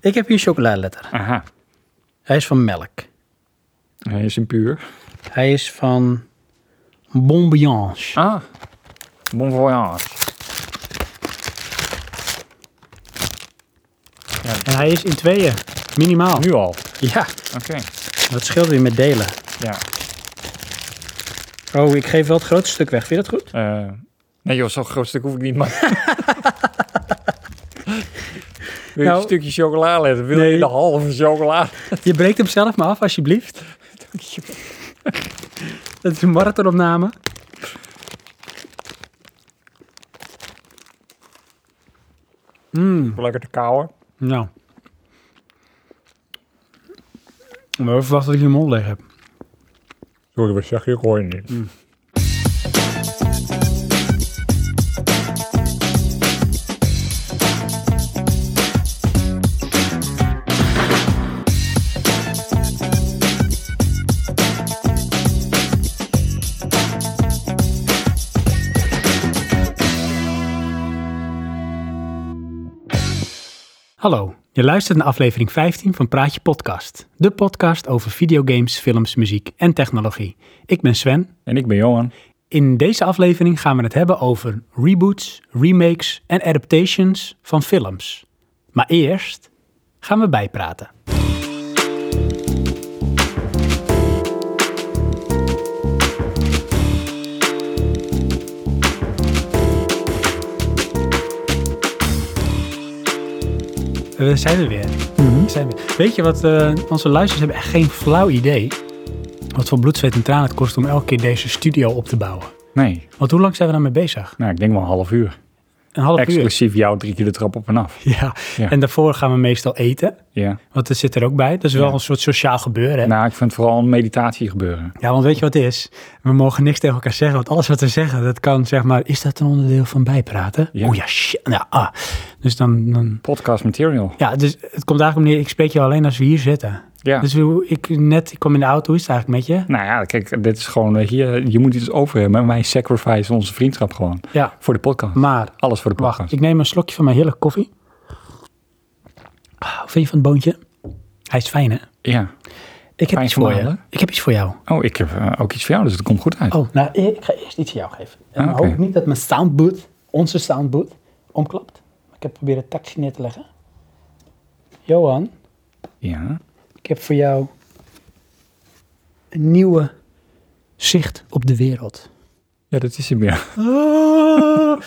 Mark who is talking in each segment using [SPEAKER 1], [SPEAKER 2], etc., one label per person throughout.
[SPEAKER 1] Ik heb hier chocoladeletter.
[SPEAKER 2] Aha.
[SPEAKER 1] Hij is van melk.
[SPEAKER 2] Hij is in puur.
[SPEAKER 1] Hij is van Bon Bianche.
[SPEAKER 2] Ah. Bon voyage.
[SPEAKER 1] En hij is in tweeën. Minimaal.
[SPEAKER 2] Nu al.
[SPEAKER 1] Ja,
[SPEAKER 2] Oké.
[SPEAKER 1] dat scheelt weer met delen.
[SPEAKER 2] Ja.
[SPEAKER 1] Oh, ik geef wel het grootste stuk weg. Vind je dat goed?
[SPEAKER 2] Eh, nee joh, zo'n groot stuk hoef ik niet, maar... Wil je
[SPEAKER 1] Nou-
[SPEAKER 2] een stukje chocola letten? Wil
[SPEAKER 1] Nee.
[SPEAKER 2] je de halve chocola?
[SPEAKER 1] Je breekt hem zelf maar af, alsjeblieft. Dat is een marathonopname. Mmm,
[SPEAKER 2] Lekker te kauwen.
[SPEAKER 1] nou. Maar wel verwacht dat ik je in mijn mond leeg heb.
[SPEAKER 2] Sorry, wat zeg je? Ik hoor je niet.
[SPEAKER 1] Hallo, je luistert naar aflevering 15 van Praatje Podcast. De podcast over videogames, films, muziek en technologie. Ik ben Sven.
[SPEAKER 2] En ik ben Johan.
[SPEAKER 1] In deze aflevering gaan we het hebben over reboots, remakes en adaptations van films. Maar eerst gaan we bijpraten. We zijn er weer. We zijn er weer. Weet je wat? eh, onze luisteraars hebben echt geen flauw idee wat voor bloed, zweet en tranen het kost om elke keer deze studio op te bouwen.
[SPEAKER 2] Nee,
[SPEAKER 1] Want hoe lang zijn we daarmee bezig?
[SPEAKER 2] nou ik denk wel een half uur.
[SPEAKER 1] Een half uur.
[SPEAKER 2] Exclusief jou drie keer de trap op en af.
[SPEAKER 1] Ja.
[SPEAKER 2] Ja.
[SPEAKER 1] en daarvoor gaan we meestal eten.
[SPEAKER 2] Ja.
[SPEAKER 1] Want dat zit er ook bij. Dat is wel
[SPEAKER 2] Ja.
[SPEAKER 1] een soort sociaal gebeuren. Hè?
[SPEAKER 2] Nou, ik vind het vooral een meditatie gebeuren.
[SPEAKER 1] Ja, want weet je wat het is? We mogen niks tegen elkaar zeggen. Want alles wat we zeggen, dat kan zeg maar... Is dat een onderdeel van bijpraten?
[SPEAKER 2] Ja.
[SPEAKER 1] Oh ja, shit. Ja, ah. Dus dan... dan
[SPEAKER 2] Podcast material.
[SPEAKER 1] ja, dus het komt eigenlijk om neer, ik spreek je alleen als we hier zitten.
[SPEAKER 2] Ja.
[SPEAKER 1] Dus hoe- ik, net, ik kom in de auto, hoe is het eigenlijk met je?
[SPEAKER 2] Nou ja, kijk, dit is gewoon, weet je, je moet iets over hebben. En wij sacrifice onze vriendschap gewoon.
[SPEAKER 1] Ja,
[SPEAKER 2] Voor de podcast.
[SPEAKER 1] maar
[SPEAKER 2] Alles voor de podcast.
[SPEAKER 1] Mm. wacht, ik neem een slokje van mijn heerlijke koffie. Ah, Wat vind je van het boontje? Hij is fijn, hè?
[SPEAKER 2] Ja.
[SPEAKER 1] Ik heb
[SPEAKER 2] Fijn
[SPEAKER 1] iets voor je.
[SPEAKER 2] vermalen.
[SPEAKER 1] Ik heb iets voor jou.
[SPEAKER 2] Oh, ik heb eh, ook iets voor jou, dus het komt goed uit.
[SPEAKER 1] Oh, nou, ik ga eerst iets aan jou geven. En dan
[SPEAKER 2] Ah, oké.
[SPEAKER 1] hoop ik niet dat mijn soundboot, onze soundboot, omklapt. Ik heb proberen het taxi neer te leggen. Johan,
[SPEAKER 2] Ja.
[SPEAKER 1] ik heb voor jou een nieuwe zicht op de wereld.
[SPEAKER 2] Ja, dat is hem, ja.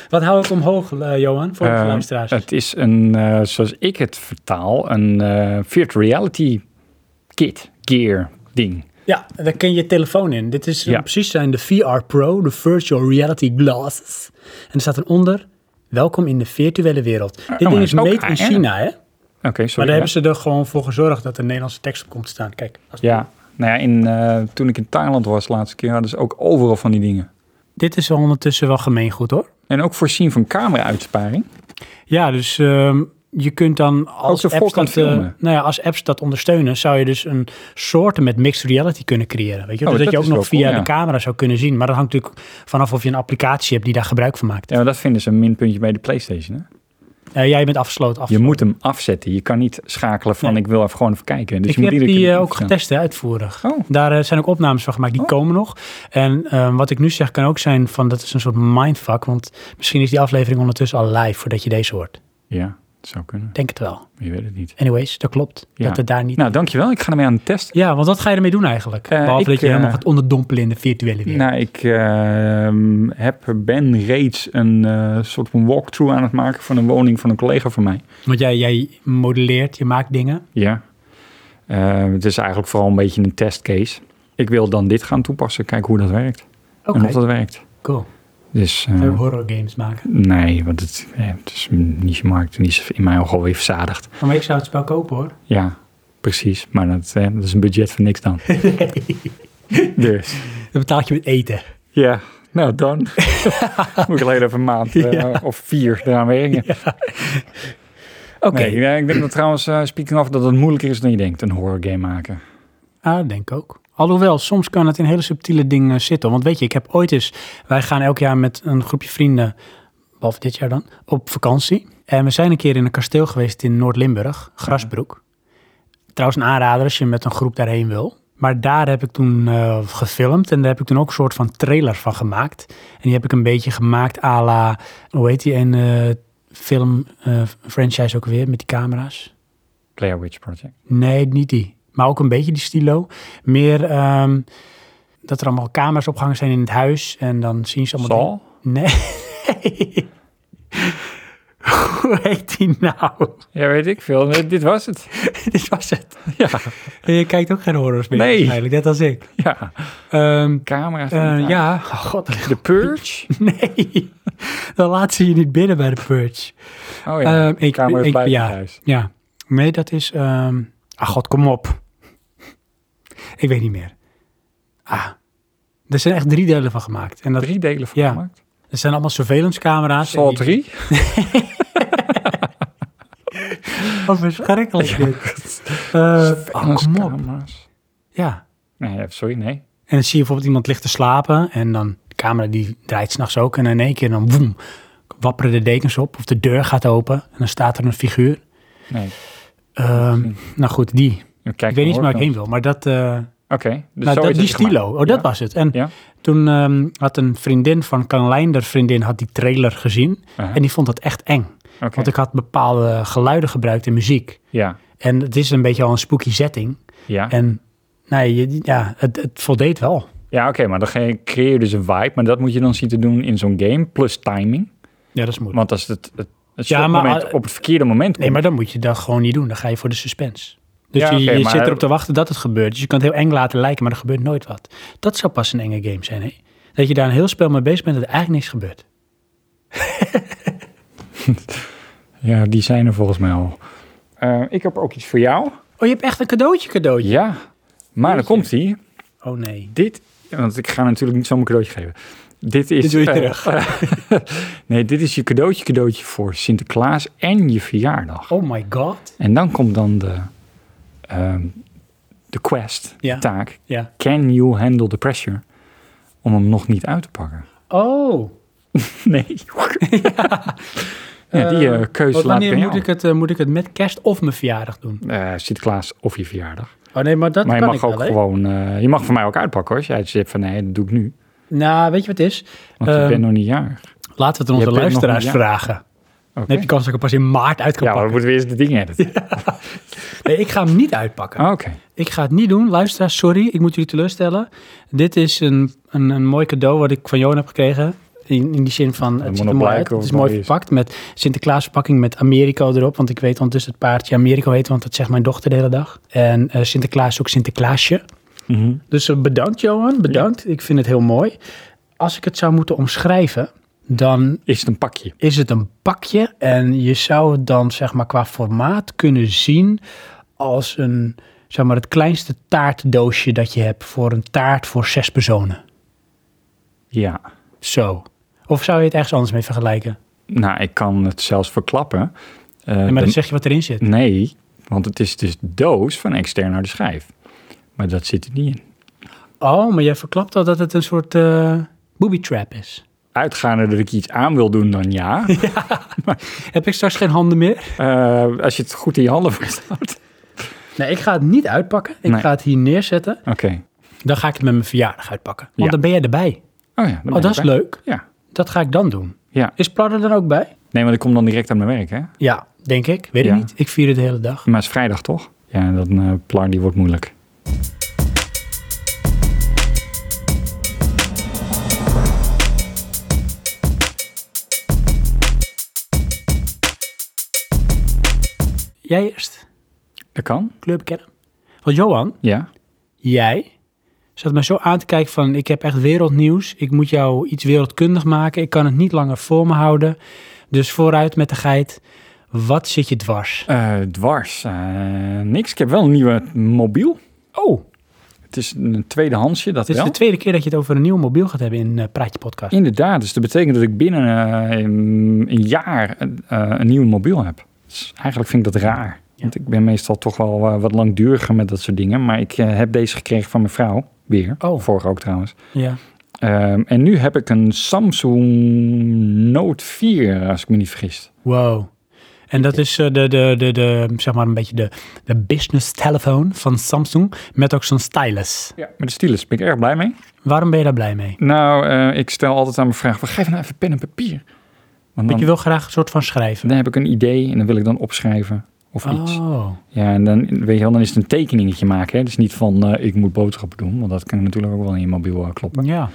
[SPEAKER 1] Wat hou ik omhoog, eh, Johan, voor de
[SPEAKER 2] Ah. Eh,
[SPEAKER 1] luisteraars?
[SPEAKER 2] het is een, eh, zoals ik het vertaal, een eh virtual reality kit, gear, ding.
[SPEAKER 1] Ja, daar kun je je telefoon in. Dit is eh,
[SPEAKER 2] Ja.
[SPEAKER 1] precies zijn de VR Pro, de Virtual Reality Glasses. En er staat eronder, welkom in de virtuele wereld. Dit
[SPEAKER 2] maar
[SPEAKER 1] ding
[SPEAKER 2] het
[SPEAKER 1] is
[SPEAKER 2] Ah, oh, is ook
[SPEAKER 1] made in
[SPEAKER 2] AR.
[SPEAKER 1] China, hè?
[SPEAKER 2] Oké,
[SPEAKER 1] Maar
[SPEAKER 2] sorry.
[SPEAKER 1] daar
[SPEAKER 2] ja.
[SPEAKER 1] hebben ze er gewoon voor gezorgd dat er Nederlandse tekst op komt te staan. Kijk. als-
[SPEAKER 2] Ja, nou ja, in, eh, toen ik in Thailand was de laatste keer, hadden ze ook overal van die dingen.
[SPEAKER 1] Dit is wel ondertussen wel gemeengoed hoor.
[SPEAKER 2] En ook voorzien van camera-uitsparing.
[SPEAKER 1] Ja, dus ehm, je kunt dan als
[SPEAKER 2] de
[SPEAKER 1] apps,
[SPEAKER 2] voorkant
[SPEAKER 1] dat, eh,
[SPEAKER 2] filmen.
[SPEAKER 1] nou ja, als apps dat ondersteunen, zou je dus een soorten met mixed reality kunnen creëren. Weet je?
[SPEAKER 2] Oh,
[SPEAKER 1] dus dat,
[SPEAKER 2] dat
[SPEAKER 1] je ook
[SPEAKER 2] is
[SPEAKER 1] nog
[SPEAKER 2] wel
[SPEAKER 1] via
[SPEAKER 2] cool, ja.
[SPEAKER 1] de camera zou kunnen zien. Maar dat hangt natuurlijk vanaf of je een applicatie hebt die daar gebruik van maakt.
[SPEAKER 2] Ja, maar dat vinden ze een minpuntje bij de PlayStation. Hè?
[SPEAKER 1] Eh, jij bent afgesloten.
[SPEAKER 2] Je
[SPEAKER 1] afgesloten.
[SPEAKER 2] moet hem afzetten. Je kan niet schakelen van
[SPEAKER 1] Nee.
[SPEAKER 2] ik wil even gewoon even kijken. Dus
[SPEAKER 1] Ik
[SPEAKER 2] je moet
[SPEAKER 1] heb
[SPEAKER 2] iedere
[SPEAKER 1] die
[SPEAKER 2] keer
[SPEAKER 1] eh, ook
[SPEAKER 2] opstaan.
[SPEAKER 1] getest hè, uitvoerig.
[SPEAKER 2] Oh,
[SPEAKER 1] Daar eh, zijn ook opnames van gemaakt, die
[SPEAKER 2] Oh.
[SPEAKER 1] komen nog. En ehm, wat ik nu zeg kan ook zijn van dat is een soort mindfuck. Want misschien is die aflevering ondertussen al live voordat je deze hoort.
[SPEAKER 2] ja, het zou kunnen.
[SPEAKER 1] Denk het wel.
[SPEAKER 2] Je weet het niet.
[SPEAKER 1] Anyways, dat klopt.
[SPEAKER 2] Ja.
[SPEAKER 1] Dat het daar niet...
[SPEAKER 2] Nou, dankjewel. Ik ga ermee aan de test.
[SPEAKER 1] Ja, want wat ga je ermee doen eigenlijk?
[SPEAKER 2] Eh,
[SPEAKER 1] Behalve
[SPEAKER 2] ik,
[SPEAKER 1] dat je helemaal
[SPEAKER 2] eh,
[SPEAKER 1] gaat onderdompelen in de virtuele wereld.
[SPEAKER 2] Nou, ik ehm, heb, ben reeds een eh, soort van walkthrough aan het maken van een woning van een collega van mij.
[SPEAKER 1] Want jij, jij modelleert, je maakt dingen.
[SPEAKER 2] Ja. Eh, het is eigenlijk vooral een beetje een testcase. Ik wil dan dit gaan toepassen, kijken hoe dat werkt.
[SPEAKER 1] Oké,
[SPEAKER 2] En of dat werkt.
[SPEAKER 1] cool.
[SPEAKER 2] Dus, eh,
[SPEAKER 1] Ga je horror games maken.
[SPEAKER 2] nee, want het, eh, het is niet markt en is in mijn ogen alweer verzadigd.
[SPEAKER 1] Maar ik zou het spel kopen hoor.
[SPEAKER 2] Ja, precies. Maar dat, eh, dat is een budget voor niks dan. dus,
[SPEAKER 1] Dan betaalt je met eten.
[SPEAKER 2] ja. Nou, dan moet ik alleen even een maand eh, of vier eraan werken.
[SPEAKER 1] Oké.
[SPEAKER 2] Nee, ja, ik denk dat trouwens, eh, speaking of, dat het moeilijker is dan je denkt, een horror game maken.
[SPEAKER 1] Ah, denk ik ook. Alhoewel, soms kan het in hele subtiele dingen zitten. Want weet je, ik heb ooit eens... Wij gaan elk jaar met een groepje vrienden, behalve dit jaar dan, op vakantie. En we zijn een keer in een kasteel geweest in Noord-Limburg, Grasbroek. Trouwens, een aanrader als je met een groep daarheen wil. Maar daar heb ik toen eh, gefilmd en daar heb ik toen ook een soort van trailer van gemaakt. En die heb ik een beetje gemaakt à la, hoe heet die een film eh, franchise ook weer met die camera's?
[SPEAKER 2] Player Witch Project.
[SPEAKER 1] Nee, niet die. Maar ook een beetje die stilo. Meer ehm, dat er allemaal camera's opgehangen zijn in het huis. En dan zien ze allemaal...
[SPEAKER 2] Saw?
[SPEAKER 1] dingen- Nee. Hoe heet die nou?
[SPEAKER 2] Ja, weet ik veel. Nee, Dit was het.
[SPEAKER 1] Dit was het.
[SPEAKER 2] Ja,
[SPEAKER 1] En je kijkt ook geen horrors meer.
[SPEAKER 2] Nee.
[SPEAKER 1] Eigenlijk, net als ik.
[SPEAKER 2] ja.
[SPEAKER 1] Ehm,
[SPEAKER 2] Camera.
[SPEAKER 1] eh, ja. Oh, god.
[SPEAKER 2] De Purge.
[SPEAKER 1] Nee. Dan laten ze je niet binnen bij de purge.
[SPEAKER 2] Oh ja.
[SPEAKER 1] Ehm, ik-
[SPEAKER 2] Camera
[SPEAKER 1] ik-
[SPEAKER 2] buiten
[SPEAKER 1] ja.
[SPEAKER 2] huis.
[SPEAKER 1] Ja. Nee, dat is... ehm Ah, god, kom op. ik weet niet meer. Ah. Er zijn echt drie delen van gemaakt. En dat,
[SPEAKER 2] Drie delen van
[SPEAKER 1] Ja.
[SPEAKER 2] gemaakt.
[SPEAKER 1] Er zijn allemaal surveillancecamera's.
[SPEAKER 2] Saw
[SPEAKER 1] En die-
[SPEAKER 2] 3.
[SPEAKER 1] Oh, verschrikkelijk dit. Eh, oh, kom op.
[SPEAKER 2] Camera's.
[SPEAKER 1] Ja.
[SPEAKER 2] Nee, sorry, nee.
[SPEAKER 1] En dan zie je bijvoorbeeld iemand ligt te slapen. En dan, de camera die draait s'nachts ook. En in één keer dan, woem, wapperen de dekens op. Of de deur gaat open. En dan staat er een figuur.
[SPEAKER 2] Nee.
[SPEAKER 1] Ehm, nou goed, die.
[SPEAKER 2] Nu Hm. kijk
[SPEAKER 1] ik weet niet eens waar ik
[SPEAKER 2] nog.
[SPEAKER 1] heen wil. Maar dat, eh,
[SPEAKER 2] Oké. dus
[SPEAKER 1] nou,
[SPEAKER 2] zo
[SPEAKER 1] dat
[SPEAKER 2] is
[SPEAKER 1] die
[SPEAKER 2] het gemaakt.
[SPEAKER 1] stilo. Oh, dat
[SPEAKER 2] Ja.
[SPEAKER 1] was het. En
[SPEAKER 2] Ja.
[SPEAKER 1] toen ehm, had een vriendin van Carlijn, de vriendin, had die trailer gezien.
[SPEAKER 2] Aha,
[SPEAKER 1] En die vond dat echt eng.
[SPEAKER 2] Uh-huh. oké.
[SPEAKER 1] Want ik had bepaalde geluiden gebruikt in muziek.
[SPEAKER 2] Ja.
[SPEAKER 1] En het is een beetje al een spooky setting.
[SPEAKER 2] Ja,
[SPEAKER 1] En nee, je- ja, het, het voldeed wel.
[SPEAKER 2] ja oké, maar dan ge- creëer je dus een vibe. Maar dat moet je dan zien te doen in zo'n game. Plus timing.
[SPEAKER 1] Ja, dat is moeilijk.
[SPEAKER 2] Want als het, het, het
[SPEAKER 1] Ja, maar,
[SPEAKER 2] moment
[SPEAKER 1] eh,
[SPEAKER 2] op het verkeerde moment komt.
[SPEAKER 1] Nee, maar dan moet je dat gewoon niet doen. Dan ga je voor de suspense. Dus
[SPEAKER 2] Ja,
[SPEAKER 1] je,
[SPEAKER 2] oké,
[SPEAKER 1] je
[SPEAKER 2] maar-
[SPEAKER 1] zit erop te wachten dat het gebeurt. Dus je kan het heel eng laten lijken, maar er gebeurt nooit wat. Dat zou pas een enge game zijn, hè? Dat je daar een heel spel mee bezig bent dat er eigenlijk niks gebeurt.
[SPEAKER 2] Ja, die zijn er volgens mij al. Eh, ik heb ook iets voor jou.
[SPEAKER 1] Oh, je hebt echt een cadeautje, cadeautje.
[SPEAKER 2] Ja, maar dan
[SPEAKER 1] Jeetje.
[SPEAKER 2] komt ie.
[SPEAKER 1] Oh nee.
[SPEAKER 2] Dit, want ik ga natuurlijk niet zomaar een cadeautje geven. Dit is.
[SPEAKER 1] Dit doe je
[SPEAKER 2] eh,
[SPEAKER 1] terug.
[SPEAKER 2] nee, dit is je cadeautje, cadeautje voor Sinterklaas en je verjaardag.
[SPEAKER 1] Oh my god.
[SPEAKER 2] En dan komt dan de, ehm, de quest,
[SPEAKER 1] Ja.
[SPEAKER 2] de taak.
[SPEAKER 1] Ja.
[SPEAKER 2] Can you handle the pressure? Om hem nog niet uit te pakken.
[SPEAKER 1] Oh.
[SPEAKER 2] Nee. ja, die eh, keuze
[SPEAKER 1] Wat,
[SPEAKER 2] laat ik
[SPEAKER 1] wanneer
[SPEAKER 2] aan
[SPEAKER 1] moet
[SPEAKER 2] jou.
[SPEAKER 1] ik, het, eh, moet ik het met kerst of mijn verjaardag doen?
[SPEAKER 2] Eh, Sinterklaas of je verjaardag.
[SPEAKER 1] Oh nee, maar dat
[SPEAKER 2] maar je
[SPEAKER 1] kan
[SPEAKER 2] mag
[SPEAKER 1] ik
[SPEAKER 2] ook
[SPEAKER 1] wel, hè?
[SPEAKER 2] gewoon... eh, je mag voor mij ook uitpakken hoor. Als jij zegt van nee, dat doe ik nu.
[SPEAKER 1] Nou, weet je wat het is?
[SPEAKER 2] Want je
[SPEAKER 1] Ehm,
[SPEAKER 2] bent nog niet jarig.
[SPEAKER 1] Laten we het
[SPEAKER 2] Je
[SPEAKER 1] aan onze
[SPEAKER 2] bent nog
[SPEAKER 1] luisteraars
[SPEAKER 2] niet- ja.
[SPEAKER 1] vragen.
[SPEAKER 2] Oké.
[SPEAKER 1] Dan heb je kans dat ik hem pas in maart uit kan
[SPEAKER 2] Ja, maar dan
[SPEAKER 1] pakken.
[SPEAKER 2] moeten we eerst de dingen editen. Ah,
[SPEAKER 1] Nee, ik ga hem niet uitpakken.
[SPEAKER 2] Oké.
[SPEAKER 1] Ik ga het niet doen. Luisteraars, sorry. Ik moet jullie teleurstellen. Dit is een, een, een mooi cadeau wat ik van Johan heb gekregen. In, in die zin van, het
[SPEAKER 2] moet
[SPEAKER 1] ziet
[SPEAKER 2] nog
[SPEAKER 1] er mooi uit. Het
[SPEAKER 2] blijken of
[SPEAKER 1] is
[SPEAKER 2] het
[SPEAKER 1] mooi
[SPEAKER 2] mooi is.
[SPEAKER 1] verpakt met Sinterklaas verpakking met Americo erop. Want ik weet ondertussen het paardje Americo heet, want dat zegt mijn dochter de hele dag. En eh, Sinterklaas is ook Sinterklaasje.
[SPEAKER 2] Mhm.
[SPEAKER 1] Dus eh, bedankt Johan, bedankt. Ik vind het heel mooi. Als ik het zou moeten omschrijven, dan
[SPEAKER 2] Is het een pakje?
[SPEAKER 1] is het een pakje. En je zou het dan zeg maar qua formaat kunnen zien als een, zeg maar, het kleinste taartdoosje dat je hebt voor een taart voor zes personen.
[SPEAKER 2] Ja.
[SPEAKER 1] Zo. Of zou je het ergens anders mee vergelijken?
[SPEAKER 2] Nou, ik kan het zelfs verklappen. Eh,
[SPEAKER 1] Nee, maar
[SPEAKER 2] de-
[SPEAKER 1] dan zeg je wat erin zit.
[SPEAKER 2] Nee, want het is dus doos van extern naar de schijf. Maar dat zit er niet in.
[SPEAKER 1] Oh, maar jij verklapt al dat het een soort eh booby trap is.
[SPEAKER 2] Uitgaande dat ik iets aan wil doen, dan ja.
[SPEAKER 1] Heb ik straks geen handen meer?
[SPEAKER 2] Eh, als je het goed in je handen vasthoudt.
[SPEAKER 1] Nee, ik ga het niet uitpakken. Ik
[SPEAKER 2] Nee.
[SPEAKER 1] ga het hier neerzetten.
[SPEAKER 2] Oké.
[SPEAKER 1] Dan ga ik het met mijn verjaardag uitpakken. Want
[SPEAKER 2] Ja.
[SPEAKER 1] dan ben jij erbij.
[SPEAKER 2] Oh ja, dan ben
[SPEAKER 1] Oh,
[SPEAKER 2] ik
[SPEAKER 1] dat is
[SPEAKER 2] bij.
[SPEAKER 1] leuk.
[SPEAKER 2] Ja.
[SPEAKER 1] Dat ga ik dan doen.
[SPEAKER 2] ja.
[SPEAKER 1] Is Pladder er dan ook bij?
[SPEAKER 2] Nee, want ik kom dan direct aan mijn werk, hè?
[SPEAKER 1] Ja, denk ik. Weet ik
[SPEAKER 2] Ja.
[SPEAKER 1] niet. Ik vier het de hele dag.
[SPEAKER 2] Maar het is vrijdag, toch? Ja, dat eh plan die wordt moeilijk.
[SPEAKER 1] Jij eerst,
[SPEAKER 2] Dat kan?
[SPEAKER 1] kleur bekennen. Want Johan,
[SPEAKER 2] Ja.
[SPEAKER 1] jij zat me zo aan te kijken van... ik heb echt wereldnieuws. Ik moet jou iets wereldkundig maken. Ik kan het niet langer voor me houden. Dus vooruit met de geit. Wat zit je dwars?
[SPEAKER 2] Eh, dwars. eh, niks. Ik heb wel een nieuwe mobiel.
[SPEAKER 1] Oh,
[SPEAKER 2] Het is een tweedehandsje, dat
[SPEAKER 1] dit is
[SPEAKER 2] wel.
[SPEAKER 1] de tweede keer dat je het over een nieuw mobiel gaat hebben in eh, Praatje Podcast.
[SPEAKER 2] Inderdaad, dus dat betekent dat ik binnen eh, een een jaar een, eh, een nieuw mobiel heb. Dus eigenlijk vind ik dat raar. Want ik ben meestal toch wel eh, wat langduriger met dat soort dingen. Maar ik eh, heb deze gekregen van mijn vrouw. Weer.
[SPEAKER 1] Oh.
[SPEAKER 2] Vorige ook trouwens.
[SPEAKER 1] Ja.
[SPEAKER 2] Ehm, en nu heb ik een Samsung Note 4, als ik me niet vergis.
[SPEAKER 1] Wow. En dat is eh, de, de, de, de, zeg maar een beetje de, de business telefoon van Samsung. Met ook zo'n stylus.
[SPEAKER 2] Ja. Met de stylus ben ik erg blij mee.
[SPEAKER 1] Waarom ben je daar blij mee?
[SPEAKER 2] Nou, eh, ik stel altijd aan mijn vraag, "Wel, geef nou even pen en papier. Want
[SPEAKER 1] Want je
[SPEAKER 2] dan,
[SPEAKER 1] wil graag een soort van schrijven.
[SPEAKER 2] dan heb ik een idee en dan wil ik dan opschrijven of iets.
[SPEAKER 1] Oh,
[SPEAKER 2] Ja, en dan, weet je wel, dan is het een tekeningetje maken. Hè? Dus niet van, eh, ik moet boodschappen doen. Want dat kan natuurlijk ook wel in je mobiel eh, kloppen.
[SPEAKER 1] ja.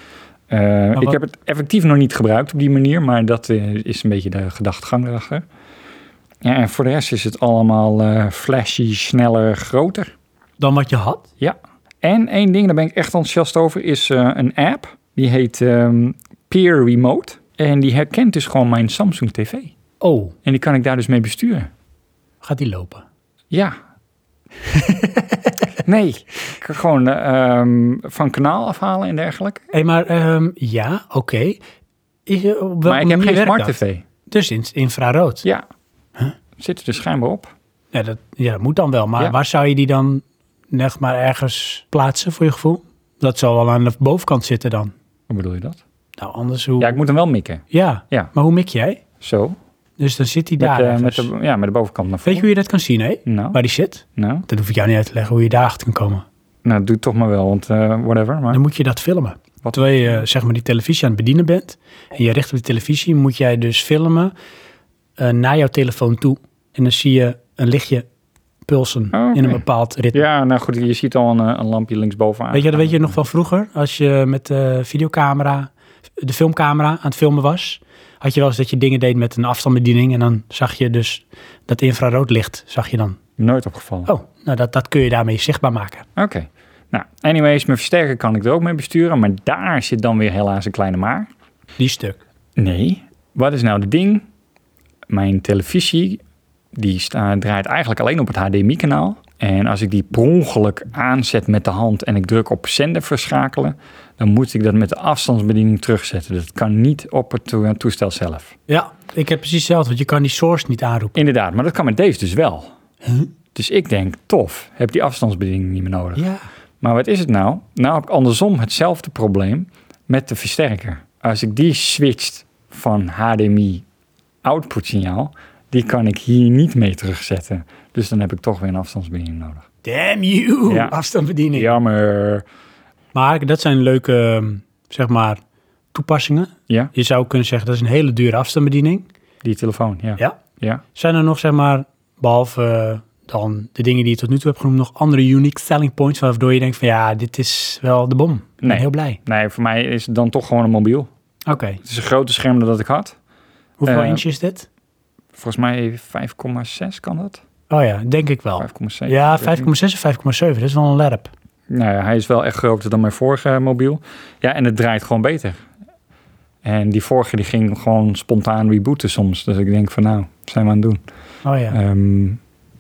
[SPEAKER 2] Eh, ik
[SPEAKER 1] wat-
[SPEAKER 2] heb het effectief nog niet gebruikt op die manier, maar dat eh, is een beetje de gedachtgang erachter. Ja, en voor de rest is het allemaal eh, flashy, sneller, groter.
[SPEAKER 1] Dan wat je had?
[SPEAKER 2] En één ding, daar ben ik echt enthousiast over, is eh, een app. Die heet ehm, Peer Remote. En die herkent dus gewoon mijn Samsung TV.
[SPEAKER 1] Oh,
[SPEAKER 2] En die kan ik daar dus mee besturen.
[SPEAKER 1] gaat die lopen?
[SPEAKER 2] Ja. nee, ik kan gewoon eh, ehm, van kanaal afhalen en dergelijke.
[SPEAKER 1] Hé, maar ehm, ja, oké. Is, eh, op welke
[SPEAKER 2] Maar ik heb
[SPEAKER 1] manier
[SPEAKER 2] geen
[SPEAKER 1] werkt
[SPEAKER 2] smart
[SPEAKER 1] dat?
[SPEAKER 2] tv.
[SPEAKER 1] Dus in, infrarood. Ja.
[SPEAKER 2] Ja. Zit er dus schijnbaar op.
[SPEAKER 1] dat, ja, dat moet dan wel. Maar
[SPEAKER 2] Ja.
[SPEAKER 1] waar zou je die dan zeg maar ergens plaatsen voor je gevoel? Dat zou wel aan de bovenkant zitten dan.
[SPEAKER 2] Hoe bedoel je dat?
[SPEAKER 1] Nou, anders hoe...
[SPEAKER 2] Ja,
[SPEAKER 1] Ja,
[SPEAKER 2] ik moet hem wel mikken. Ja.
[SPEAKER 1] maar hoe mik jij?
[SPEAKER 2] Zo. Met,
[SPEAKER 1] Dus dan zit die
[SPEAKER 2] eh,
[SPEAKER 1] daar
[SPEAKER 2] met
[SPEAKER 1] ergens.
[SPEAKER 2] de, ja, met de bovenkant naar
[SPEAKER 1] dus- Weet
[SPEAKER 2] voren.
[SPEAKER 1] je hoe je dat kan zien, hè?
[SPEAKER 2] Nou,
[SPEAKER 1] Waar die zit?
[SPEAKER 2] nou,
[SPEAKER 1] Dat hoef ik jou niet uit te leggen hoe je daarachter kan komen.
[SPEAKER 2] nou, doe het toch maar wel, want eh, whatever. Maar
[SPEAKER 1] Dan moet je dat filmen.
[SPEAKER 2] Wat?
[SPEAKER 1] Terwijl je eh, zeg maar die televisie aan het bedienen bent en je richt op de televisie, moet jij dus filmen eh, naar jouw telefoon toe. En dan zie je een lichtje pulsen
[SPEAKER 2] Oh, oké.
[SPEAKER 1] in een bepaald ritme.
[SPEAKER 2] Ja, nou goed, je ziet al een, eh, een lampje linksbovenaan.
[SPEAKER 1] Weet je, dat weet je nog van vroeger, als je met de videocamera, de filmcamera aan het filmen was, had je wel eens dat je dingen deed met een afstandsbediening en dan zag je dus dat infraroodlicht, zag je dan.
[SPEAKER 2] Nooit opgevallen.
[SPEAKER 1] Oh, nou dat, dat kun je daarmee zichtbaar maken.
[SPEAKER 2] Oké. Nou, anyways, mijn versterker kan ik er ook mee besturen, maar daar zit dan weer helaas een kleine maar.
[SPEAKER 1] Die stuk.
[SPEAKER 2] Nee. Wat is nou het ding? Mijn televisie, die sta- draait eigenlijk alleen op het HDMI-kanaal. En als ik die per ongeluk aanzet met de hand en ik druk op zender verschakelen, dan moet ik dat met de afstandsbediening terugzetten. Dat kan niet op het to- toestel zelf.
[SPEAKER 1] Ja, ik heb precies hetzelfde, want je kan die source niet aanroepen.
[SPEAKER 2] Inderdaad, maar dat kan met deze dus wel. Dus ik denk, tof, heb die afstandsbediening niet meer nodig.
[SPEAKER 1] Ja.
[SPEAKER 2] Maar wat is het nou? Nou heb ik andersom hetzelfde probleem met de versterker. Als ik die switcht van HDMI output signaal, die kan ik hier niet mee terugzetten. Dus dan heb ik toch weer een afstandsbediening nodig.
[SPEAKER 1] Damn you,
[SPEAKER 2] Ja.
[SPEAKER 1] afstandsbediening.
[SPEAKER 2] Jammer.
[SPEAKER 1] Maar dat zijn leuke, ehm, zeg maar, toepassingen.
[SPEAKER 2] Ja,
[SPEAKER 1] Je zou kunnen zeggen, dat is een hele dure afstandsbediening.
[SPEAKER 2] die telefoon. Ja.
[SPEAKER 1] Ja.
[SPEAKER 2] ja.
[SPEAKER 1] Zijn er nog, zeg maar, behalve eh, dan de dingen die je tot nu toe hebt genoemd, nog andere unique selling points waardoor je denkt van ja, dit is wel de bom. Ik ben
[SPEAKER 2] Nee.
[SPEAKER 1] heel blij.
[SPEAKER 2] Nee, voor mij is het dan toch gewoon een mobiel.
[SPEAKER 1] Oké,
[SPEAKER 2] Het is een groter scherm dan dat ik had.
[SPEAKER 1] hoeveel
[SPEAKER 2] Eh,
[SPEAKER 1] inch is dit?
[SPEAKER 2] Volgens mij 5,6 kan dat.
[SPEAKER 1] Oh ja, denk ik wel.
[SPEAKER 2] 5,7.
[SPEAKER 1] Ja, 5,6
[SPEAKER 2] Ik weet niet.
[SPEAKER 1] of 5,7, dat is wel een lerp.
[SPEAKER 2] Nou ja, hij is wel echt groter dan mijn vorige mobiel. Ja, en het draait gewoon beter. En die vorige die ging gewoon spontaan rebooten soms. Dus ik denk van nou, wat zijn we aan het doen?
[SPEAKER 1] Oh ja.
[SPEAKER 2] Ehm,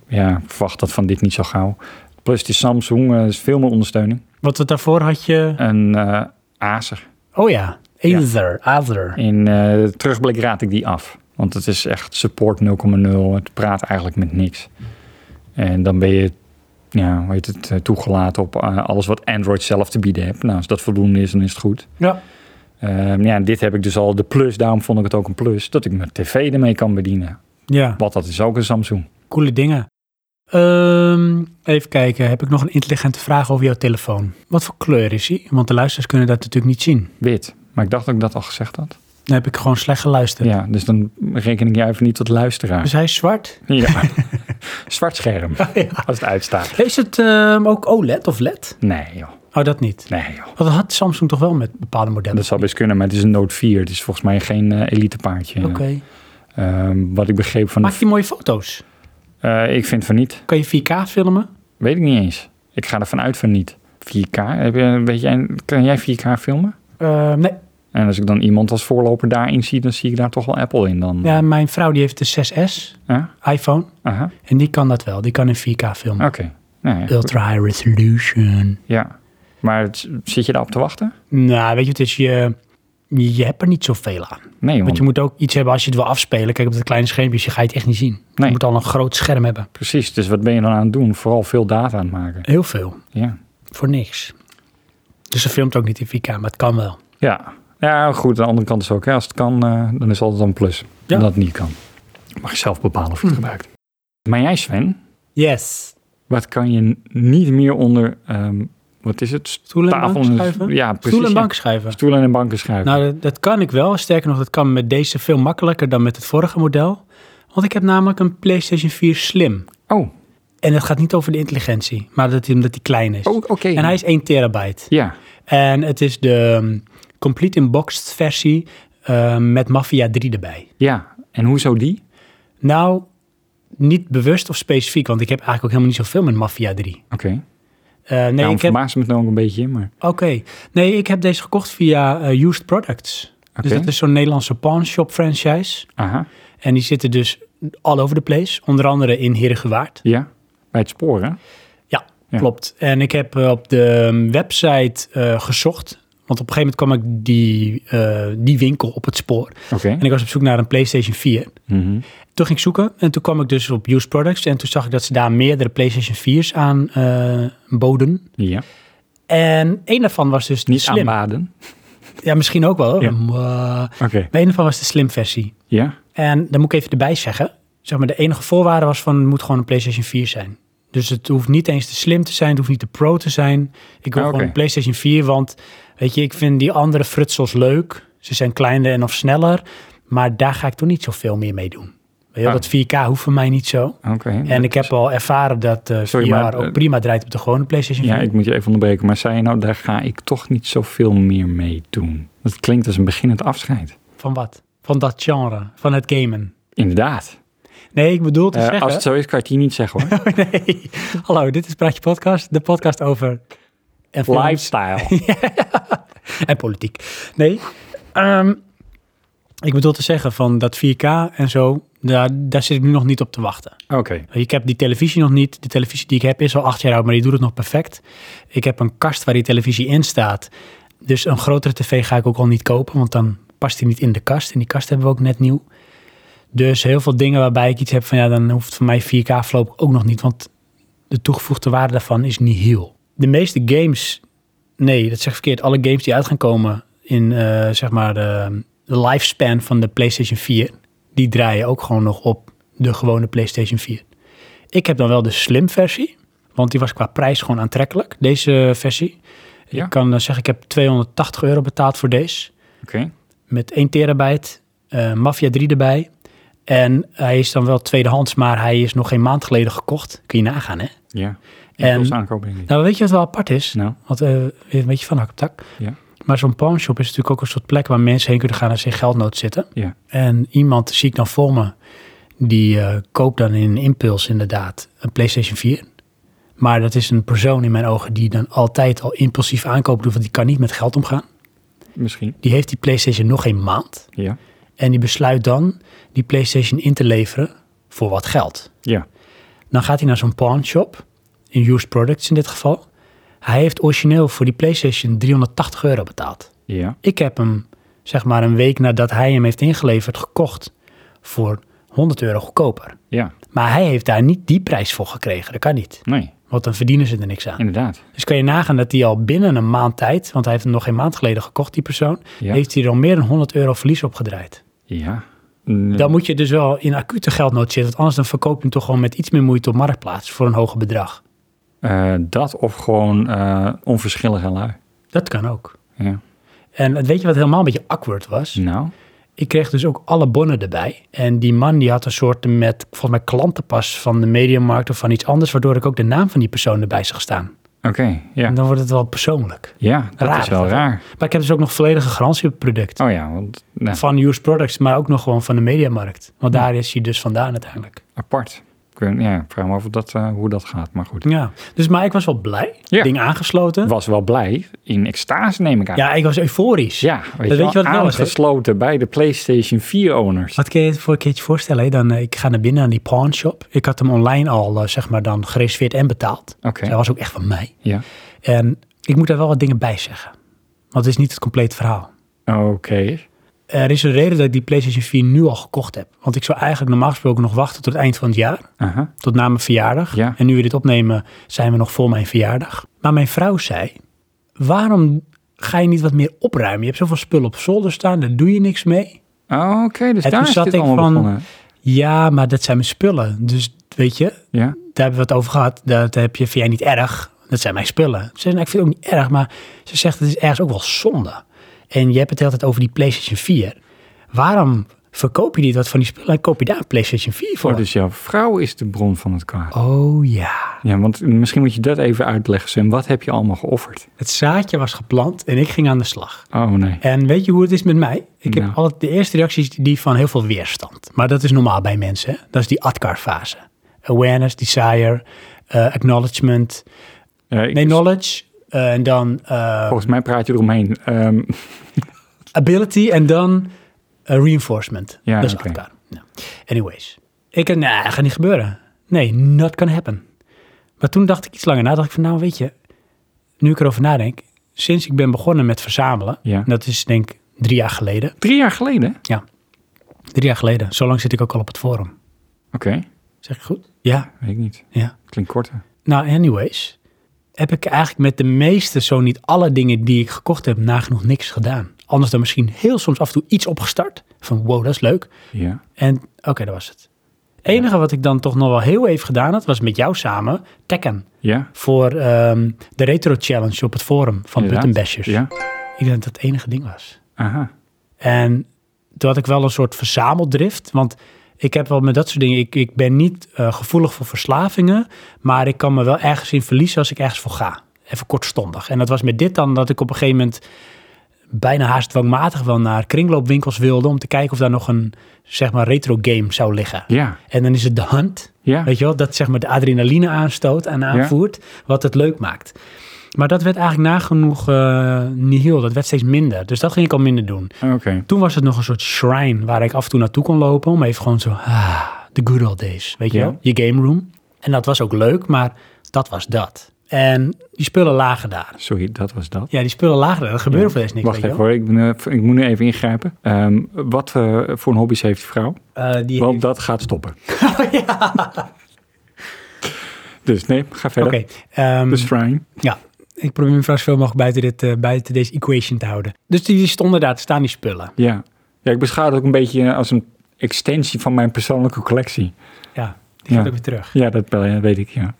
[SPEAKER 2] ja, ik verwacht dat van dit niet zo gauw. Plus die Samsung eh, is veel meer ondersteuning.
[SPEAKER 1] Wat het daarvoor had je...
[SPEAKER 2] Een eh, Acer.
[SPEAKER 1] Oh ja,
[SPEAKER 2] Ja.
[SPEAKER 1] Aether, Aether.
[SPEAKER 2] In eh, terugblik raad ik die af. Want het is echt support 0,0. Het praat eigenlijk met niks. En dan ben je ja, hoe heet het, eh, toegelaten op eh, alles wat Android zelf te bieden hebt. Nou, als dat voldoende is, dan is het goed.
[SPEAKER 1] Ja.
[SPEAKER 2] Ehm, ja, en dit heb ik dus al de plus, daarom vond ik het ook een plus, dat ik mijn tv ermee kan bedienen.
[SPEAKER 1] ja,
[SPEAKER 2] Want dat is ook een Samsung.
[SPEAKER 1] coole dingen. Ehm, even kijken, heb ik nog een intelligente vraag over jouw telefoon? Wat voor kleur is hij? Want de luisteraars kunnen dat natuurlijk niet zien.
[SPEAKER 2] Wit. Maar ik dacht dat ik dat al gezegd had.
[SPEAKER 1] Dan heb ik gewoon slecht geluisterd.
[SPEAKER 2] Ja, dus dan reken ik jou even niet tot luisteraar.
[SPEAKER 1] Dus hij is zwart.
[SPEAKER 2] Ja. Zwart scherm,
[SPEAKER 1] Ja.
[SPEAKER 2] als het uitstaat.
[SPEAKER 1] Is het ehm, ook OLED of LED?
[SPEAKER 2] Nee joh,
[SPEAKER 1] Oh, dat niet.
[SPEAKER 2] nee joh.
[SPEAKER 1] Want dat had Samsung toch wel met bepaalde modellen.
[SPEAKER 2] Dat zou best kunnen, maar het is een Note 4. Het is volgens mij geen eh, elite paardje.
[SPEAKER 1] Oké.
[SPEAKER 2] Ehm, wat ik begreep van... de-
[SPEAKER 1] Maak je mooie foto's?
[SPEAKER 2] Eh, ik vind van niet.
[SPEAKER 1] Kan je 4K filmen?
[SPEAKER 2] Weet ik niet eens. Ik ga ervan uit van niet. 4K? Heb je, weet jij, kan jij 4K filmen?
[SPEAKER 1] Ehm, nee.
[SPEAKER 2] En als ik dan iemand als voorloper daarin zie, dan zie ik daar toch wel Apple in dan.
[SPEAKER 1] Ja, mijn vrouw die heeft de 6S
[SPEAKER 2] Ja?
[SPEAKER 1] iPhone.
[SPEAKER 2] Aha,
[SPEAKER 1] En die kan dat wel. Die kan in 4K filmen.
[SPEAKER 2] oké. Nou ja, goed.
[SPEAKER 1] Ultra high resolution.
[SPEAKER 2] ja. Maar het- zit je daarop te wachten?
[SPEAKER 1] Nou, weet je, het is je... Je hebt er niet zoveel aan.
[SPEAKER 2] Nee,
[SPEAKER 1] Want
[SPEAKER 2] want
[SPEAKER 1] je moet ook iets hebben als je het wil afspelen. Kijk, op dat kleine schermpje je ga je het echt niet zien.
[SPEAKER 2] Nee.
[SPEAKER 1] Je moet al een groot scherm hebben.
[SPEAKER 2] precies. Dus wat ben je dan aan het doen? Vooral veel data aan het maken.
[SPEAKER 1] Heel veel.
[SPEAKER 2] Ja.
[SPEAKER 1] Voor niks. Dus ze filmt ook niet in 4K, maar het kan wel.
[SPEAKER 2] Ja. Ja, goed. Aan de andere kant is ook, hè, als het kan, eh, dan is het altijd een plus.
[SPEAKER 1] Ja. Hm.
[SPEAKER 2] Dat het niet kan. mag je zelf bepalen of je het gebruikt. Maar jij Sven,
[SPEAKER 1] Yes.
[SPEAKER 2] wat kan je n- niet meer onder, ehm, wat is het?
[SPEAKER 1] Stoel en banken
[SPEAKER 2] en-
[SPEAKER 1] schuiven?
[SPEAKER 2] Ja, precies.
[SPEAKER 1] Stoelen en
[SPEAKER 2] ja.
[SPEAKER 1] banken schuiven.
[SPEAKER 2] Stoelen en banken schuiven.
[SPEAKER 1] Nou, dat, dat kan ik wel. Sterker nog, dat kan met deze veel makkelijker dan met het vorige model. Want ik heb namelijk een PlayStation 4 Slim.
[SPEAKER 2] oh,
[SPEAKER 1] En het gaat niet over de intelligentie, maar dat, omdat hij klein is.
[SPEAKER 2] oh oké.
[SPEAKER 1] En hij is 1 terabyte.
[SPEAKER 2] Ja,
[SPEAKER 1] En het is de ehm, complete inboxed versie ehm, met Mafia 3 erbij.
[SPEAKER 2] ja. En hoezo die?
[SPEAKER 1] Nou, niet bewust of specifiek, want ik heb eigenlijk ook helemaal niet zoveel met Mafia 3.
[SPEAKER 2] Oké.
[SPEAKER 1] Eh, nee,
[SPEAKER 2] Daarom
[SPEAKER 1] ik heb,
[SPEAKER 2] verbaasde me het nou ook een beetje, maar
[SPEAKER 1] Oké. Nee, ik heb deze gekocht via eh, Used Products.
[SPEAKER 2] oké.
[SPEAKER 1] Dus dat is zo'n Nederlandse pawnshop franchise.
[SPEAKER 2] Aha,
[SPEAKER 1] En die zitten dus all over the place. Onder andere in Heergewaard.
[SPEAKER 2] ja. Bij het spoor, hè? Ja.
[SPEAKER 1] Klopt. En ik heb eh, op de mm, website eh, gezocht. Want op een gegeven moment kwam ik die, eh, die winkel op het spoor.
[SPEAKER 2] Oké.
[SPEAKER 1] En ik was op zoek naar een PlayStation 4.
[SPEAKER 2] Mhm.
[SPEAKER 1] Toen ging ik zoeken en toen kwam ik dus op Used Products. En toen zag ik dat ze daar meerdere PlayStation 4's aan eh, boden.
[SPEAKER 2] Ja.
[SPEAKER 1] En een daarvan was dus de
[SPEAKER 2] Niet
[SPEAKER 1] slim.
[SPEAKER 2] aanbaden.
[SPEAKER 1] Ja, misschien ook wel. hoor.
[SPEAKER 2] Ja.
[SPEAKER 1] Maar-
[SPEAKER 2] Oké.
[SPEAKER 1] Maar een daarvan was de slim versie.
[SPEAKER 2] Ja.
[SPEAKER 1] En dan moet ik even erbij zeggen. Zeg maar, de enige voorwaarde was van het moet gewoon een PlayStation 4 zijn. Dus het hoeft niet eens te slim te zijn, het hoeft niet te pro te zijn. Ik wil
[SPEAKER 2] Ah, oké.
[SPEAKER 1] gewoon een PlayStation 4, want weet je, ik vind die andere frutsels leuk. Ze zijn kleiner en of sneller, maar daar ga ik toch niet zoveel meer mee doen. Weet je, wel,
[SPEAKER 2] Ah.
[SPEAKER 1] dat 4K hoeft voor mij niet zo.
[SPEAKER 2] Oké.
[SPEAKER 1] En ik heb al ervaren dat eh
[SPEAKER 2] Sorry,
[SPEAKER 1] VR
[SPEAKER 2] maar,
[SPEAKER 1] ook
[SPEAKER 2] eh,
[SPEAKER 1] prima draait op de gewone PlayStation 4.
[SPEAKER 2] Ja, ik moet je even onderbreken. Maar zei je nou, daar ga ik toch niet zoveel meer mee doen. Dat klinkt als een beginnend afscheid.
[SPEAKER 1] Van wat? Van dat genre, van het gamen.
[SPEAKER 2] Inderdaad.
[SPEAKER 1] Nee, ik bedoel te
[SPEAKER 2] Eh,
[SPEAKER 1] zeggen... Oh,
[SPEAKER 2] als het zo is, kan je het hier niet zeggen hoor.
[SPEAKER 1] Nee. Hallo, dit is Praatje Podcast. De podcast over... En films
[SPEAKER 2] Lifestyle.
[SPEAKER 1] En politiek. Nee. ehm, ik bedoel te zeggen van dat 4K en zo, daar, daar zit ik nu nog niet op te wachten.
[SPEAKER 2] Oké.
[SPEAKER 1] Eh, Ik heb die televisie nog niet. De televisie die ik heb is al acht jaar oud, maar die doet het nog perfect. Ik heb een kast waar die televisie in staat. Dus een grotere tv ga ik ook al niet kopen, want dan past die niet in de kast. En die kast hebben we ook net nieuw. Dus heel veel dingen waarbij ik iets heb van ja, dan hoeft voor mij 4K voorlopig ook nog niet, want de toegevoegde waarde daarvan is niet heel. De meeste games, nee, dat zeg ik verkeerd, alle games die uit gaan komen in eh, zeg maar de, de lifespan van de PlayStation 4, die draaien ook gewoon nog op de gewone PlayStation 4. Ik heb dan wel de slim versie, want die was qua prijs gewoon aantrekkelijk, deze versie.
[SPEAKER 2] Ja.
[SPEAKER 1] Ik kan eh, zeggen, ik heb 280 euro betaald voor deze
[SPEAKER 2] Oké.
[SPEAKER 1] met 1 terabyte, eh Mafia 3 erbij. En hij is dan wel tweedehands, maar hij is nog geen maand geleden gekocht. Kun je nagaan, hè?
[SPEAKER 2] Ja.
[SPEAKER 1] En-
[SPEAKER 2] En aankopen denk ik.
[SPEAKER 1] Nou, weet je wat wel apart is?
[SPEAKER 2] Nou.
[SPEAKER 1] Want eh, weer een beetje van hak op tak.
[SPEAKER 2] Ja.
[SPEAKER 1] Maar zo'n pawnshop is natuurlijk ook een soort plek waar mensen heen kunnen gaan als ze in geldnood zitten.
[SPEAKER 2] Ja.
[SPEAKER 1] En iemand zie ik dan voor me, die eh, koopt dan in impuls inderdaad een PlayStation 4. Maar dat is een persoon in mijn ogen die dan altijd al impulsief aankopen doet, want die kan niet met geld omgaan.
[SPEAKER 2] Misschien.
[SPEAKER 1] Die heeft die PlayStation nog geen maand.
[SPEAKER 2] Ja.
[SPEAKER 1] En die besluit dan die PlayStation in te leveren voor wat geld.
[SPEAKER 2] Ja.
[SPEAKER 1] Dan gaat hij naar zo'n pawnshop, in used products in dit geval. Hij heeft origineel voor die PlayStation 380 euro betaald.
[SPEAKER 2] Ja.
[SPEAKER 1] Ik heb hem, zeg maar een week nadat hij hem heeft ingeleverd, gekocht voor 100 euro goedkoper.
[SPEAKER 2] Ja.
[SPEAKER 1] Maar hij heeft daar niet die prijs voor gekregen. Dat kan niet,
[SPEAKER 2] Nee.
[SPEAKER 1] want dan verdienen ze er niks aan.
[SPEAKER 2] Inderdaad.
[SPEAKER 1] Dus kan je nagaan dat hij al binnen een maand tijd, want hij heeft hem nog geen maand geleden gekocht, die persoon,
[SPEAKER 2] Ja.
[SPEAKER 1] heeft hij er al meer dan 100 euro verlies op gedraaid.
[SPEAKER 2] Ja.
[SPEAKER 1] Dan moet je dus wel in acute geldnood zitten. Want anders dan verkoop je hem toch gewoon met iets meer moeite op marktplaats voor een hoger bedrag.
[SPEAKER 2] Eh, dat of gewoon eh onverschillige lui.
[SPEAKER 1] Dat kan ook.
[SPEAKER 2] Ja.
[SPEAKER 1] En het- weet je wat helemaal een beetje awkward was?
[SPEAKER 2] Nou.
[SPEAKER 1] Ik kreeg dus ook alle bonnen erbij. En die man die had een soort met, volgens mij, klantenpas van de mediamarkt of van iets anders. Waardoor ik ook de naam van die persoon erbij zag staan.
[SPEAKER 2] Oké. Ja.
[SPEAKER 1] En dan wordt het wel persoonlijk.
[SPEAKER 2] Ja. Dat
[SPEAKER 1] Raar
[SPEAKER 2] is
[SPEAKER 1] is
[SPEAKER 2] wel
[SPEAKER 1] dat, hè?
[SPEAKER 2] raar.
[SPEAKER 1] Maar ik heb dus ook nog volledige garantie op het product.
[SPEAKER 2] Oh ja. Want, nou,
[SPEAKER 1] Van Used Products, maar ook nog gewoon van de mediamarkt. Want daar is hij dus vandaan uiteindelijk.
[SPEAKER 2] apart. Ik weet- Ja. Ik vraag me af of dat, eh, hoe dat gaat. Maar goed.
[SPEAKER 1] Ja, dus maar ik was wel blij.
[SPEAKER 2] Ja.
[SPEAKER 1] Ding aangesloten.
[SPEAKER 2] was wel blij. In extase neem ik aan.
[SPEAKER 1] Ja, ik was euforisch.
[SPEAKER 2] Ja,
[SPEAKER 1] weet
[SPEAKER 2] weet, je,
[SPEAKER 1] je wat
[SPEAKER 2] wel,
[SPEAKER 1] het wel is, hè?
[SPEAKER 2] aangesloten bij de PlayStation 4 owners.
[SPEAKER 1] Wat kun je je voor een keertje voorstellen? Hè? Dan, eh, ik ga naar binnen aan die pawnshop. Ik had hem online al eh, zeg maar dan gereserveerd en betaald.
[SPEAKER 2] Oké,
[SPEAKER 1] Dus hij was ook echt van mij.
[SPEAKER 2] ja.
[SPEAKER 1] En ik moet daar wel wat dingen bij zeggen. Want het is niet het complete verhaal.
[SPEAKER 2] Oké,
[SPEAKER 1] Er is een reden dat ik die PlayStation 4 nu al gekocht heb. Want ik zou eigenlijk normaal gesproken nog wachten tot het eind van het jaar.
[SPEAKER 2] aha,
[SPEAKER 1] Tot na mijn verjaardag.
[SPEAKER 2] Ja.
[SPEAKER 1] En nu we dit opnemen zijn we nog voor mijn verjaardag. Maar mijn vrouw zei, waarom ga je niet wat meer opruimen? Je hebt zoveel spullen op zolder staan, daar doe je niks mee.
[SPEAKER 2] oké, dus
[SPEAKER 1] En
[SPEAKER 2] daar
[SPEAKER 1] toen
[SPEAKER 2] is
[SPEAKER 1] zat
[SPEAKER 2] dit
[SPEAKER 1] ik
[SPEAKER 2] allemaal
[SPEAKER 1] van-
[SPEAKER 2] begonnen.
[SPEAKER 1] Ja, maar dat zijn mijn spullen. Dus weet je,
[SPEAKER 2] Ja?
[SPEAKER 1] daar hebben we het over gehad. Dat heb je, vind jij niet erg. Dat zijn mijn spullen. Ze zei, nou, ik vind het ook niet erg, maar ze zegt het is ergens ook wel zonde. En je hebt het de hele tijd over die PlayStation 4. Waarom verkoop je niet wat van die spullen en koop je daar een PlayStation 4 voor?
[SPEAKER 2] Oh, dus jouw vrouw is de bron van het kwaad.
[SPEAKER 1] Oh ja.
[SPEAKER 2] Ja, want misschien moet je dat even uitleggen, Sam. Wat heb je allemaal geofferd?
[SPEAKER 1] Het zaadje was geplant en ik ging aan de slag.
[SPEAKER 2] Oh nee.
[SPEAKER 1] En weet je hoe het is met mij? Ik
[SPEAKER 2] Nou.
[SPEAKER 1] heb altijd de eerste reacties die van heel veel weerstand. Maar dat is normaal bij mensen. hè? Dat is die Atkar-fase. Awareness, desire, eh, acknowledgement.
[SPEAKER 2] Ja, ik- dus-
[SPEAKER 1] Nee, knowledge. eh, en dan eh,
[SPEAKER 2] Volgens mij praat je eromheen. Ehm,
[SPEAKER 1] ability en dan eh, reinforcement.
[SPEAKER 2] Ja,
[SPEAKER 1] dat is
[SPEAKER 2] oké.
[SPEAKER 1] Atkar. Ja. Anyways. Ik, eh, nee, dat gaat niet gebeuren. Nee, not can happen. Maar toen dacht ik iets langer na. dacht ik van, nou weet je, nu ik erover nadenk. Sinds ik ben begonnen met verzamelen.
[SPEAKER 2] Ja.
[SPEAKER 1] en Dat is denk ik drie jaar geleden.
[SPEAKER 2] drie jaar geleden? Oké.
[SPEAKER 1] Ja, drie jaar geleden. Zo lang zit ik ook al op het forum. Zeg ik goed? Ja,
[SPEAKER 2] Weet ik niet.
[SPEAKER 1] ja.
[SPEAKER 2] Klinkt korter.
[SPEAKER 1] Nou, anyways. Heb ik eigenlijk met de meeste, zo niet alle dingen die ik gekocht heb, nagenoeg niks gedaan. Anders dan misschien heel soms af en toe iets opgestart. Van wow, dat is leuk.
[SPEAKER 2] Ja.
[SPEAKER 1] En oké, dat was het. Het enige wat ik dan toch nog wel heel even gedaan had, was met jou samen Tekken.
[SPEAKER 2] Ja.
[SPEAKER 1] Voor ehm, de Retro Challenge op het forum van
[SPEAKER 2] Inderdaad.
[SPEAKER 1] Button Bashers.
[SPEAKER 2] Ja.
[SPEAKER 1] Ik denk dat het enige ding was.
[SPEAKER 2] Aha.
[SPEAKER 1] En toen had ik wel een soort verzameldrift. Want ik heb wel met dat soort dingen. Ik, ik ben niet eh, gevoelig voor verslavingen. Maar ik kan me wel ergens in verliezen als ik ergens voor ga. Even kortstondig. En dat was met dit dan dat ik op een gegeven moment bijna haast dwangmatig wel naar kringloopwinkels wilde. Om te kijken of daar nog een zeg maar retro game zou liggen.
[SPEAKER 2] Ja.
[SPEAKER 1] En dan is het de hunt.
[SPEAKER 2] Ja.
[SPEAKER 1] Weet je wel, dat zeg maar de adrenaline aanstoot en aanvoert, wat het leuk maakt. Maar dat werd eigenlijk nagenoeg eh nihil. Dat werd steeds minder. Dus dat ging ik al minder doen.
[SPEAKER 2] Oké.
[SPEAKER 1] Toen was het nog een soort shrine waar ik af en toe naartoe kon lopen. Om even gewoon zo, ah, the good old days, weet je
[SPEAKER 2] Ja.
[SPEAKER 1] wel? Je game room. En dat was ook leuk, maar dat was dat. En die spullen lagen daar.
[SPEAKER 2] Sorry, dat was dat.
[SPEAKER 1] Ja, die spullen lagen daar. Er gebeurde voor deze niks,
[SPEAKER 2] Wacht
[SPEAKER 1] weet
[SPEAKER 2] even
[SPEAKER 1] je wel?
[SPEAKER 2] hoor, ik, ben, eh, ik moet nu even ingrijpen. Ehm, wat eh, voor een hobby's heeft je vrouw?
[SPEAKER 1] Eh, die...
[SPEAKER 2] Want dat gaat stoppen.
[SPEAKER 1] ja.
[SPEAKER 2] Dus nee, ga verder.
[SPEAKER 1] Oké, ehm,
[SPEAKER 2] Dus fine.
[SPEAKER 1] ja. Ik probeer me vast zoveel mogelijk buiten, dit, eh, buiten deze equation te houden. Dus die stonden daar, te staan die spullen.
[SPEAKER 2] Ja. ja, ik beschouw het ook een beetje als een extensie van mijn persoonlijke collectie.
[SPEAKER 1] Ja, die gaat
[SPEAKER 2] Ja.
[SPEAKER 1] ook weer terug.
[SPEAKER 2] Ja, dat wel, ja, weet ik, ja.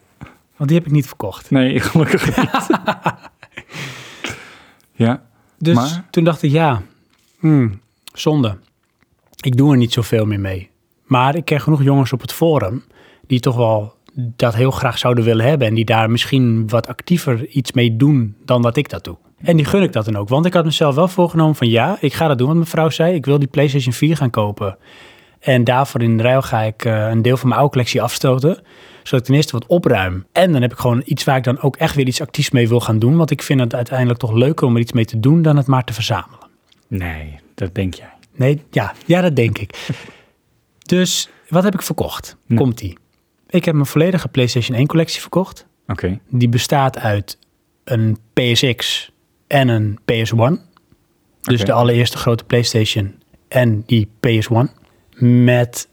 [SPEAKER 1] Want die heb ik niet verkocht.
[SPEAKER 2] Nee, gelukkig niet. ja,
[SPEAKER 1] Dus
[SPEAKER 2] Maar?
[SPEAKER 1] toen dacht ik, ja, hmm, zonde. Ik doe er niet zoveel meer mee. Maar ik ken genoeg jongens op het forum die toch wel dat heel graag zouden willen hebben. En die daar misschien wat actiever iets mee doen dan dat ik dat doe. En die gun ik dat dan ook. Want ik had mezelf wel voorgenomen van ja, ik ga dat doen wat mijn vrouw zei. Ik wil die PlayStation 4 gaan kopen. En daarvoor in de ruil ga ik eh, een deel van mijn oude collectie afstoten. Zodat ik ten eerste wat opruim. En dan heb ik gewoon iets waar ik dan ook echt weer iets actiefs mee wil gaan doen. Want ik vind het uiteindelijk toch leuker om er iets mee te doen dan het maar te verzamelen.
[SPEAKER 2] nee, dat denk jij.
[SPEAKER 1] Nee, ja, ja dat denk ik. Dus wat heb ik verkocht?
[SPEAKER 2] Ja.
[SPEAKER 1] Komt die? Ik heb mijn volledige PlayStation 1 collectie verkocht.
[SPEAKER 2] Oké,
[SPEAKER 1] Die bestaat uit een PSX en een PS1. Dus
[SPEAKER 2] Oké.
[SPEAKER 1] de allereerste grote PlayStation en die PS1. Met,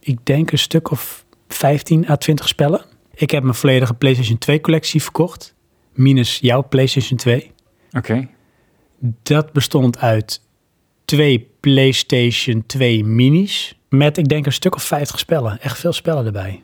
[SPEAKER 1] ik denk, een stuk of 15 à 20 spellen. Ik heb mijn volledige PlayStation 2 collectie verkocht. Minus jouw PlayStation 2.
[SPEAKER 2] oké.
[SPEAKER 1] Dat bestond uit twee PlayStation 2 minis. Met, ik denk, een stuk of 50 spellen. Echt veel spellen erbij.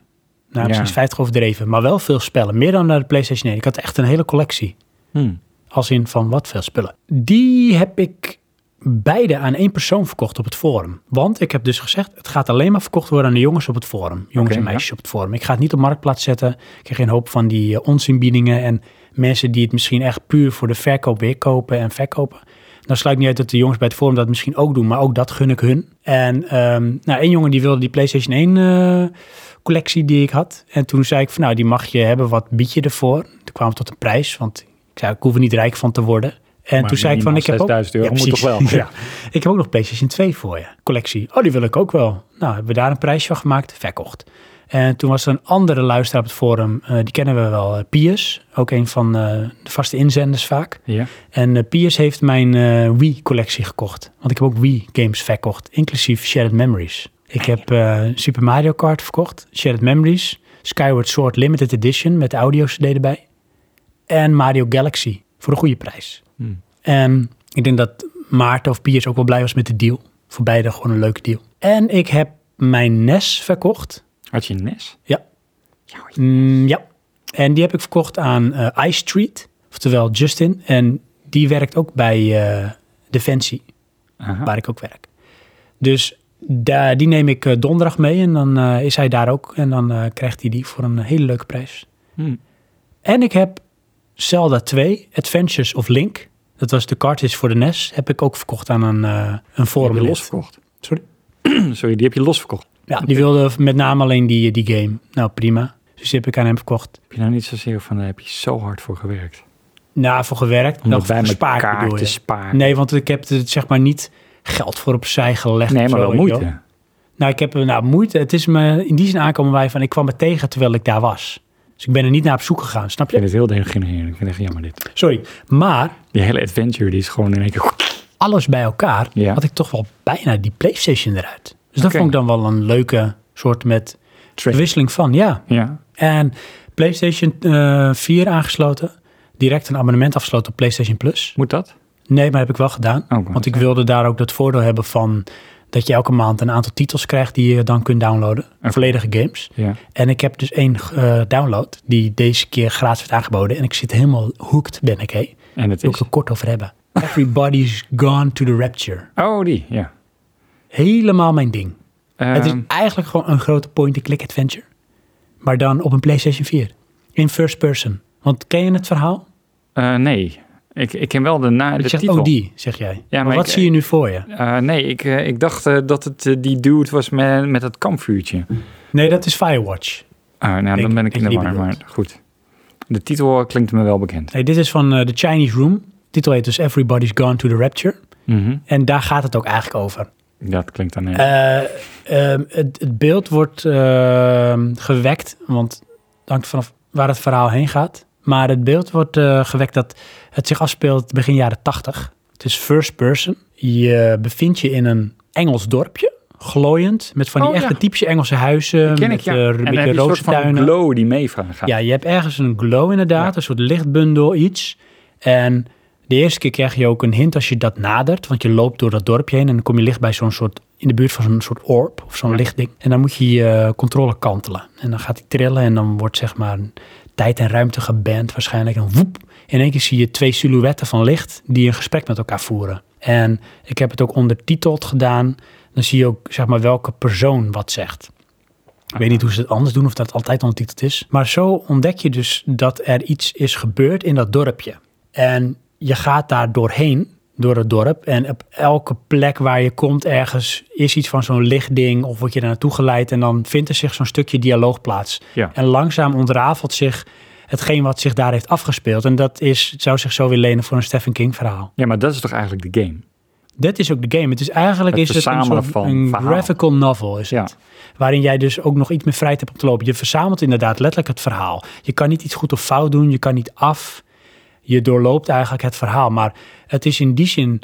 [SPEAKER 1] Nou,
[SPEAKER 2] Ja.
[SPEAKER 1] misschien is 50 overdreven, maar wel veel spellen. Meer dan naar de PlayStation 1. Ik had echt een hele collectie. Hmm.
[SPEAKER 2] Hm.
[SPEAKER 1] Als in van wat veel spullen. Die heb ik beide aan één persoon verkocht op het forum. Want ik heb dus gezegd, het gaat alleen maar verkocht worden aan de jongens op het forum. Jongens
[SPEAKER 2] Oké,
[SPEAKER 1] en
[SPEAKER 2] ja.
[SPEAKER 1] meisjes op het forum. Ik ga het niet op marktplaats zetten. Ik krijg geen hoop van die eh, onzinbiedingen en mensen die het misschien echt puur voor de verkoop weer kopen en verkopen. Dan sluit ik niet uit dat de jongens bij het forum dat misschien ook doen, maar ook dat gun ik hun. En ehm, nou, één jongen die wilde die PlayStation 1 eh, collectie die ik had. En toen zei ik van nou, die mag je hebben, wat bied je ervoor? Toen kwamen we tot een prijs, want ik zei ik hoef er niet rijk van te worden. En
[SPEAKER 2] Maar
[SPEAKER 1] toen zei ik van
[SPEAKER 2] minimaal
[SPEAKER 1] ik heb ook...
[SPEAKER 2] 6000 euro moet
[SPEAKER 1] precies.
[SPEAKER 2] toch wel?
[SPEAKER 1] ja. Ik heb ook nog PlayStation 2 voor je, collectie. Oh, die wil ik ook wel. Nou, hebben we daar een prijsje van gemaakt, verkocht. En toen was er een andere luisteraar op het forum, eh, die kennen we wel, eh, Piers. Ook een van eh, de vaste inzenders vaak.
[SPEAKER 2] Ja,
[SPEAKER 1] En eh, Piers heeft mijn eh, Wii-collectie gekocht. Want ik heb ook Wii-games verkocht, inclusief Shared Memories. Ik heb eh, Super Mario Kart verkocht, Shared Memories, Skyward Sword Limited Edition met de audio-cd erbij. En Mario Galaxy voor een goede prijs.
[SPEAKER 2] Hmm.
[SPEAKER 1] En ik denk dat Maarten of Piers ook wel blij was met de deal. Voor beide gewoon een leuke deal. En ik heb mijn NES verkocht.
[SPEAKER 2] Had je een NES?
[SPEAKER 1] Ja.
[SPEAKER 2] Ja, hoor.
[SPEAKER 1] Mm, ja. En die heb ik verkocht aan eh Ice Street, oftewel Justin. En die werkt ook bij eh, Defensie,
[SPEAKER 2] Aha.
[SPEAKER 1] waar ik ook werk. Dus daar, die neem ik eh, donderdag mee en dan eh, is hij daar ook. En dan eh, krijgt hij die voor een hele leuke prijs.
[SPEAKER 2] Hm.
[SPEAKER 1] En ik heb Zelda 2, Adventures of Link. Dat was de cartridge voor de NES. Heb ik ook verkocht aan een, eh een
[SPEAKER 2] Die
[SPEAKER 1] forum.
[SPEAKER 2] heb je losverkocht.
[SPEAKER 1] Sorry?
[SPEAKER 2] Sorry, die heb je losverkocht.
[SPEAKER 1] Ja, die wilde met name alleen die, die game. Nou, prima. Dus die heb ik aan hem verkocht.
[SPEAKER 2] Heb je nou niet zozeer van, daar heb je zo hard voor gewerkt.
[SPEAKER 1] Nou, voor gewerkt.
[SPEAKER 2] Om dat
[SPEAKER 1] nog
[SPEAKER 2] bij
[SPEAKER 1] gespaard,
[SPEAKER 2] elkaar
[SPEAKER 1] bedoel
[SPEAKER 2] te
[SPEAKER 1] je.
[SPEAKER 2] sparen.
[SPEAKER 1] Nee, want ik heb er zeg maar niet geld voor opzij gelegd.
[SPEAKER 2] Nee,
[SPEAKER 1] of
[SPEAKER 2] maar
[SPEAKER 1] zo,
[SPEAKER 2] wel
[SPEAKER 1] weet je
[SPEAKER 2] moeite.
[SPEAKER 1] Nou, ik heb eh, nou, moeite. Het is me in die zin aankomen wij van ik kwam me tegen terwijl ik daar was. Dus ik ben er niet naar op zoek gegaan, snap
[SPEAKER 2] Ik vind
[SPEAKER 1] je?
[SPEAKER 2] het heel degenererend. Ik vind het echt jammer dit.
[SPEAKER 1] Sorry. Maar
[SPEAKER 2] Die hele adventure die is gewoon in één keer...
[SPEAKER 1] alles bij elkaar
[SPEAKER 2] Ja.
[SPEAKER 1] had ik toch wel bijna die PlayStation eruit. Dus dat
[SPEAKER 2] Oké.
[SPEAKER 1] vond ik dan wel een leuke soort met wisseling van, ja.
[SPEAKER 2] Ja.
[SPEAKER 1] En PlayStation eh, 4 aangesloten. Direct een abonnement afgesloten op PlayStation Plus.
[SPEAKER 2] Moet dat?
[SPEAKER 1] Nee, maar heb ik wel gedaan.
[SPEAKER 2] Oh,
[SPEAKER 1] Want ik wilde daar ook dat voordeel hebben van dat je elke maand een aantal titels krijgt die je dan kunt downloaden. Volledige games.
[SPEAKER 2] Ja.
[SPEAKER 1] En ik heb dus één eh, download die deze keer gratis werd aangeboden. En ik zit helemaal hooked, ben ik, hé.
[SPEAKER 2] En het
[SPEAKER 1] Wil ik
[SPEAKER 2] is...
[SPEAKER 1] het kort over hebben. Everybody's Gone to the Rapture.
[SPEAKER 2] Oh, die. Ja.
[SPEAKER 1] Helemaal mijn ding. het is
[SPEAKER 2] Ehm,
[SPEAKER 1] eigenlijk gewoon een grote point-and-click adventure. Maar dan op een PlayStation 4. In first person. Want ken je het verhaal?
[SPEAKER 2] eh, nee. Ik, ik ken wel de, na, de
[SPEAKER 1] Ik zeg,
[SPEAKER 2] titel.
[SPEAKER 1] oh die, zeg jij. maar
[SPEAKER 2] maar
[SPEAKER 1] wat
[SPEAKER 2] ik-
[SPEAKER 1] zie je nu voor je?
[SPEAKER 2] Eh, nee, ik, eh, ik dacht eh, dat het eh, die dude was met, met het kampvuurtje.
[SPEAKER 1] Nee, dat is Firewatch.
[SPEAKER 2] Ah, nou,
[SPEAKER 1] Ik-
[SPEAKER 2] dan ben ik
[SPEAKER 1] ik
[SPEAKER 2] in de
[SPEAKER 1] die
[SPEAKER 2] war,
[SPEAKER 1] bedoeld.
[SPEAKER 2] maar goed. De titel klinkt me wel bekend.
[SPEAKER 1] Nee, dit is van eh, The Chinese Room. De titel heet dus Everybody's Gone to the Rapture.
[SPEAKER 2] Mhm.
[SPEAKER 1] En daar gaat het ook eigenlijk over.
[SPEAKER 2] Dat klinkt dan... eh,
[SPEAKER 1] Eh, ehm, het, het beeld wordt ehm, gewekt, want het hangt vanaf waar het verhaal heen gaat. Maar het beeld wordt eh, gewekt dat het zich afspeelt begin jaren 80. Het is first person. Je bevindt je in een Engels dorpje, glooiend, met van die
[SPEAKER 2] Oh,
[SPEAKER 1] echte
[SPEAKER 2] ja.
[SPEAKER 1] typische Engelse huizen.
[SPEAKER 2] ken
[SPEAKER 1] met
[SPEAKER 2] ik, ja.
[SPEAKER 1] eh,
[SPEAKER 2] En
[SPEAKER 1] een
[SPEAKER 2] dan heb
[SPEAKER 1] beetje
[SPEAKER 2] je een soort van
[SPEAKER 1] rozentuinen.
[SPEAKER 2] glow die mee van gaat.
[SPEAKER 1] Ja, je hebt ergens een glow inderdaad,
[SPEAKER 2] Ja.
[SPEAKER 1] een soort lichtbundel, iets. En de eerste keer krijg je ook een hint als je dat nadert, want je loopt door dat dorpje heen en dan kom je licht bij zo'n soort, in de buurt van zo'n soort orb of zo'n
[SPEAKER 2] Ja.
[SPEAKER 1] lichtding. En dan moet je je eh, controle kantelen. En dan gaat hij trillen en dan wordt zeg maar tijd en ruimte geband waarschijnlijk. En woep, in één keer zie je twee silhouetten van licht die een gesprek met elkaar voeren. En ik heb het ook ondertiteld gedaan. Dan zie je ook zeg maar welke persoon wat zegt. Ik weet niet hoe ze het anders doen of dat altijd ondertiteld is. Maar zo ontdek je dus dat er iets is gebeurd in dat dorpje. En je gaat daar doorheen, door het dorp. En op elke plek waar je komt ergens is iets van zo'n lichtding of word je daar naartoe geleid. En dan vindt er zich zo'n stukje dialoog plaats.
[SPEAKER 2] Ja.
[SPEAKER 1] En langzaam ontrafelt zich hetgeen wat zich daar heeft afgespeeld. En dat is, het zou zich zo weer lenen voor een Stephen King verhaal.
[SPEAKER 2] Ja, maar dat is toch eigenlijk de game?
[SPEAKER 1] Dat is ook de game. Het is eigenlijk
[SPEAKER 2] Het
[SPEAKER 1] is het een,
[SPEAKER 2] verzamelen
[SPEAKER 1] soort,
[SPEAKER 2] van
[SPEAKER 1] een
[SPEAKER 2] verhaal.
[SPEAKER 1] graphical novel. Is
[SPEAKER 2] Ja.
[SPEAKER 1] het, waarin jij dus ook nog iets meer vrijheid hebt om te lopen. Je verzamelt inderdaad letterlijk het verhaal. Je kan niet iets goed of fout doen. Je kan niet af. Je doorloopt eigenlijk het verhaal. Maar het is in die zin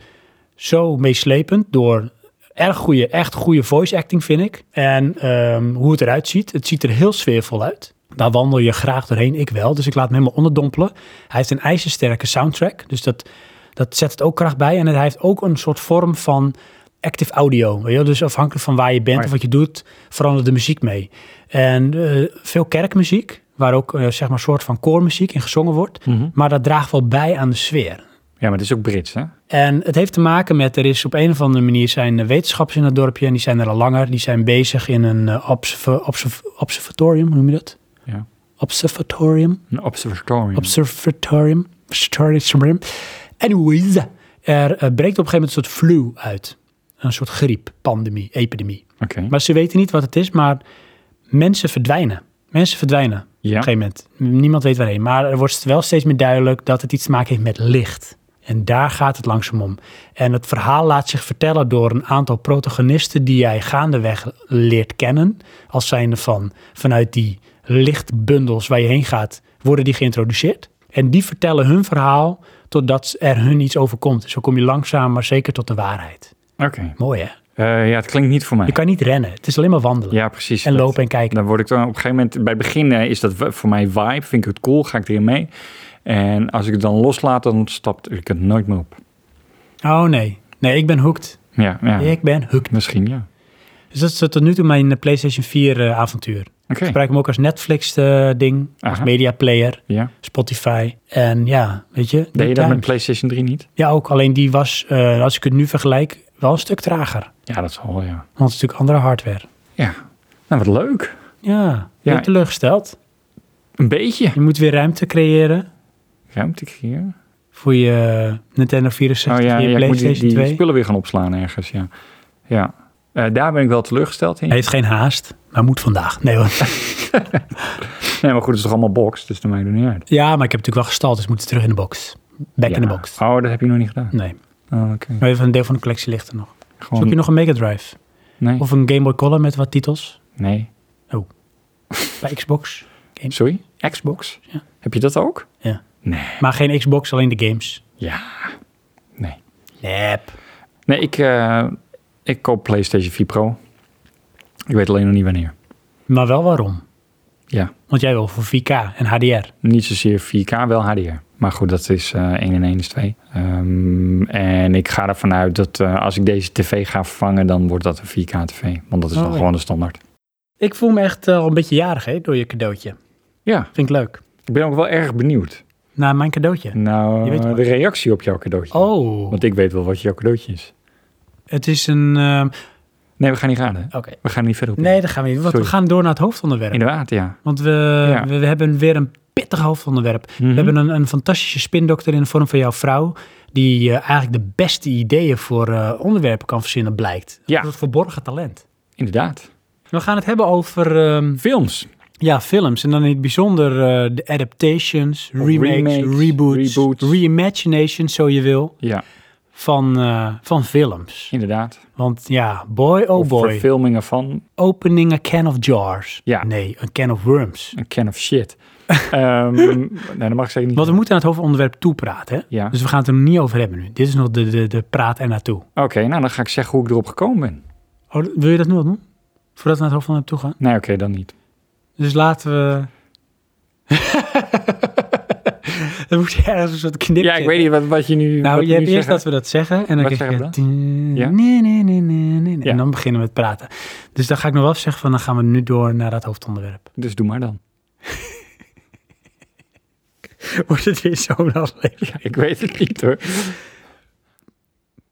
[SPEAKER 1] zo meeslepend door erg goede, echt goede voice acting, vind ik. En ehm, hoe het eruit ziet. Het ziet er heel sfeervol uit. Daar wandel je graag doorheen, ik wel. Dus ik laat me helemaal onderdompelen. Hij heeft een ijzersterke soundtrack. Dus dat, dat zet het ook kracht bij. En hij heeft ook een soort vorm van active audio. Weet je? wel. Dus afhankelijk van waar je bent
[SPEAKER 2] Maar-
[SPEAKER 1] of wat je doet, verandert de muziek mee. En eh, veel kerkmuziek, waar ook eh, zeg maar een soort van koormuziek in gezongen wordt. Maar dat draagt wel bij aan de sfeer.
[SPEAKER 2] Ja, maar het is ook Brits, hè?
[SPEAKER 1] En het heeft te maken met, er is op een of andere manier zijn er wetenschappers in het dorpje en die zijn er al langer. Die zijn bezig in een eh, observa- observ- observatorium, hoe noem je dat?
[SPEAKER 2] Ja.
[SPEAKER 1] Observatorium?
[SPEAKER 2] Een observatorium.
[SPEAKER 1] Observatorium? Observatorium? Anyways, er eh, breekt op een gegeven moment een soort flu uit. Een soort griep, pandemie, epidemie.
[SPEAKER 2] Oké.
[SPEAKER 1] Maar ze weten niet wat het is, maar mensen verdwijnen. Mensen verdwijnen
[SPEAKER 2] Ja.
[SPEAKER 1] op een gegeven moment. Niemand weet waarheen. Maar er wordt wel steeds meer duidelijk dat het iets te maken heeft met licht. En daar gaat het langzaam om. En het verhaal laat zich vertellen door een aantal protagonisten die jij gaandeweg leert kennen. Als zijnde van vanuit die lichtbundels waar je heen gaat, worden die geïntroduceerd. En die vertellen hun verhaal totdat er hun iets overkomt. Zo kom je langzaam maar zeker tot de waarheid.
[SPEAKER 2] Oké.
[SPEAKER 1] Mooi hè?
[SPEAKER 2] Eh, ja, het klinkt niet voor mij.
[SPEAKER 1] Je kan niet rennen. Het is alleen maar wandelen.
[SPEAKER 2] Ja, precies.
[SPEAKER 1] en
[SPEAKER 2] Dat-
[SPEAKER 1] lopen en kijken.
[SPEAKER 2] Dan word ik dan op een gegeven moment... Bij het begin eh, is dat w- voor mij vibe. Vind ik het cool. Ga ik erin mee. En als ik het dan loslaat, dan stapt ik het nooit meer op.
[SPEAKER 1] Oh nee. Nee, ik ben hooked.
[SPEAKER 2] Ja, ja.
[SPEAKER 1] Ik ben hooked.
[SPEAKER 2] Misschien, ja.
[SPEAKER 1] Dus dat is tot nu toe mijn eh, PlayStation 4 eh, avontuur.
[SPEAKER 2] Oké.
[SPEAKER 1] Ik gebruik hem ook als Netflix-ding, als
[SPEAKER 2] Aha.
[SPEAKER 1] media player,
[SPEAKER 2] Ja.
[SPEAKER 1] Spotify. En ja, weet je.
[SPEAKER 2] Deed je
[SPEAKER 1] good
[SPEAKER 2] dat met
[SPEAKER 1] times.
[SPEAKER 2] PlayStation 3 niet?
[SPEAKER 1] Ja, ook. Alleen die was, eh, als ik het nu vergelijk, wel een stuk trager. Want
[SPEAKER 2] Ja, dat zal wel, ja.
[SPEAKER 1] het is natuurlijk andere hardware.
[SPEAKER 2] Ja. Nou, wat leuk.
[SPEAKER 1] Ja, ben je
[SPEAKER 2] Ja.
[SPEAKER 1] teleurgesteld.
[SPEAKER 2] Een beetje.
[SPEAKER 1] Je moet weer ruimte creëren
[SPEAKER 2] Ruimte creëren.
[SPEAKER 1] voor je eh, Nintendo 64
[SPEAKER 2] Oh ja,
[SPEAKER 1] en je
[SPEAKER 2] ja, ik moet die,
[SPEAKER 1] PlayStation
[SPEAKER 2] die
[SPEAKER 1] 2.
[SPEAKER 2] spullen weer gaan opslaan ergens, ja. Ja. Eh, daar ben ik wel teleurgesteld in.
[SPEAKER 1] Hij heeft geen haast, maar moet vandaag. Nee hoor.
[SPEAKER 2] Nee, maar goed, het is toch allemaal box, dus dat maakt het niet uit.
[SPEAKER 1] Ja, maar ik heb natuurlijk wel gestald, dus moet terug in de box. Back in
[SPEAKER 2] Ja.
[SPEAKER 1] de box.
[SPEAKER 2] Oh, dat heb je nog niet gedaan.
[SPEAKER 1] Nee,
[SPEAKER 2] Oh, oké.
[SPEAKER 1] maar even een deel van de collectie ligt er nog.
[SPEAKER 2] Gewoon,
[SPEAKER 1] Zoek je nog een Mega Drive?
[SPEAKER 2] nee,
[SPEAKER 1] Of een Game Boy Color met wat titels?
[SPEAKER 2] nee.
[SPEAKER 1] Bij Xbox?
[SPEAKER 2] Sorry? Xbox?
[SPEAKER 1] Ja.
[SPEAKER 2] Heb je dat ook?
[SPEAKER 1] Ja.
[SPEAKER 2] Nee.
[SPEAKER 1] Maar geen Xbox, alleen de games.
[SPEAKER 2] Ja. Nee.
[SPEAKER 1] Nep.
[SPEAKER 2] Nee, ik, eh, ik koop PlayStation 4 Pro. Ik weet alleen nog niet wanneer.
[SPEAKER 1] Maar wel waarom?
[SPEAKER 2] Ja.
[SPEAKER 1] Want jij wil voor 4K en HDR.
[SPEAKER 2] Niet zozeer 4K, wel HDR. Maar goed, dat is eh 1 en 1 is 2. Ehm, en ik ga ervan uit dat eh, als ik deze tv ga vervangen, dan wordt dat een 4K tv. Want dat is
[SPEAKER 1] Oh,
[SPEAKER 2] dan
[SPEAKER 1] ja.
[SPEAKER 2] gewoon de standaard.
[SPEAKER 1] Ik voel me echt eh, al een beetje jarig hè, door je cadeautje.
[SPEAKER 2] Ja,
[SPEAKER 1] Vind ik leuk.
[SPEAKER 2] ik ben ook wel erg benieuwd.
[SPEAKER 1] Naar mijn cadeautje. Je
[SPEAKER 2] Nou,
[SPEAKER 1] weet wat.
[SPEAKER 2] de reactie op jouw cadeautje.
[SPEAKER 1] Oh,
[SPEAKER 2] Want ik weet wel wat jouw cadeautje is.
[SPEAKER 1] het is een... ehm,
[SPEAKER 2] Nee, we gaan niet raden.
[SPEAKER 1] Oké.
[SPEAKER 2] We gaan niet verder op. in.
[SPEAKER 1] Nee, dat gaan we niet. doen, Want we
[SPEAKER 2] Sorry.
[SPEAKER 1] gaan door naar het hoofdonderwerp.
[SPEAKER 2] Inderdaad, ja.
[SPEAKER 1] Want we,
[SPEAKER 2] Ja.
[SPEAKER 1] we, we hebben weer een pittig hoofdonderwerp.
[SPEAKER 2] Mhm.
[SPEAKER 1] We hebben een, een fantastische spindokter in de vorm van jouw vrouw. Die eh, eigenlijk de beste ideeën voor eh, onderwerpen kan verzinnen, blijkt.
[SPEAKER 2] Ja.
[SPEAKER 1] Dat is het verborgen talent.
[SPEAKER 2] Inderdaad.
[SPEAKER 1] We gaan het hebben over ehm,
[SPEAKER 2] Films.
[SPEAKER 1] ja, films. En dan in het bijzonder eh, de adaptations, remakes,
[SPEAKER 2] remakes,
[SPEAKER 1] reboots,
[SPEAKER 2] reboots.
[SPEAKER 1] reimaginations, zo je wil,
[SPEAKER 2] Ja,
[SPEAKER 1] van, eh, van films.
[SPEAKER 2] inderdaad.
[SPEAKER 1] Want ja, boy oh
[SPEAKER 2] of
[SPEAKER 1] boy,
[SPEAKER 2] verfilmingen van
[SPEAKER 1] opening a can of jars.
[SPEAKER 2] Ja.
[SPEAKER 1] Nee, een can of worms.
[SPEAKER 2] een can of shit. Ehm nee, dat mag ik zeker niet.
[SPEAKER 1] Want we moeten aan het hoofdonderwerp toepraten. Hè?
[SPEAKER 2] Ja.
[SPEAKER 1] Dus we gaan het er niet over hebben nu. Dit is nog de, de, de praat er naartoe.
[SPEAKER 2] Oké, nou dan ga ik zeggen hoe ik erop gekomen ben.
[SPEAKER 1] Oh, wil je dat nu al doen? Voordat we naar het hoofdonderwerp toe gaan?
[SPEAKER 2] Nee, oké, dan niet.
[SPEAKER 1] Dus laten we... Dan moet je ergens een soort knipje.
[SPEAKER 2] Ja, ik weet niet wat, wat je nu.
[SPEAKER 1] Nou,
[SPEAKER 2] wat
[SPEAKER 1] je hebt
[SPEAKER 2] nu
[SPEAKER 1] eerst dat
[SPEAKER 2] zegt.
[SPEAKER 1] we dat zeggen. En dan
[SPEAKER 2] Wat
[SPEAKER 1] krijg je...
[SPEAKER 2] zeggen Ja?
[SPEAKER 1] Nee, nee, nee, nee, nee. nee.
[SPEAKER 2] Ja.
[SPEAKER 1] En dan beginnen we het praten. Dus dan ga ik nog wel zeggen van... Dan gaan we nu door naar dat hoofdonderwerp.
[SPEAKER 2] Dus doe maar dan.
[SPEAKER 1] Wordt het weer zo'n aflevering.
[SPEAKER 2] Ja, ik weet het niet hoor.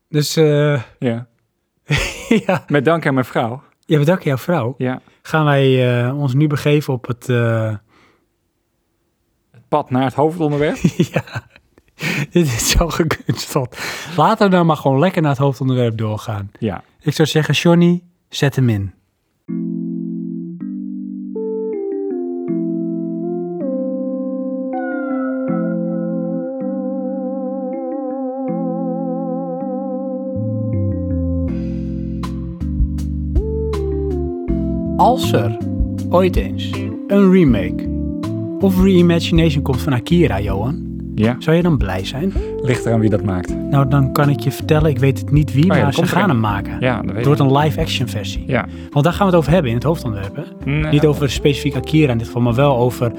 [SPEAKER 1] Dus eh,
[SPEAKER 2] Ja.
[SPEAKER 1] ja.
[SPEAKER 2] Met dank aan mijn vrouw.
[SPEAKER 1] ja, bedankt jouw vrouw.
[SPEAKER 2] Ja.
[SPEAKER 1] Gaan wij eh, ons nu begeven op het... eh,
[SPEAKER 2] Het pad naar het hoofdonderwerp.
[SPEAKER 1] Ja, dit is zo gekunsteld. Laten we nou maar gewoon lekker naar het hoofdonderwerp doorgaan.
[SPEAKER 2] ja.
[SPEAKER 1] Ik zou zeggen, Johnny, zet hem in. Als er ooit eens een remake of reimagination komt van Akira, Johan,
[SPEAKER 2] Ja.
[SPEAKER 1] zou je dan blij zijn?
[SPEAKER 2] Ligt eraan wie dat maakt.
[SPEAKER 1] Nou, dan kan ik je vertellen, ik weet het niet wie,
[SPEAKER 2] ja,
[SPEAKER 1] maar
[SPEAKER 2] dat
[SPEAKER 1] ze
[SPEAKER 2] komt
[SPEAKER 1] gaan
[SPEAKER 2] erin.
[SPEAKER 1] hem maken.
[SPEAKER 2] Ja, dat weet
[SPEAKER 1] het
[SPEAKER 2] ik.
[SPEAKER 1] wordt een live-action versie.
[SPEAKER 2] Ja.
[SPEAKER 1] Want daar gaan we het over hebben in het hoofdonderwerp. hè?
[SPEAKER 2] Nee.
[SPEAKER 1] Niet over specifiek Akira in dit geval, maar wel over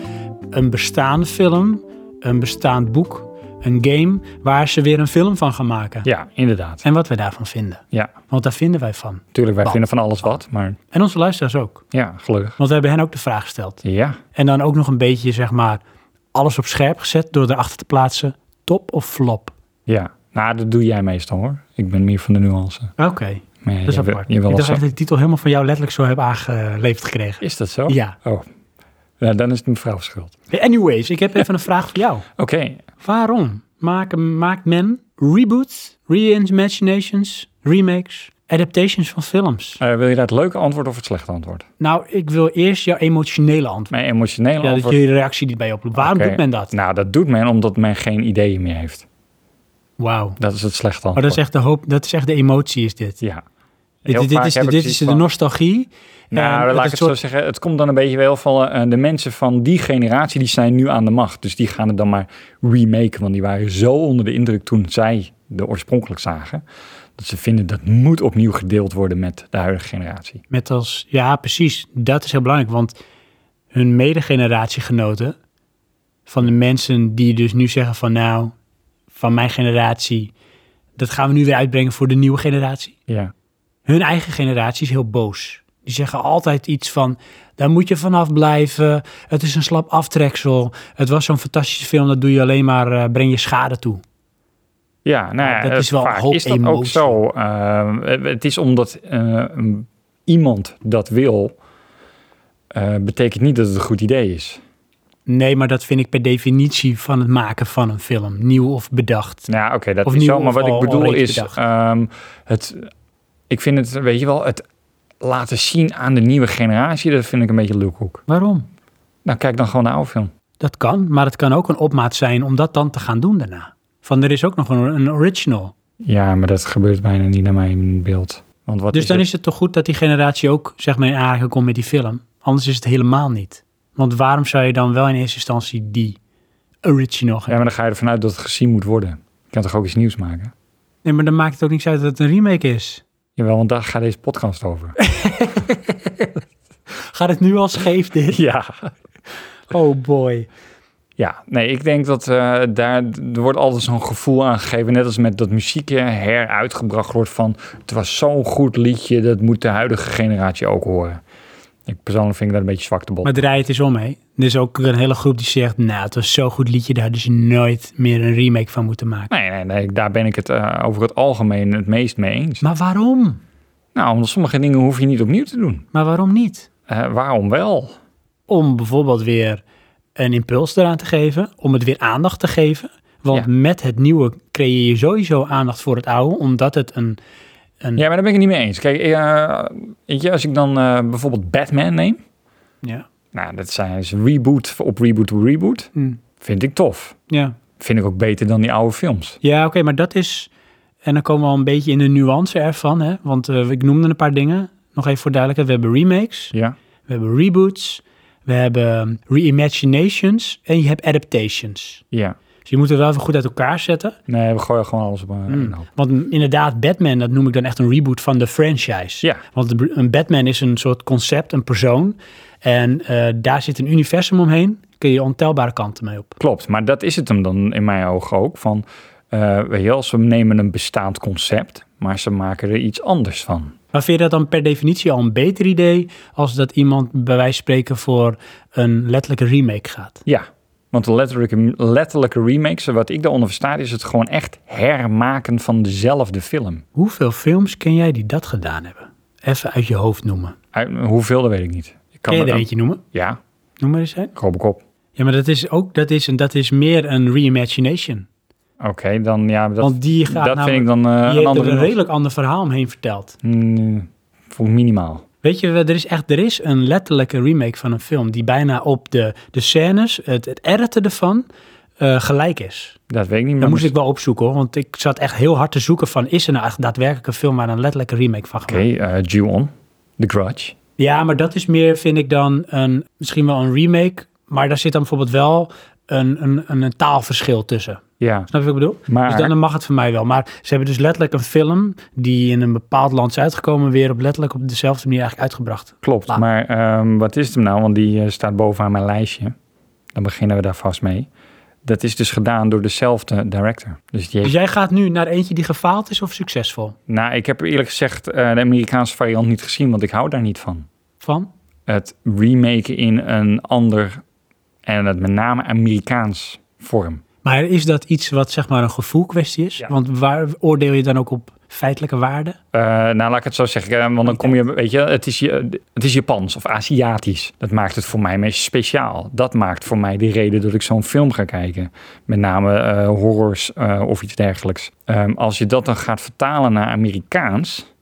[SPEAKER 1] een bestaande film, een bestaand boek, een game, waar ze weer een film van gaan maken.
[SPEAKER 2] Ja, inderdaad.
[SPEAKER 1] En wat we daarvan vinden.
[SPEAKER 2] Ja.
[SPEAKER 1] Want daar vinden wij van.
[SPEAKER 2] Tuurlijk, wij
[SPEAKER 1] Wat?
[SPEAKER 2] vinden van alles wat, maar
[SPEAKER 1] En onze luisteraars ook.
[SPEAKER 2] ja, gelukkig.
[SPEAKER 1] Want we hebben hen ook de vraag gesteld.
[SPEAKER 2] Ja.
[SPEAKER 1] En dan ook nog een beetje, zeg maar, alles op scherp gezet door erachter te plaatsen. Top of flop?
[SPEAKER 2] Ja, nou, dat doe jij meestal hoor. Ik ben meer van de nuance.
[SPEAKER 1] Oké,
[SPEAKER 2] Maar ja,
[SPEAKER 1] dat is
[SPEAKER 2] je wil-
[SPEAKER 1] apart.
[SPEAKER 2] je
[SPEAKER 1] Ik
[SPEAKER 2] wil
[SPEAKER 1] dacht
[SPEAKER 2] als-
[SPEAKER 1] dat ik de titel helemaal van jou letterlijk zo heb aangeleverd gekregen.
[SPEAKER 2] Is dat zo?
[SPEAKER 1] Ja.
[SPEAKER 2] Oh, nou, dan is het mijn vrouw schuld.
[SPEAKER 1] Anyways, ik heb even een vraag voor jou.
[SPEAKER 2] Oké,
[SPEAKER 1] Waarom maken, maakt men reboots, reimaginations, remakes, adaptations van films?
[SPEAKER 2] eh, wil je dat leuke antwoord of het slechte antwoord?
[SPEAKER 1] Nou, ik wil eerst jouw emotionele antwoord.
[SPEAKER 2] Mijn emotionele
[SPEAKER 1] Ja, dat
[SPEAKER 2] antwoord.
[SPEAKER 1] je reactie niet bij je oploopt. Waarom
[SPEAKER 2] Oké.
[SPEAKER 1] doet men dat?
[SPEAKER 2] Nou, dat doet men omdat men geen ideeën meer heeft.
[SPEAKER 1] Wauw. Oh,
[SPEAKER 2] Dat is het slechte
[SPEAKER 1] dat
[SPEAKER 2] antwoord.
[SPEAKER 1] is echt de hoop, dat is echt de emotie is dit.
[SPEAKER 2] Ja.
[SPEAKER 1] Dit,
[SPEAKER 2] Heel
[SPEAKER 1] dit- dit
[SPEAKER 2] vaak
[SPEAKER 1] is,
[SPEAKER 2] heb ik
[SPEAKER 1] dit is
[SPEAKER 2] zoiets
[SPEAKER 1] de
[SPEAKER 2] van-
[SPEAKER 1] nostalgie. en
[SPEAKER 2] Nou,
[SPEAKER 1] het
[SPEAKER 2] laat
[SPEAKER 1] is
[SPEAKER 2] ik
[SPEAKER 1] een soort-
[SPEAKER 2] het zo zeggen. Het komt dan een beetje wel van eh, de mensen van die generatie, die zijn nu aan de macht. Dus die gaan het dan maar remaken. Want die waren zo onder de indruk toen zij de oorspronkelijk zagen. Dat ze vinden dat moet opnieuw gedeeld worden met de huidige generatie.
[SPEAKER 1] Met als, ja, precies. Dat is heel belangrijk, want hun medegeneratiegenoten, van de mensen die dus nu zeggen van nou, van mijn generatie, dat gaan we nu weer uitbrengen voor de nieuwe generatie.
[SPEAKER 2] Ja.
[SPEAKER 1] hun eigen generatie is heel boos. Die zeggen altijd iets van, daar moet je vanaf blijven. Het is een slap aftreksel. Het was zo'n fantastische film, dat doe je alleen maar, eh, breng je schade toe.
[SPEAKER 2] Ja, nou ja,
[SPEAKER 1] Dat is wel een
[SPEAKER 2] vaak
[SPEAKER 1] hoop
[SPEAKER 2] is dat ook
[SPEAKER 1] emotie.
[SPEAKER 2] zo. Eh, het is omdat eh, iemand dat wil, eh, betekent niet dat het een goed idee is.
[SPEAKER 1] Nee, maar dat vind ik per definitie van het maken van een film. Nieuw of bedacht.
[SPEAKER 2] Nou, ja, oké, dat
[SPEAKER 1] Of
[SPEAKER 2] is
[SPEAKER 1] nieuw
[SPEAKER 2] zo. Maar
[SPEAKER 1] of
[SPEAKER 2] wat
[SPEAKER 1] al-
[SPEAKER 2] ik bedoel
[SPEAKER 1] alreeds
[SPEAKER 2] is,
[SPEAKER 1] bedacht.
[SPEAKER 2] ehm, het, ik vind het, weet je wel, het laten zien aan de nieuwe generatie, dat vind ik een beetje lulkoek.
[SPEAKER 1] Waarom?
[SPEAKER 2] Nou, kijk dan gewoon naar oude film.
[SPEAKER 1] Dat kan, maar het kan ook een opmaat zijn om dat dan te gaan doen daarna. Van er is ook nog een, een original.
[SPEAKER 2] Ja, maar dat gebeurt bijna niet naar mijn beeld. Want wat
[SPEAKER 1] dus
[SPEAKER 2] is
[SPEAKER 1] dan
[SPEAKER 2] het?
[SPEAKER 1] is het toch goed dat die generatie ook zeg maar in aanraking komt met die film. Anders is het helemaal niet. Want waarom zou je dan wel in eerste instantie die original gaan?
[SPEAKER 2] Ja, maar dan ga je ervan uit dat het gezien moet worden. Je kan toch ook iets nieuws maken?
[SPEAKER 1] Nee, maar dan maakt het ook niks uit dat het een remake is.
[SPEAKER 2] Jawel, want daar gaat deze podcast over.
[SPEAKER 1] Gaat het nu al scheef dit?
[SPEAKER 2] ja.
[SPEAKER 1] Oh boy.
[SPEAKER 2] Ja, nee, ik denk dat eh, daar er wordt altijd zo'n gevoel aangegeven. Net als met dat muziekje heruitgebracht wordt van... het was zo'n goed liedje, dat moet de huidige generatie ook horen. Ik persoonlijk vind ik dat een beetje zwak te bot.
[SPEAKER 1] Maar draai het eens om, hè. Er is ook een hele groep die zegt... nou, het was zo'n goed liedje, daar hadden ze nooit meer een remake van moeten maken.
[SPEAKER 2] Nee, nee, nee, daar ben ik het eh, over het algemeen het meest mee eens.
[SPEAKER 1] Maar waarom?
[SPEAKER 2] Nou, omdat sommige dingen hoef je niet opnieuw te doen.
[SPEAKER 1] Maar waarom niet?
[SPEAKER 2] Eh, waarom wel?
[SPEAKER 1] Om bijvoorbeeld weer een impuls eraan te geven, om het weer aandacht te geven. Want
[SPEAKER 2] Ja.
[SPEAKER 1] met het nieuwe creëer je sowieso aandacht voor het oude, omdat het een...
[SPEAKER 2] Ja, maar daar ben ik het niet mee eens. Kijk, eh, weet je, als ik dan eh, bijvoorbeeld Batman neem...
[SPEAKER 1] Ja.
[SPEAKER 2] Nou, dat zijn is reboot op reboot op reboot.
[SPEAKER 1] Hm.
[SPEAKER 2] Vind ik tof.
[SPEAKER 1] Ja,
[SPEAKER 2] Vind ik ook beter dan die oude films.
[SPEAKER 1] ja oké, maar dat is... En dan komen we al een beetje in de nuance ervan, hè. Want eh, ik noemde een paar dingen. Nog even voor duidelijkheid, we hebben remakes.
[SPEAKER 2] Ja.
[SPEAKER 1] We hebben reboots, we hebben reimaginations en je hebt adaptations.
[SPEAKER 2] Ja.
[SPEAKER 1] Dus je moet er wel even goed uit elkaar zetten.
[SPEAKER 2] Nee, we gooien gewoon alles op een
[SPEAKER 1] Mm.
[SPEAKER 2] een hoop.
[SPEAKER 1] Want m- inderdaad, Batman, dat noem ik dan echt een reboot van de franchise.
[SPEAKER 2] Ja.
[SPEAKER 1] Want de br- een Batman is een soort concept, een persoon. En eh, daar zit een universum omheen. Kun je ontelbare kanten mee op.
[SPEAKER 2] Klopt, maar dat is het hem dan in mijn ogen ook. Van, eh, weet je wel, ze nemen een bestaand concept, maar ze maken er iets anders van.
[SPEAKER 1] Maar vind je dat dan per definitie al een beter idee... als dat iemand bij wijze van spreken voor een letterlijke remake gaat?
[SPEAKER 2] Ja, want de letterlijke, letterlijke remakes, wat ik daaronder versta, is het gewoon echt hermaken van dezelfde film.
[SPEAKER 1] Hoeveel films ken jij die dat gedaan hebben? Even uit je hoofd noemen.
[SPEAKER 2] Uit- hoeveel, dat weet ik niet. Ik
[SPEAKER 1] Kan je
[SPEAKER 2] me
[SPEAKER 1] er
[SPEAKER 2] dan-
[SPEAKER 1] eentje noemen?
[SPEAKER 2] Ja,
[SPEAKER 1] Noem maar eens een.
[SPEAKER 2] Robocop.
[SPEAKER 1] Ja, maar dat is ook dat is, een- dat is meer een reimagination.
[SPEAKER 2] Oké, dan ja, dat,
[SPEAKER 1] Want die gaat
[SPEAKER 2] dat vind
[SPEAKER 1] namelijk-
[SPEAKER 2] ik dan eh,
[SPEAKER 1] die
[SPEAKER 2] een
[SPEAKER 1] heeft er
[SPEAKER 2] andere...
[SPEAKER 1] een redelijk ander verhaal omheen verteld.
[SPEAKER 2] Mm, voor minimaal.
[SPEAKER 1] Weet je, er is echt er is een letterlijke remake van een film die bijna op de, de scènes, het, het editen ervan, eh, gelijk is.
[SPEAKER 2] Dat weet ik niet meer.
[SPEAKER 1] Dat moest ik wel opzoeken hoor, want ik zat echt heel hard te zoeken van is er nou echt daadwerkelijk een film waar een letterlijke remake van gemaakt
[SPEAKER 2] Oké, eh Ju-on, The Grudge.
[SPEAKER 1] Ja, maar dat is meer, vind ik dan, een, misschien wel een remake, maar daar zit dan bijvoorbeeld wel een, een, een, een taalverschil tussen.
[SPEAKER 2] Ja,
[SPEAKER 1] Snap je wat ik bedoel?
[SPEAKER 2] maar...
[SPEAKER 1] Dus dan mag het voor mij wel. Maar ze hebben dus letterlijk een film die in een bepaald land is uitgekomen, weer op letterlijk op dezelfde manier eigenlijk uitgebracht.
[SPEAKER 2] Klopt,
[SPEAKER 1] Laat.
[SPEAKER 2] maar ehm, wat is het hem nou? Want die eh, staat bovenaan mijn lijstje. Dan beginnen we daar vast mee. Dat is dus gedaan door dezelfde director. Dus die
[SPEAKER 1] Dus
[SPEAKER 2] heeft...
[SPEAKER 1] jij gaat nu naar eentje die gefaald is of succesvol?
[SPEAKER 2] Nou, ik heb eerlijk gezegd eh, de Amerikaanse variant niet gezien, want ik hou daar niet van.
[SPEAKER 1] Van?
[SPEAKER 2] Het remaken in een ander, en het met name Amerikaans vorm.
[SPEAKER 1] Maar is dat iets wat zeg maar een gevoel kwestie is?
[SPEAKER 2] Ja.
[SPEAKER 1] Want waar oordeel je dan ook op feitelijke waarde?
[SPEAKER 2] Eh, nou, laat ik het zo zeggen, eh, want dan kom je, weet je, het is, je- het is Japans of Aziatisch. Dat maakt het voor mij meest speciaal. Dat maakt voor mij de reden dat ik zo'n film ga kijken. Met name eh, horrors eh, of iets dergelijks. Ehm, als je dat dan gaat vertalen naar Amerikaans,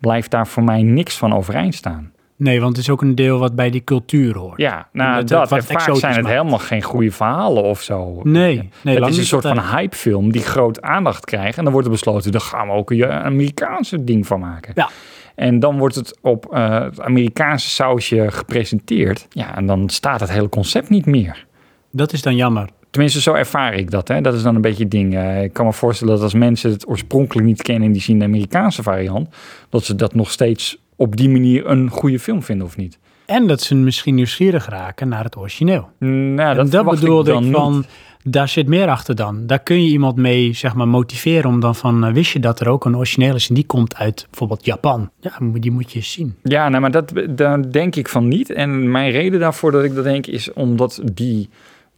[SPEAKER 2] blijft daar voor mij niks van overeind staan.
[SPEAKER 1] Nee, want het is ook een deel wat bij die cultuur hoort.
[SPEAKER 2] Ja, nou,
[SPEAKER 1] Omdat het
[SPEAKER 2] dat.
[SPEAKER 1] wat
[SPEAKER 2] En vaak
[SPEAKER 1] exotisch
[SPEAKER 2] zijn het
[SPEAKER 1] maakt.
[SPEAKER 2] helemaal geen goede verhalen of zo.
[SPEAKER 1] Nee,
[SPEAKER 2] Weet je.
[SPEAKER 1] nee, lang
[SPEAKER 2] het is een
[SPEAKER 1] niet
[SPEAKER 2] soort van
[SPEAKER 1] altijd.
[SPEAKER 2] hypefilm die groot aandacht krijgt. En dan wordt er besloten, daar gaan we ook een eh, Amerikaanse ding van maken.
[SPEAKER 1] Ja.
[SPEAKER 2] En dan wordt het op eh, het Amerikaanse sausje gepresenteerd. Ja, en dan staat het hele concept niet meer.
[SPEAKER 1] Dat is dan jammer.
[SPEAKER 2] Tenminste, zo ervaar ik dat. Hè. Dat is dan een beetje het ding. Eh, ik kan me voorstellen dat als mensen het oorspronkelijk niet kennen... en die zien de Amerikaanse variant... dat ze dat nog steeds op die manier een goede film vinden of niet.
[SPEAKER 1] En dat ze misschien nieuwsgierig raken naar het origineel.
[SPEAKER 2] Nou, dat,
[SPEAKER 1] en dat
[SPEAKER 2] verwacht
[SPEAKER 1] bedoelde
[SPEAKER 2] ik
[SPEAKER 1] ik,
[SPEAKER 2] dan
[SPEAKER 1] van,
[SPEAKER 2] niet.
[SPEAKER 1] daar zit meer achter dan. Daar kun je iemand mee zeg maar, motiveren om dan van... eh, wist je dat er ook een origineel is en die komt uit bijvoorbeeld Japan? Ja, moet- die moet je eens zien.
[SPEAKER 2] Ja, nou, maar dat, daar denk ik van niet. En mijn reden daarvoor dat ik dat denk is omdat die